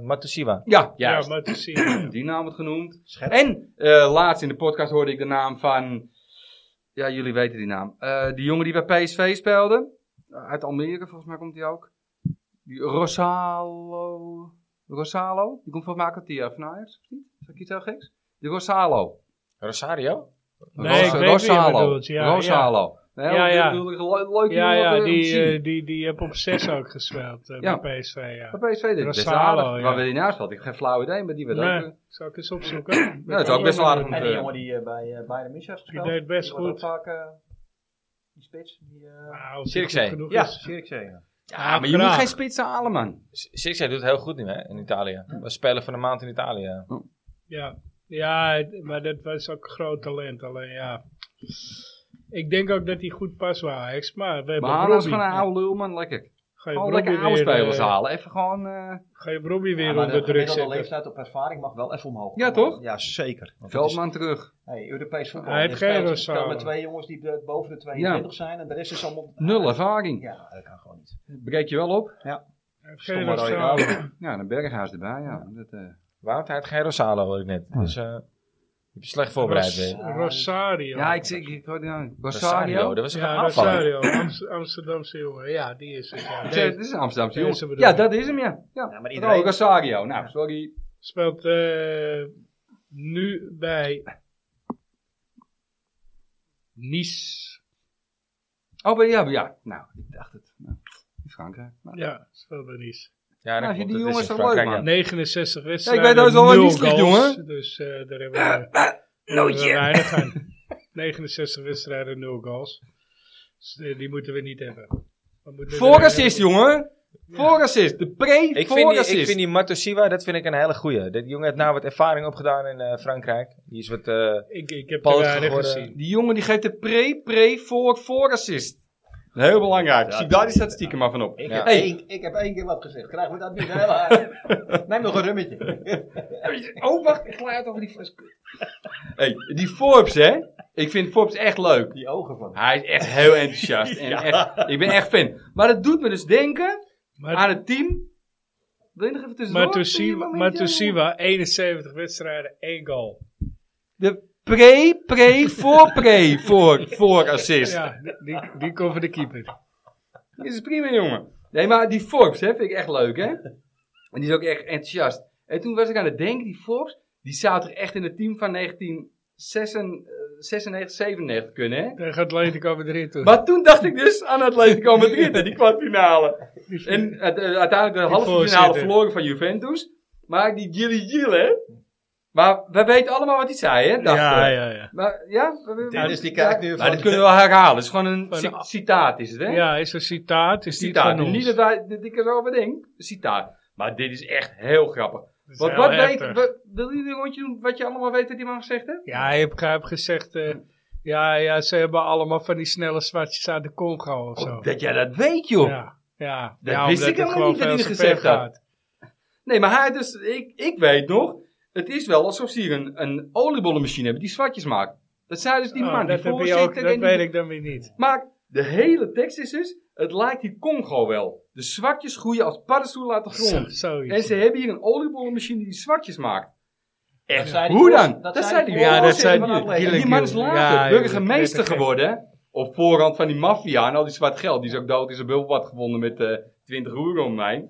A: Matosiwa.
C: Ja,
B: ja,
C: juist.
B: maar te zien.
C: Die naam wordt genoemd.
E: Scherp.
C: En eh, laatst in de podcast hoorde ik de naam van. Ja, jullie weten die naam. Eh, die jongen die bij PSV speelde. Eh, Uit Almere, volgens mij komt die ook. Die Rosalo. Rosalo? Die komt volgens mij ook uit die eh, van Ajax. of niet? Zeg ik iets heel geks? Die Rosalo.
A: Rosario?
B: Nee, ik weet wie je bedoelt, ja, ja.
C: Rosalo. Nee,
B: Ja, ja.
C: Die, bedoel ik, le- leuk
B: Ja,
C: jongen om
B: ja,
C: te
B: die,
C: zien.
B: eh, die, die heb op 6 ook gespeeld eh,
C: Ja.
B: bij PSV, ja.
C: Bij PSV deed het best
B: Rosalo,
C: aardig.
B: ja.
C: Waar we die naast had, ik heb geen flauw idee, maar die werd
B: Nee,
C: ook... eh,
B: zal ik eens opzoeken?
C: dat is ook best wel aardig om
E: En
C: te-
E: die jongen die eh, bij eh Bayern München heeft gespeeld.
B: Die deed best
E: wordt
B: goed.
E: ook vaak eh, die spits. Die, eh
B: Nou, als
A: Zirkzee.
B: het goed genoeg
E: ja,
B: is.
E: Zirkzee. Ja.
C: Ja, maar je moet
B: graag.
C: geen spits halen, man.
A: Sixer doet het heel goed nu hè, in Italië. We spelen van de maand in Italië.
B: Ja, ja het- maar dat was ook groot talent. Alleen ja. Ik denk ook dat hij goed pas was, Ajax. Maar we hebben
C: Maar dat is
B: Robbie.
C: gewoon een oude lul, man. Lekker.
B: Ga je
C: Gewoon
B: Robbie
C: lekker oude
B: weer,
C: spelers
B: eh,
C: halen. Even gewoon... eh,
B: Ga je Robbie weer
E: Ja, maar
B: onder
E: de
B: druk
E: gemiddelde
B: zetten.
E: leeftijd op ervaring mag wel even omhoog.
C: Ja, toch?
E: Ja, zeker. Want het is-
C: Veldman terug.
E: Hey, Europees voetbal.
B: Hij
E: Hij
B: heeft
E: heeft
B: geen
E: speelt,
B: Rosado.
E: speelt met twee jongens die eh, boven de 22 zijn en de rest is allemaal...
C: Nul ervaring.
E: Ja, dat kan gewoon niet.
C: Breek je wel op?
B: Geen
E: Stomme rode
B: Rosaal.
C: Ja, en een berghuis erbij, ja. Dat, eh,
A: Wout hij had geen Rosalo, hoor ik net. Dus eh je hebt je slecht voorbereid
B: Ros-
A: weer.
B: Rosario.
C: ja, ik zeg... Ik hoorde nou... Rosario?
A: dat was een
B: Ja,
A: aanvaller.
B: Rosario. Amst- Amsterdamse jongen. Ja, die is het. Ja.
C: Ik zeg,
B: Nee,
C: Dit is een Amsterdamse
B: Deze
C: jongen.
B: bedoel
C: Ja,
B: ik.
C: dat is hem, ja. ja.
E: Ja, maar
C: Iedereen...
E: iedereen...
C: Rosario. Nou, sorry.
B: speelt eh, nu bij Nice.
C: Oh, maar ja, maar ja. Nou, ik dacht het. Nou, in Frankrijk. Nou,
B: Ja, speelt bij Nice.
A: Ja,
C: Nou,
A: dat
C: die
A: klopt. Dat
C: jongens
A: is in
C: zijn
A: Frankrijk,
C: leuk,
A: ja.
C: man.
B: 69
C: Ja,
B: wedstrijden.
C: ik weet dat is wel
B: nul
C: niet slecht,
B: goals.
C: jongen. Ah,
B: Dus eh, daar hebben we, hebben we
G: Nootje.
B: weinig aan. 69 wedstrijden, 0 goals. Dus eh, die moeten we niet hebben. We moeten-
C: Voorassist, jongen. Voorassist. De
A: Ik vind, die,
C: pre-voorassist.
A: ik vind die Matosiwa, dat vind ik een hele goeie. Dat jongen heeft nou wat ervaring opgedaan in eh, Frankrijk. Die is wat... eh,
B: Ik, ik heb
A: Poot
B: er weinig
A: geworden.
B: gezien.
C: Die jongen die geeft de pre, pre, voor, voor assist. Heel belangrijk. Zie daar die statistieken maar van op.
E: Ik,
A: Ja.
E: heb
C: Hey.
E: één, ik heb één keer wat gezegd. Krijgen we dat niet helemaal Neem nog een rummetje.
C: Oh, wacht. Ik klaar over die fles. Hey, die Forbes, hè. Ik vind Forbes echt leuk.
E: Die ogen van.
C: Hij is echt heel enthousiast. En echt, ik ben echt fan. Maar dat doet me dus denken aan
B: Maar,
C: het team. Wil je nog even tussendoor?
B: Matusiwa,
C: Wil je een momentje?
B: Matusiwa, 71 wedstrijden, 1 goal.
C: De pre, pre, voor, pre, voor, voor assist.
B: Ja, die- die, die komt van de keeper.
C: Dit is prima, jongen. Nee, maar die Forbes, hè, vind ik echt leuk, hè? En die is ook echt enthousiast. En toen was ik aan het denken, die Forbes, die zou toch echt in het team van 1996, 97 kunnen, hè?
B: Tegen Atletico Madrid toen.
C: Maar toen dacht ik dus aan Atletico Madrid, hè, die kwartfinale. En eh, eh, uiteindelijk de halve finale
B: voorzitter.
C: verloren van Juventus. Maar die Gilly Gil, hè? Maar we weten allemaal wat hij zei, hè? Dacht
B: ja,
C: ik.
B: ja, ja.
C: Maar, ja? We- we-
E: Dit is die kijk nu
C: Maar
E: van...
C: dit kunnen we wel herhalen. Het is gewoon een
B: Van-
C: ci- citaat, is het, hè?
B: Ja, is een citaat. Is niet
C: Citaat.
B: van ons.
C: Niet dat, wij, dat ik er zo over denk. Citaat. Maar dit is echt heel grappig.
B: Dat is
C: Want
B: heel
C: wat weet,
B: heftig.
C: wat- wil jullie een rondje doen wat je allemaal weet dat die man gezegd heeft?
B: Ja, je hebt, je hebt gezegd, eh, ja, ja, ze hebben allemaal van die snelle zwartjes uit de Congo of zo.
C: Oh, Dat jij dat weet, joh.
B: ja, ja.
C: Dat
B: ja,
C: wist
B: omdat
C: ik
B: het
C: helemaal
B: gewoon
C: niet dat
B: veel
C: hij
B: te ver
C: dat gezegd had.
B: gaat.
C: Nee, maar hij dus, ik, ik weet nog, het is wel alsof ze hier een, een oliebollenmachine hebben die zwartjes maakt. Dat zijn dus die
B: Oh,
C: man, die
B: dat heb je
C: voorzitter
B: ook,
C: en
B: dat
C: die-
B: weet ik dan weer niet.
C: Maar de hele tekst is dus, het lijkt die Congo wel. De zwartjes groeien als paddenstoelen uit de
B: Zo,
C: grond. En
B: zoiets.
C: ze hebben hier een oliebollenmachine die zwartjes maakt.
E: Dat zei die
C: Hoe
E: voor-
C: dan? Dat, zei die
E: voor-
B: Ja, dat zei
E: van
B: die-
E: Atletico.
C: En
B: Gillen
C: die man is later
B: Ja, joh,
C: burgemeester
B: dat is
C: geworden. hè? Op voorhand van die maffia en al die zwart geld. Die is ook dood in zijn bul wat gewonnen met eh 20 roeren om mij.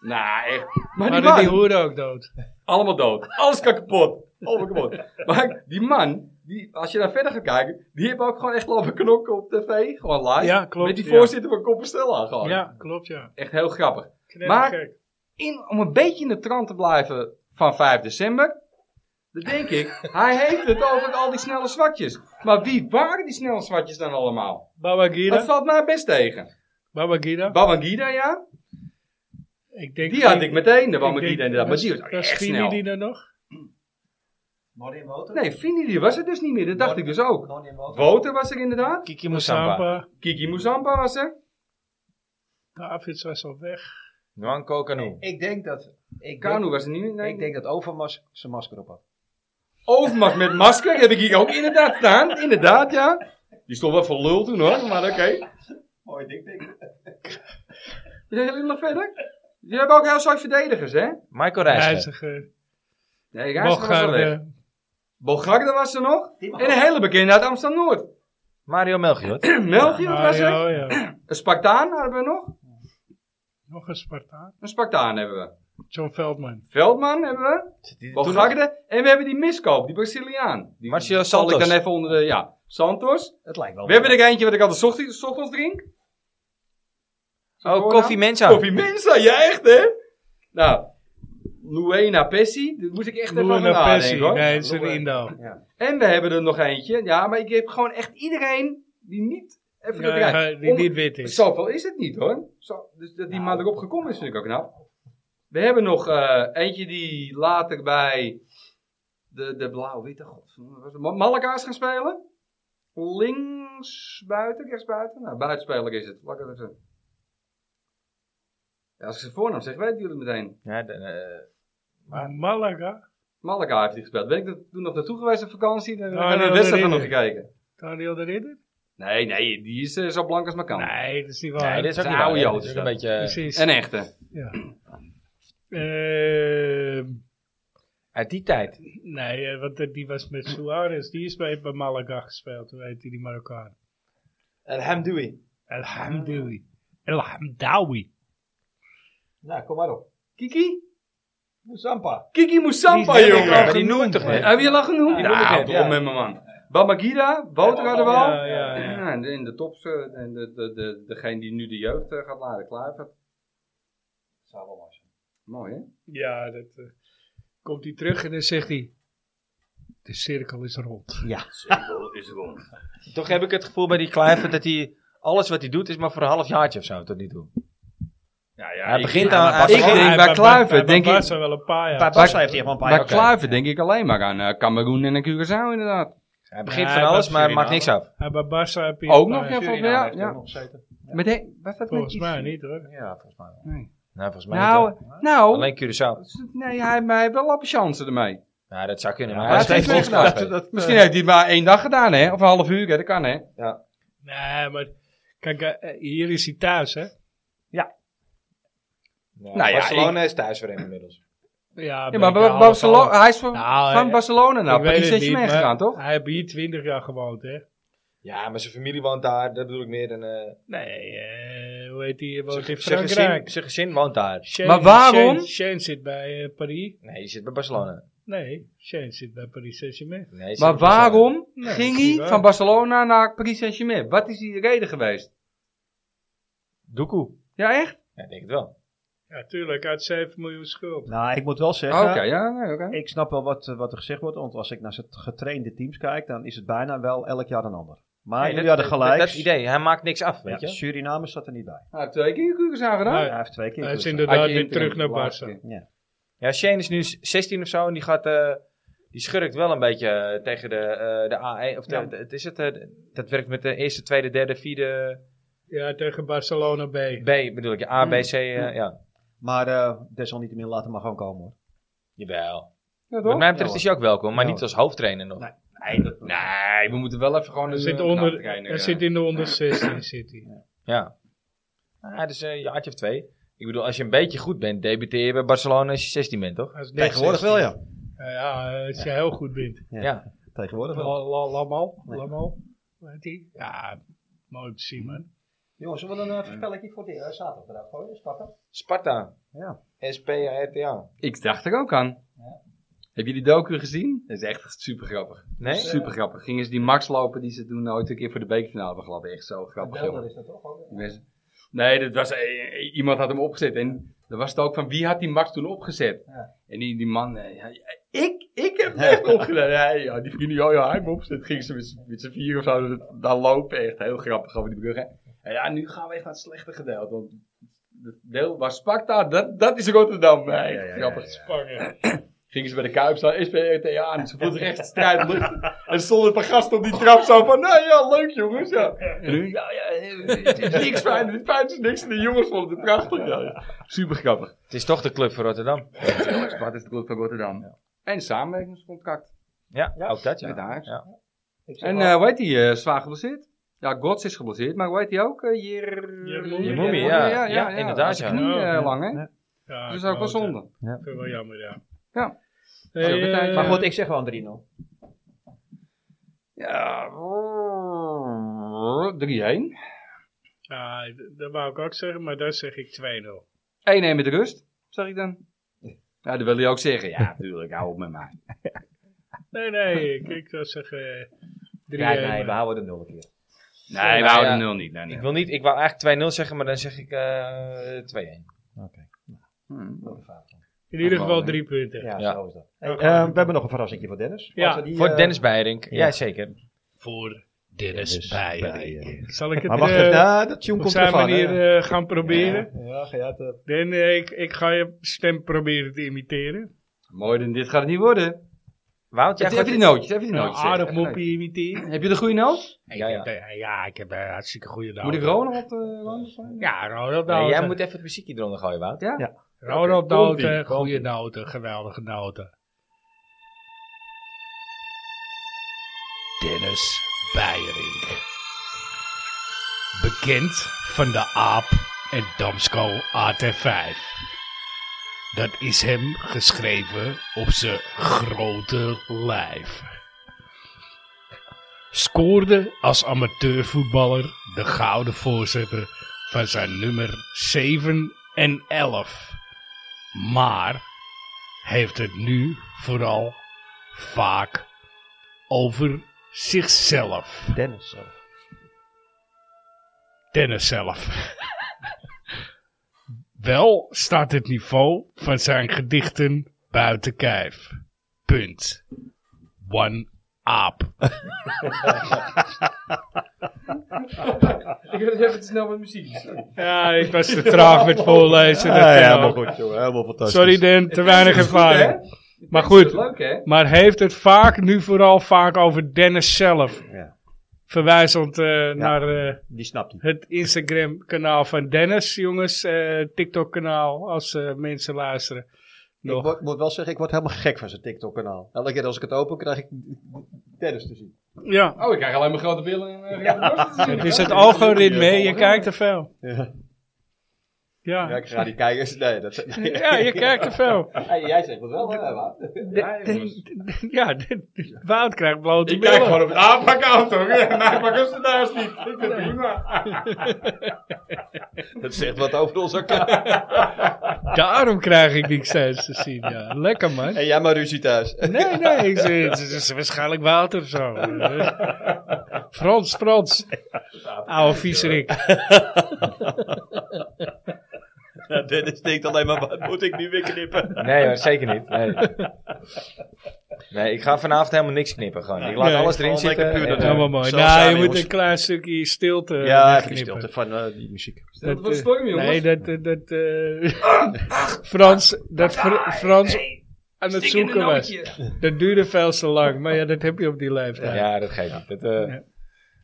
C: Nou, echt. Maar die
B: Maar die
C: man,
B: hoeren ook dood.
C: allemaal dood. Alles kan kapot. Allemaal kapot. Maar die man, die, als je daar verder gaat kijken, die heeft ook gewoon echt lopen knokken op tv. Gewoon live.
B: Ja, klopt,
C: Met die
B: ja.
C: voorzitter van Compostela gewoon.
B: Ja, klopt, ja.
C: Echt heel grappig.
B: Knettergek.
C: In, om een beetje in de trant te blijven van 5 december. Dat denk ik. Hij heeft het over al die snelle zwartjes. Maar wie waren die snelle zwartjes dan allemaal? Dat
B: Babagida.
C: valt mij best tegen.
B: Babagida.
C: Babangida, ja.
B: Ik denk,
C: Die had ik meteen, de
B: ik denk-
C: Babangida inderdaad. Maar die was
B: was-
C: echt
B: was Fini
C: snel.
B: die dan nog?
E: Norin Woter?
C: Nee, Fini die was het dus niet meer. Dat dacht ik dus ook.
E: Norin Woter.
C: Woter was er inderdaad.
A: Kiki Moussampa.
C: Kiki Moezamba was er.
B: Davids Nou, was al weg.
A: Nwanko Kanu.
E: Ik denk dat... Ik
C: Kanu
E: denk,
C: was er niet meer. Nee.
E: ik denk dat Overmars zijn masker op had.
C: Overmars met masker heb ik hier ook inderdaad staan. Inderdaad, ja. Die stond wel voor lul toen hoor, maar oké.
E: Mooi dik, dik.
C: Jullie hebben nog verder? Jullie hebben ook heel saai verdedigers, hè?
A: Michael Reis.
B: Reiziger.
C: Nee, Reis was al weg.
B: Bogarde.
C: Bogarde was er nog. En een hele bekende uit Amsterdam-Noord.
A: Mario Melchior.
C: Melchior was er.
B: Mario, Nou, ja.
C: Een Spartaan hebben we nog.
B: Nog een Spartaan.
C: Een Spartaan hebben we.
B: John Veldman.
C: Veldman hebben we. Bogarde. En we hebben die miskoop, die Braziliaan. Die
A: Marcio
C: zal ik
A: Santos.
C: dan even onder de... Ja, Santos.
E: Het lijkt wel.
C: We hebben er eentje wat ik altijd 's ochtends, 's ochtends drink. nou?
A: Oh, Koffie Mensa.
C: Koffie Mensa, jij echt hè? Nou, Luena Pessi, daar moest ik echt even aan
B: Luana Pessi.
C: nadenken hoor.
B: Nee, dat is een Indo.
C: En we hebben er nog eentje, ja, maar ik heb gewoon echt iedereen die niet even
B: Ja,
C: eruit.
B: die
C: Om-
B: niet wit is. Nou.
C: Zoveel is het niet hoor. Zo, dus dat die man erop gekomen is vind ik ook knap. We hebben nog eh, eentje die later bij de, de blauw-witte, god, was het Ma- Malaga is gaan spelen. Links buiten, rechts buiten. Nou, buitenspeler is het. Laat ik het even. Ja, als ik zijn voornaam zeg, weten jullie het meteen.
A: Ja, de, eh,
B: Maar Malaga.
C: Malaga heeft hij gespeeld. Ben ik er toen nog naartoe geweest op vakantie? Daar
B: Oh,
C: hebben we
B: nee,
C: de wedstrijd
B: dat
C: van nog
B: weet ik.
C: gekeken.
B: Daniel de Ridder?
C: Nee, nee, die is eh, zo blank als maar kan.
B: Nee, dat is niet waar.
A: nee, dit is ook
C: Een
A: niet waar,
C: oude
A: hè.
C: Jood
A: Dit is
C: is
A: ook een
C: dat.
A: beetje...
B: Precies.
C: Een echte.
B: Ja. Ehm,
A: eh, Uit die tijd.
B: nee, eh, want eh, die was met Suarez. Die is bij, bij Malaga gespeeld. Hoe heet die, die Marokkaan?
E: Hamdoui.
B: El Hamdoui. El Hamdawi.
E: Nou, kom maar op.
C: Kiki?
E: Zampa.
C: Kiki Moussampa,
B: Die is net
C: jongen.
B: al
A: Maar Ah, die noem ik toch
B: genoemd,
A: niet?
C: Heb je al genoemd?
E: Ja,
C: Ja,
E: ja.
C: op met mijn man. Bamagida, Wouter hadden we al.
B: Ja, ja, ja.
C: Ja, En de- en de tops, eh, en de, de, de, degene die nu de jeugd eh, gaat laten klaar.
E: Zou wel mooi zijn.
C: Mooi, hè?
B: Ja, dat eh, komt hij terug en dan zegt hij... De cirkel is rond.
A: Toch heb ik het gevoel bij die Kluivert dat hij... Alles wat hij doet is maar voor een half jaartje of zo tot nu toe.
C: Ja, ja.
A: hij
C: ik-
A: begint
C: ja,
A: aan...
C: maar
A: hij
C: ik
B: Oh,
A: begint-
C: denk- bij Kluivert, denk ik-
B: ik... wel een paar jaar.
E: Bij Barca heeft hij gewoon een
C: Bij
E: paar jaar.
C: Kluivert denk ik alleen maar aan eh, Cameroen en een Curaçao, inderdaad.
A: Hij begint
B: Nee,
A: van
B: dat
A: alles,
B: is
A: maar
B: Suriname.
A: maakt niks af.
B: Ja, bij Barca heb je...
C: Ook
B: een
C: nog,
B: paar-
C: ja, volgens mij. Ja, ja. Met de, was dat
B: Volgens
C: met
B: mij
C: iets-
B: niet hoor.
A: Ja, volgens mij wel.
C: Nee.
A: Nou, oh. volgens mij niet
C: Nou,
A: wel.
C: nou.
A: Alleen Curaçao.
C: Nee, hij hij heeft wel lappen chansen ermee.
A: Ja, dat zou kunnen,
E: Ja,
A: maar
C: maar
A: hij
C: het
A: heeft
C: heeft
A: niks
C: niks
A: gedaan.
C: gedaan. Misschien heeft hij het maar één dag gedaan, hè? Of een half uur, hè? Dat kan, hè?
B: Nee, maar kijk, eh, hier is hij thuis hè.
C: Nou ja,
A: Barcelona is thuis voor hem inmiddels.
B: Ja,
C: Ja,
B: ben
C: maar
B: ik de
C: Bar-
B: half
C: Barcelona, Ah,
B: half.
C: hij is van,
B: Nou,
C: van
B: eh,
C: Barcelona naar
B: Ik weet
C: Paris
B: het niet,
C: Saint-Germain
B: maar
C: gegaan, toch?
B: Hij heeft hier 20 jaar gewoond, hè?
A: Ja, maar zijn familie woont daar, dat bedoel ik meer. En, eh
B: Nee, eh, hoe heet die? Hij woont in
A: zijn, zijn
B: Frankrijk.
A: gezin, zijn gezin woont daar.
B: Shane-
C: Maar waarom?
B: Shane, Shane zit bij eh, Paris.
A: Nee, je zit bij Barcelona.
B: Nee, Shane zit bij Paris Saint-Germain.
A: Nee, je zit
C: Maar
A: bij Barcelona.
C: waarom
B: Nee,
C: ging
B: dat is niet
C: hij
B: waar.
C: van Barcelona naar Paris Saint-Germain? Wat is die reden geweest?
A: Doekoe.
C: Ja, echt?
A: Ja, ik denk het wel.
B: Ja, tuurlijk, uit 7 miljoen schuld.
E: Nou, ik moet wel
C: Oh,
E: zeggen.
C: Oké, ja, nee, oké.
E: Ik snap wel wat, eh, wat er gezegd wordt, want als ik naar zijn getrainde teams kijk, dan is het bijna wel elk jaar een ander. Maar
A: Nee,
E: jullie
A: Ah, dat-
E: hadden
A: dat-
E: gelijk.
A: Dat idee, hij maakt niks af, weet
E: Ja,
A: je.
E: Suriname zat er niet bij.
C: Hij heeft twee keer Curaçao gedaan.
B: Nee.
E: Hij heeft twee keer.
B: Hij is
E: gekozen.
B: inderdaad
C: Had je
B: weer
C: internet
B: terug naar
C: de laatste
B: Barca.
C: keer.
A: Ja, Shane is nu 16 of zo en die gaat... eh, die schurkt wel een beetje eh, tegen de, eh de A1. Of de, de- het is het, eh, dat werkt met de eerste, tweede, derde, vierde
B: Ja, tegen Barcelona B.
A: B bedoel ik. ja, A, B, C. eh, ja.
E: Maar eh, desalniettemin laat hem maar gewoon komen hoor.
A: Jawel.
C: Ja, toch?
A: Wat mij betreft is hij ook welkom, maar
E: Ja,
A: niet als hoofdtrainer nog.
E: Nee.
C: Nee, dat- nee, we moeten wel even gewoon...
B: Hij
C: een- eh,
B: zit,
C: een
B: onder,
C: knaptrainer,
B: hij
C: ja.
B: zit in de onder 16. zit hij.
A: Ja. Ah, dus een jaartje of twee. Ik bedoel, als je een beetje goed bent, debuteer je bij Barcelona als je 16 bent, toch?
B: Hij is net
E: Tegenwoordig wel
B: 16.
E: ja.
B: Ja, ja, als je heel goed bent.
E: Ja.
A: Ja.
E: Tegenwoordig wel.
B: La- la- Lamal,
E: Nee.
B: Lamal, hoe heet die? Ja, mooi om te zien, man.
E: Jongens, we willen een eh, voorspelletje voor de zaterdag eruit gooien. Sparta.
A: Sparta.
E: Ja.
A: S-P-A-R-T-A.
C: Ik dacht er ook aan. Heb je die docu gezien? Dat is echt super grappig.
A: Nee?
C: Super grappig. Gingen ze die Max lopen die ze toen ooit een keer voor de bekerfinale hebben gelapt. Echt zo grappig, jongen.
E: is dat toch? hoor.
C: Mensen- Dus- Nee, dat was, eh, eh, iemand had hem opgezet. En dan was het ook van wie had die Max toen opgezet?
E: Ja.
C: En die, die man, eh, ja, ik, ik heb het echt opgedaan. Ja, ja, die vriendin, ja, ja, hij heeft me opgezet. Gingen ze met, z'n- met z'n vier of zo dus daar lopen. Echt heel grappig over die brug. hè. En ja, nu gaan we echt naar het slechte gedeelte. Want het deel waar Sparta, dat, dat is Rotterdam. Ja, echt grappig.
B: Spangen.
C: Gingen ze bij de Kuip staan, SPRTA aan. Ze voelden zich echt strijdlucht. En stonden een paar gasten op die trap zo van, nou ja, leuk jongens. Ja. En nu, ja, ja, het is niks fijn, het fijn is niks. En de jongens vonden het prachtig. Ja, ja. Super grappig.
A: Het is toch de club voor Rotterdam.
C: Sparta is de club van Rotterdam. En samenwerkingscontract
A: Ja, ook dat ja.
C: met Ajax.
A: Ja.
E: Ik zeg
C: En
E: wel-
C: eh, hoe heet die, eh, zwaar geblesseerd? Ja, Gods is geblesseerd, maar hoe heet hij ook? Eh, Jer...
B: Jermoumi.
A: Jermoumi,
C: Jermoumi,
A: ja. Ja, inderdaad,
C: Zijn
A: ja.
C: knie,
B: Ja.
C: eh, lang, hè?
D: Ja.
B: Ja,
C: Dat is ook wel
B: klote.
C: zonde.
B: Vind ik wel jammer, ja.
C: Ja.
B: Hey,
C: Zullen we tijd-
B: eh,
E: Maar goed, ik zeg wel een 3-0.
C: Ja, Oh, brrr, 3-1. 1-1
B: ja, d- dat wou ik ook zeggen, maar daar zeg ik 2-0.
C: met rust, zeg ik dan. Ja, dat wil je ook zeggen. Ja, tuurlijk, hou op met mij.
B: Nee, nee, ik, ik zou zeggen eh, 3
E: Ja, nee, we houden de 0 een keer.
C: Nee, we
A: ja.
C: houden nul niet. Nee, nee.
A: Ik wil niet, ik wou eigenlijk 2-0 zeggen, maar dan zeg ik eh 2-1.
C: Hmm.
B: In ieder geval
C: Allemaal,
B: drie punten.
E: Ja,
A: Ja.
E: zo is dat.
B: Ja.
E: Hey, eh, we hebben nog een verrassingje voor Dennis.
B: Ja,
E: Laten we die,
A: Voor
E: eh,
A: Dennis Beierink.
E: ja.
A: Ja, zeker.
B: Voor Dennis,
E: Dennis
B: Bijerink.
E: Bijerink.
B: Zal ik het
E: dus Maar wacht
B: eh,
E: even, nou, dat tune
B: op
E: komt
B: zijn
E: ervan.
B: manier
E: hè?
B: eh, gaan proberen?
E: Ja, ga jij het... eh,
B: Dan, eh, ik, ik ga je stem proberen te imiteren.
C: Mooi, dan dit gaat het niet worden.
A: Wout, jij
C: even
A: gaat-
C: die nootjes, even die
B: Een
C: nootjes.
B: aardig
C: Even
B: mopje Nou, imiteren.
C: kijken. Heb je de goede noot? eh,
A: Ja, ja.
B: Ik heb, eh, ja, ik heb een hartstikke goede naam.
C: Moet ik Ronald op de Ronald zijn? Nou, eh,
B: Ja, nou. Ronald
A: Nee,
B: Noten.
A: jij moet even het muziekje eronder gooien, Wout.
C: Ja?
E: Ja.
B: Ronald
C: Oké, komt-ie,
B: Noten, goede noten, geweldige noten. Dennis Beiering. Bekend van de Aap en Damsco AT5. Dat is hem geschreven op zijn grote lijf. Scoorde als amateurvoetballer de gouden voorzitter van zijn nummer 7 en 11. Maar heeft het nu vooral vaak over zichzelf.
E: Dennis. zo.
B: Dennis zelf. Wel staat het niveau van zijn gedichten buiten kijf. Punt. One aap.
C: Ik heb het even te snel met muziek.
B: Ja, ik was te traag met voorlezen. dat
D: Ah,
B: kan
D: ja, maar
B: ook.
D: goed, dus- joh, helemaal fantastisch.
B: Sorry Dan, te weinig ervaring. Maar goed.
C: Leuk hè?
B: Maar heeft het vaak, nu vooral vaak over Dennis zelf.
E: Ja.
B: Verwijzend eh, naar eh,
E: Die snapt hij.
B: het Instagram kanaal van Dennis, jongens. eh, TikTok kanaal, als eh, mensen luisteren.
E: Ik
B: Nog.
E: word- moet wel zeggen, ik word helemaal gek van zijn TikTok-kanaal. Elke keer als ik het open krijg ik Dennis te zien.
B: Ja,
C: Oh, ik krijg alleen maar grote billen en eh, grote borsten te zien.
B: het is het algoritme, je kijkt te veel.
E: Ja. Ja,
B: Ja,
E: ik ga die kijkers. Nee, dat,
B: ja je kijkt te veel.
E: Hey, jij zegt het wel, hè, Wout?
C: Ja, jongens.
B: Ja, Wout krijgt blote
C: Ik kijk
B: billen.
C: gewoon op het aanpakout toch? Ja, maak maar rustig thuis niet. Ik vind het prima.
E: Dat zegt wat over onze elkaar.
B: Daarom krijg ik niks steeds te zien, ja. Lekker man.
E: En jij maar ruzie thuis.
B: Nee, nee, ik zeg, het is, het is waarschijnlijk water of zo. Frans, Frans. Oude viezerik.
E: Dennis denkt alleen maar, wat moet ik nu weer knippen?
A: Nee hoor, zeker niet. Nee. nee, ik ga vanavond helemaal niks knippen. Gewoon. Ik laat
B: Nee,
A: alles erin
E: gewoon
A: zitten.
E: lekker puur
A: en,
E: dat
A: eh,
B: Helemaal mooi.
E: Zo
B: nou,
E: zijn
B: je
E: we,
B: moet
E: jongens.
B: een klein stukje stilte
E: Ja, even die
B: wegknippen.
E: stilte van eh, die muziek.
C: Dat
B: eh,
C: wordt storm jongens.
B: Nee, dat... dat, dat eh, Frans, dat Fr- Frans aan het
G: Stik in de
B: zoeken was.
G: nootje.
B: Dat duurde veel te lang. Maar ja, dat heb je op die leeftijd.
A: Ja, dat geeft niet. Dat, eh,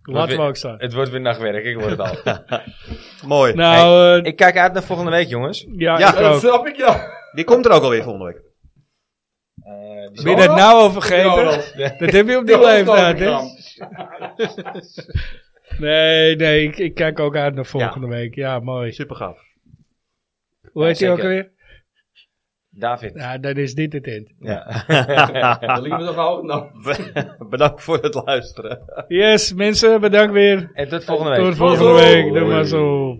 B: Laat me ook staan.
A: Het wordt weer nachtwerk, ik word het al.
D: Mooi.
B: Nou, eh,
A: ik kijk uit naar volgende week, jongens.
B: ja,
E: Ja,
B: ik
C: dat
B: ook.
C: snap ik ja.
E: Die komt er ook alweer volgende week.
A: Eh, die-
B: Ben je dat nou al vergeten?
C: Ronald.
B: Dat heb je op die
C: Die
B: leeftijd, hè?
C: Amsterdam.
B: Nee, nee, ik, ik kijk ook uit naar volgende week. Ja, mooi.
E: Super gaaf.
B: Hoe heet die
A: zeker.
B: ook alweer?
A: David.
B: Ja, dan is dit het eind.
A: Ja.
C: Dat liep me toch hoog nou.
E: Bedankt voor het luisteren.
B: Yes, mensen, bedankt weer.
A: En tot volgende week.
B: Tot volgende
C: Doei.
B: week. Doe maar zo.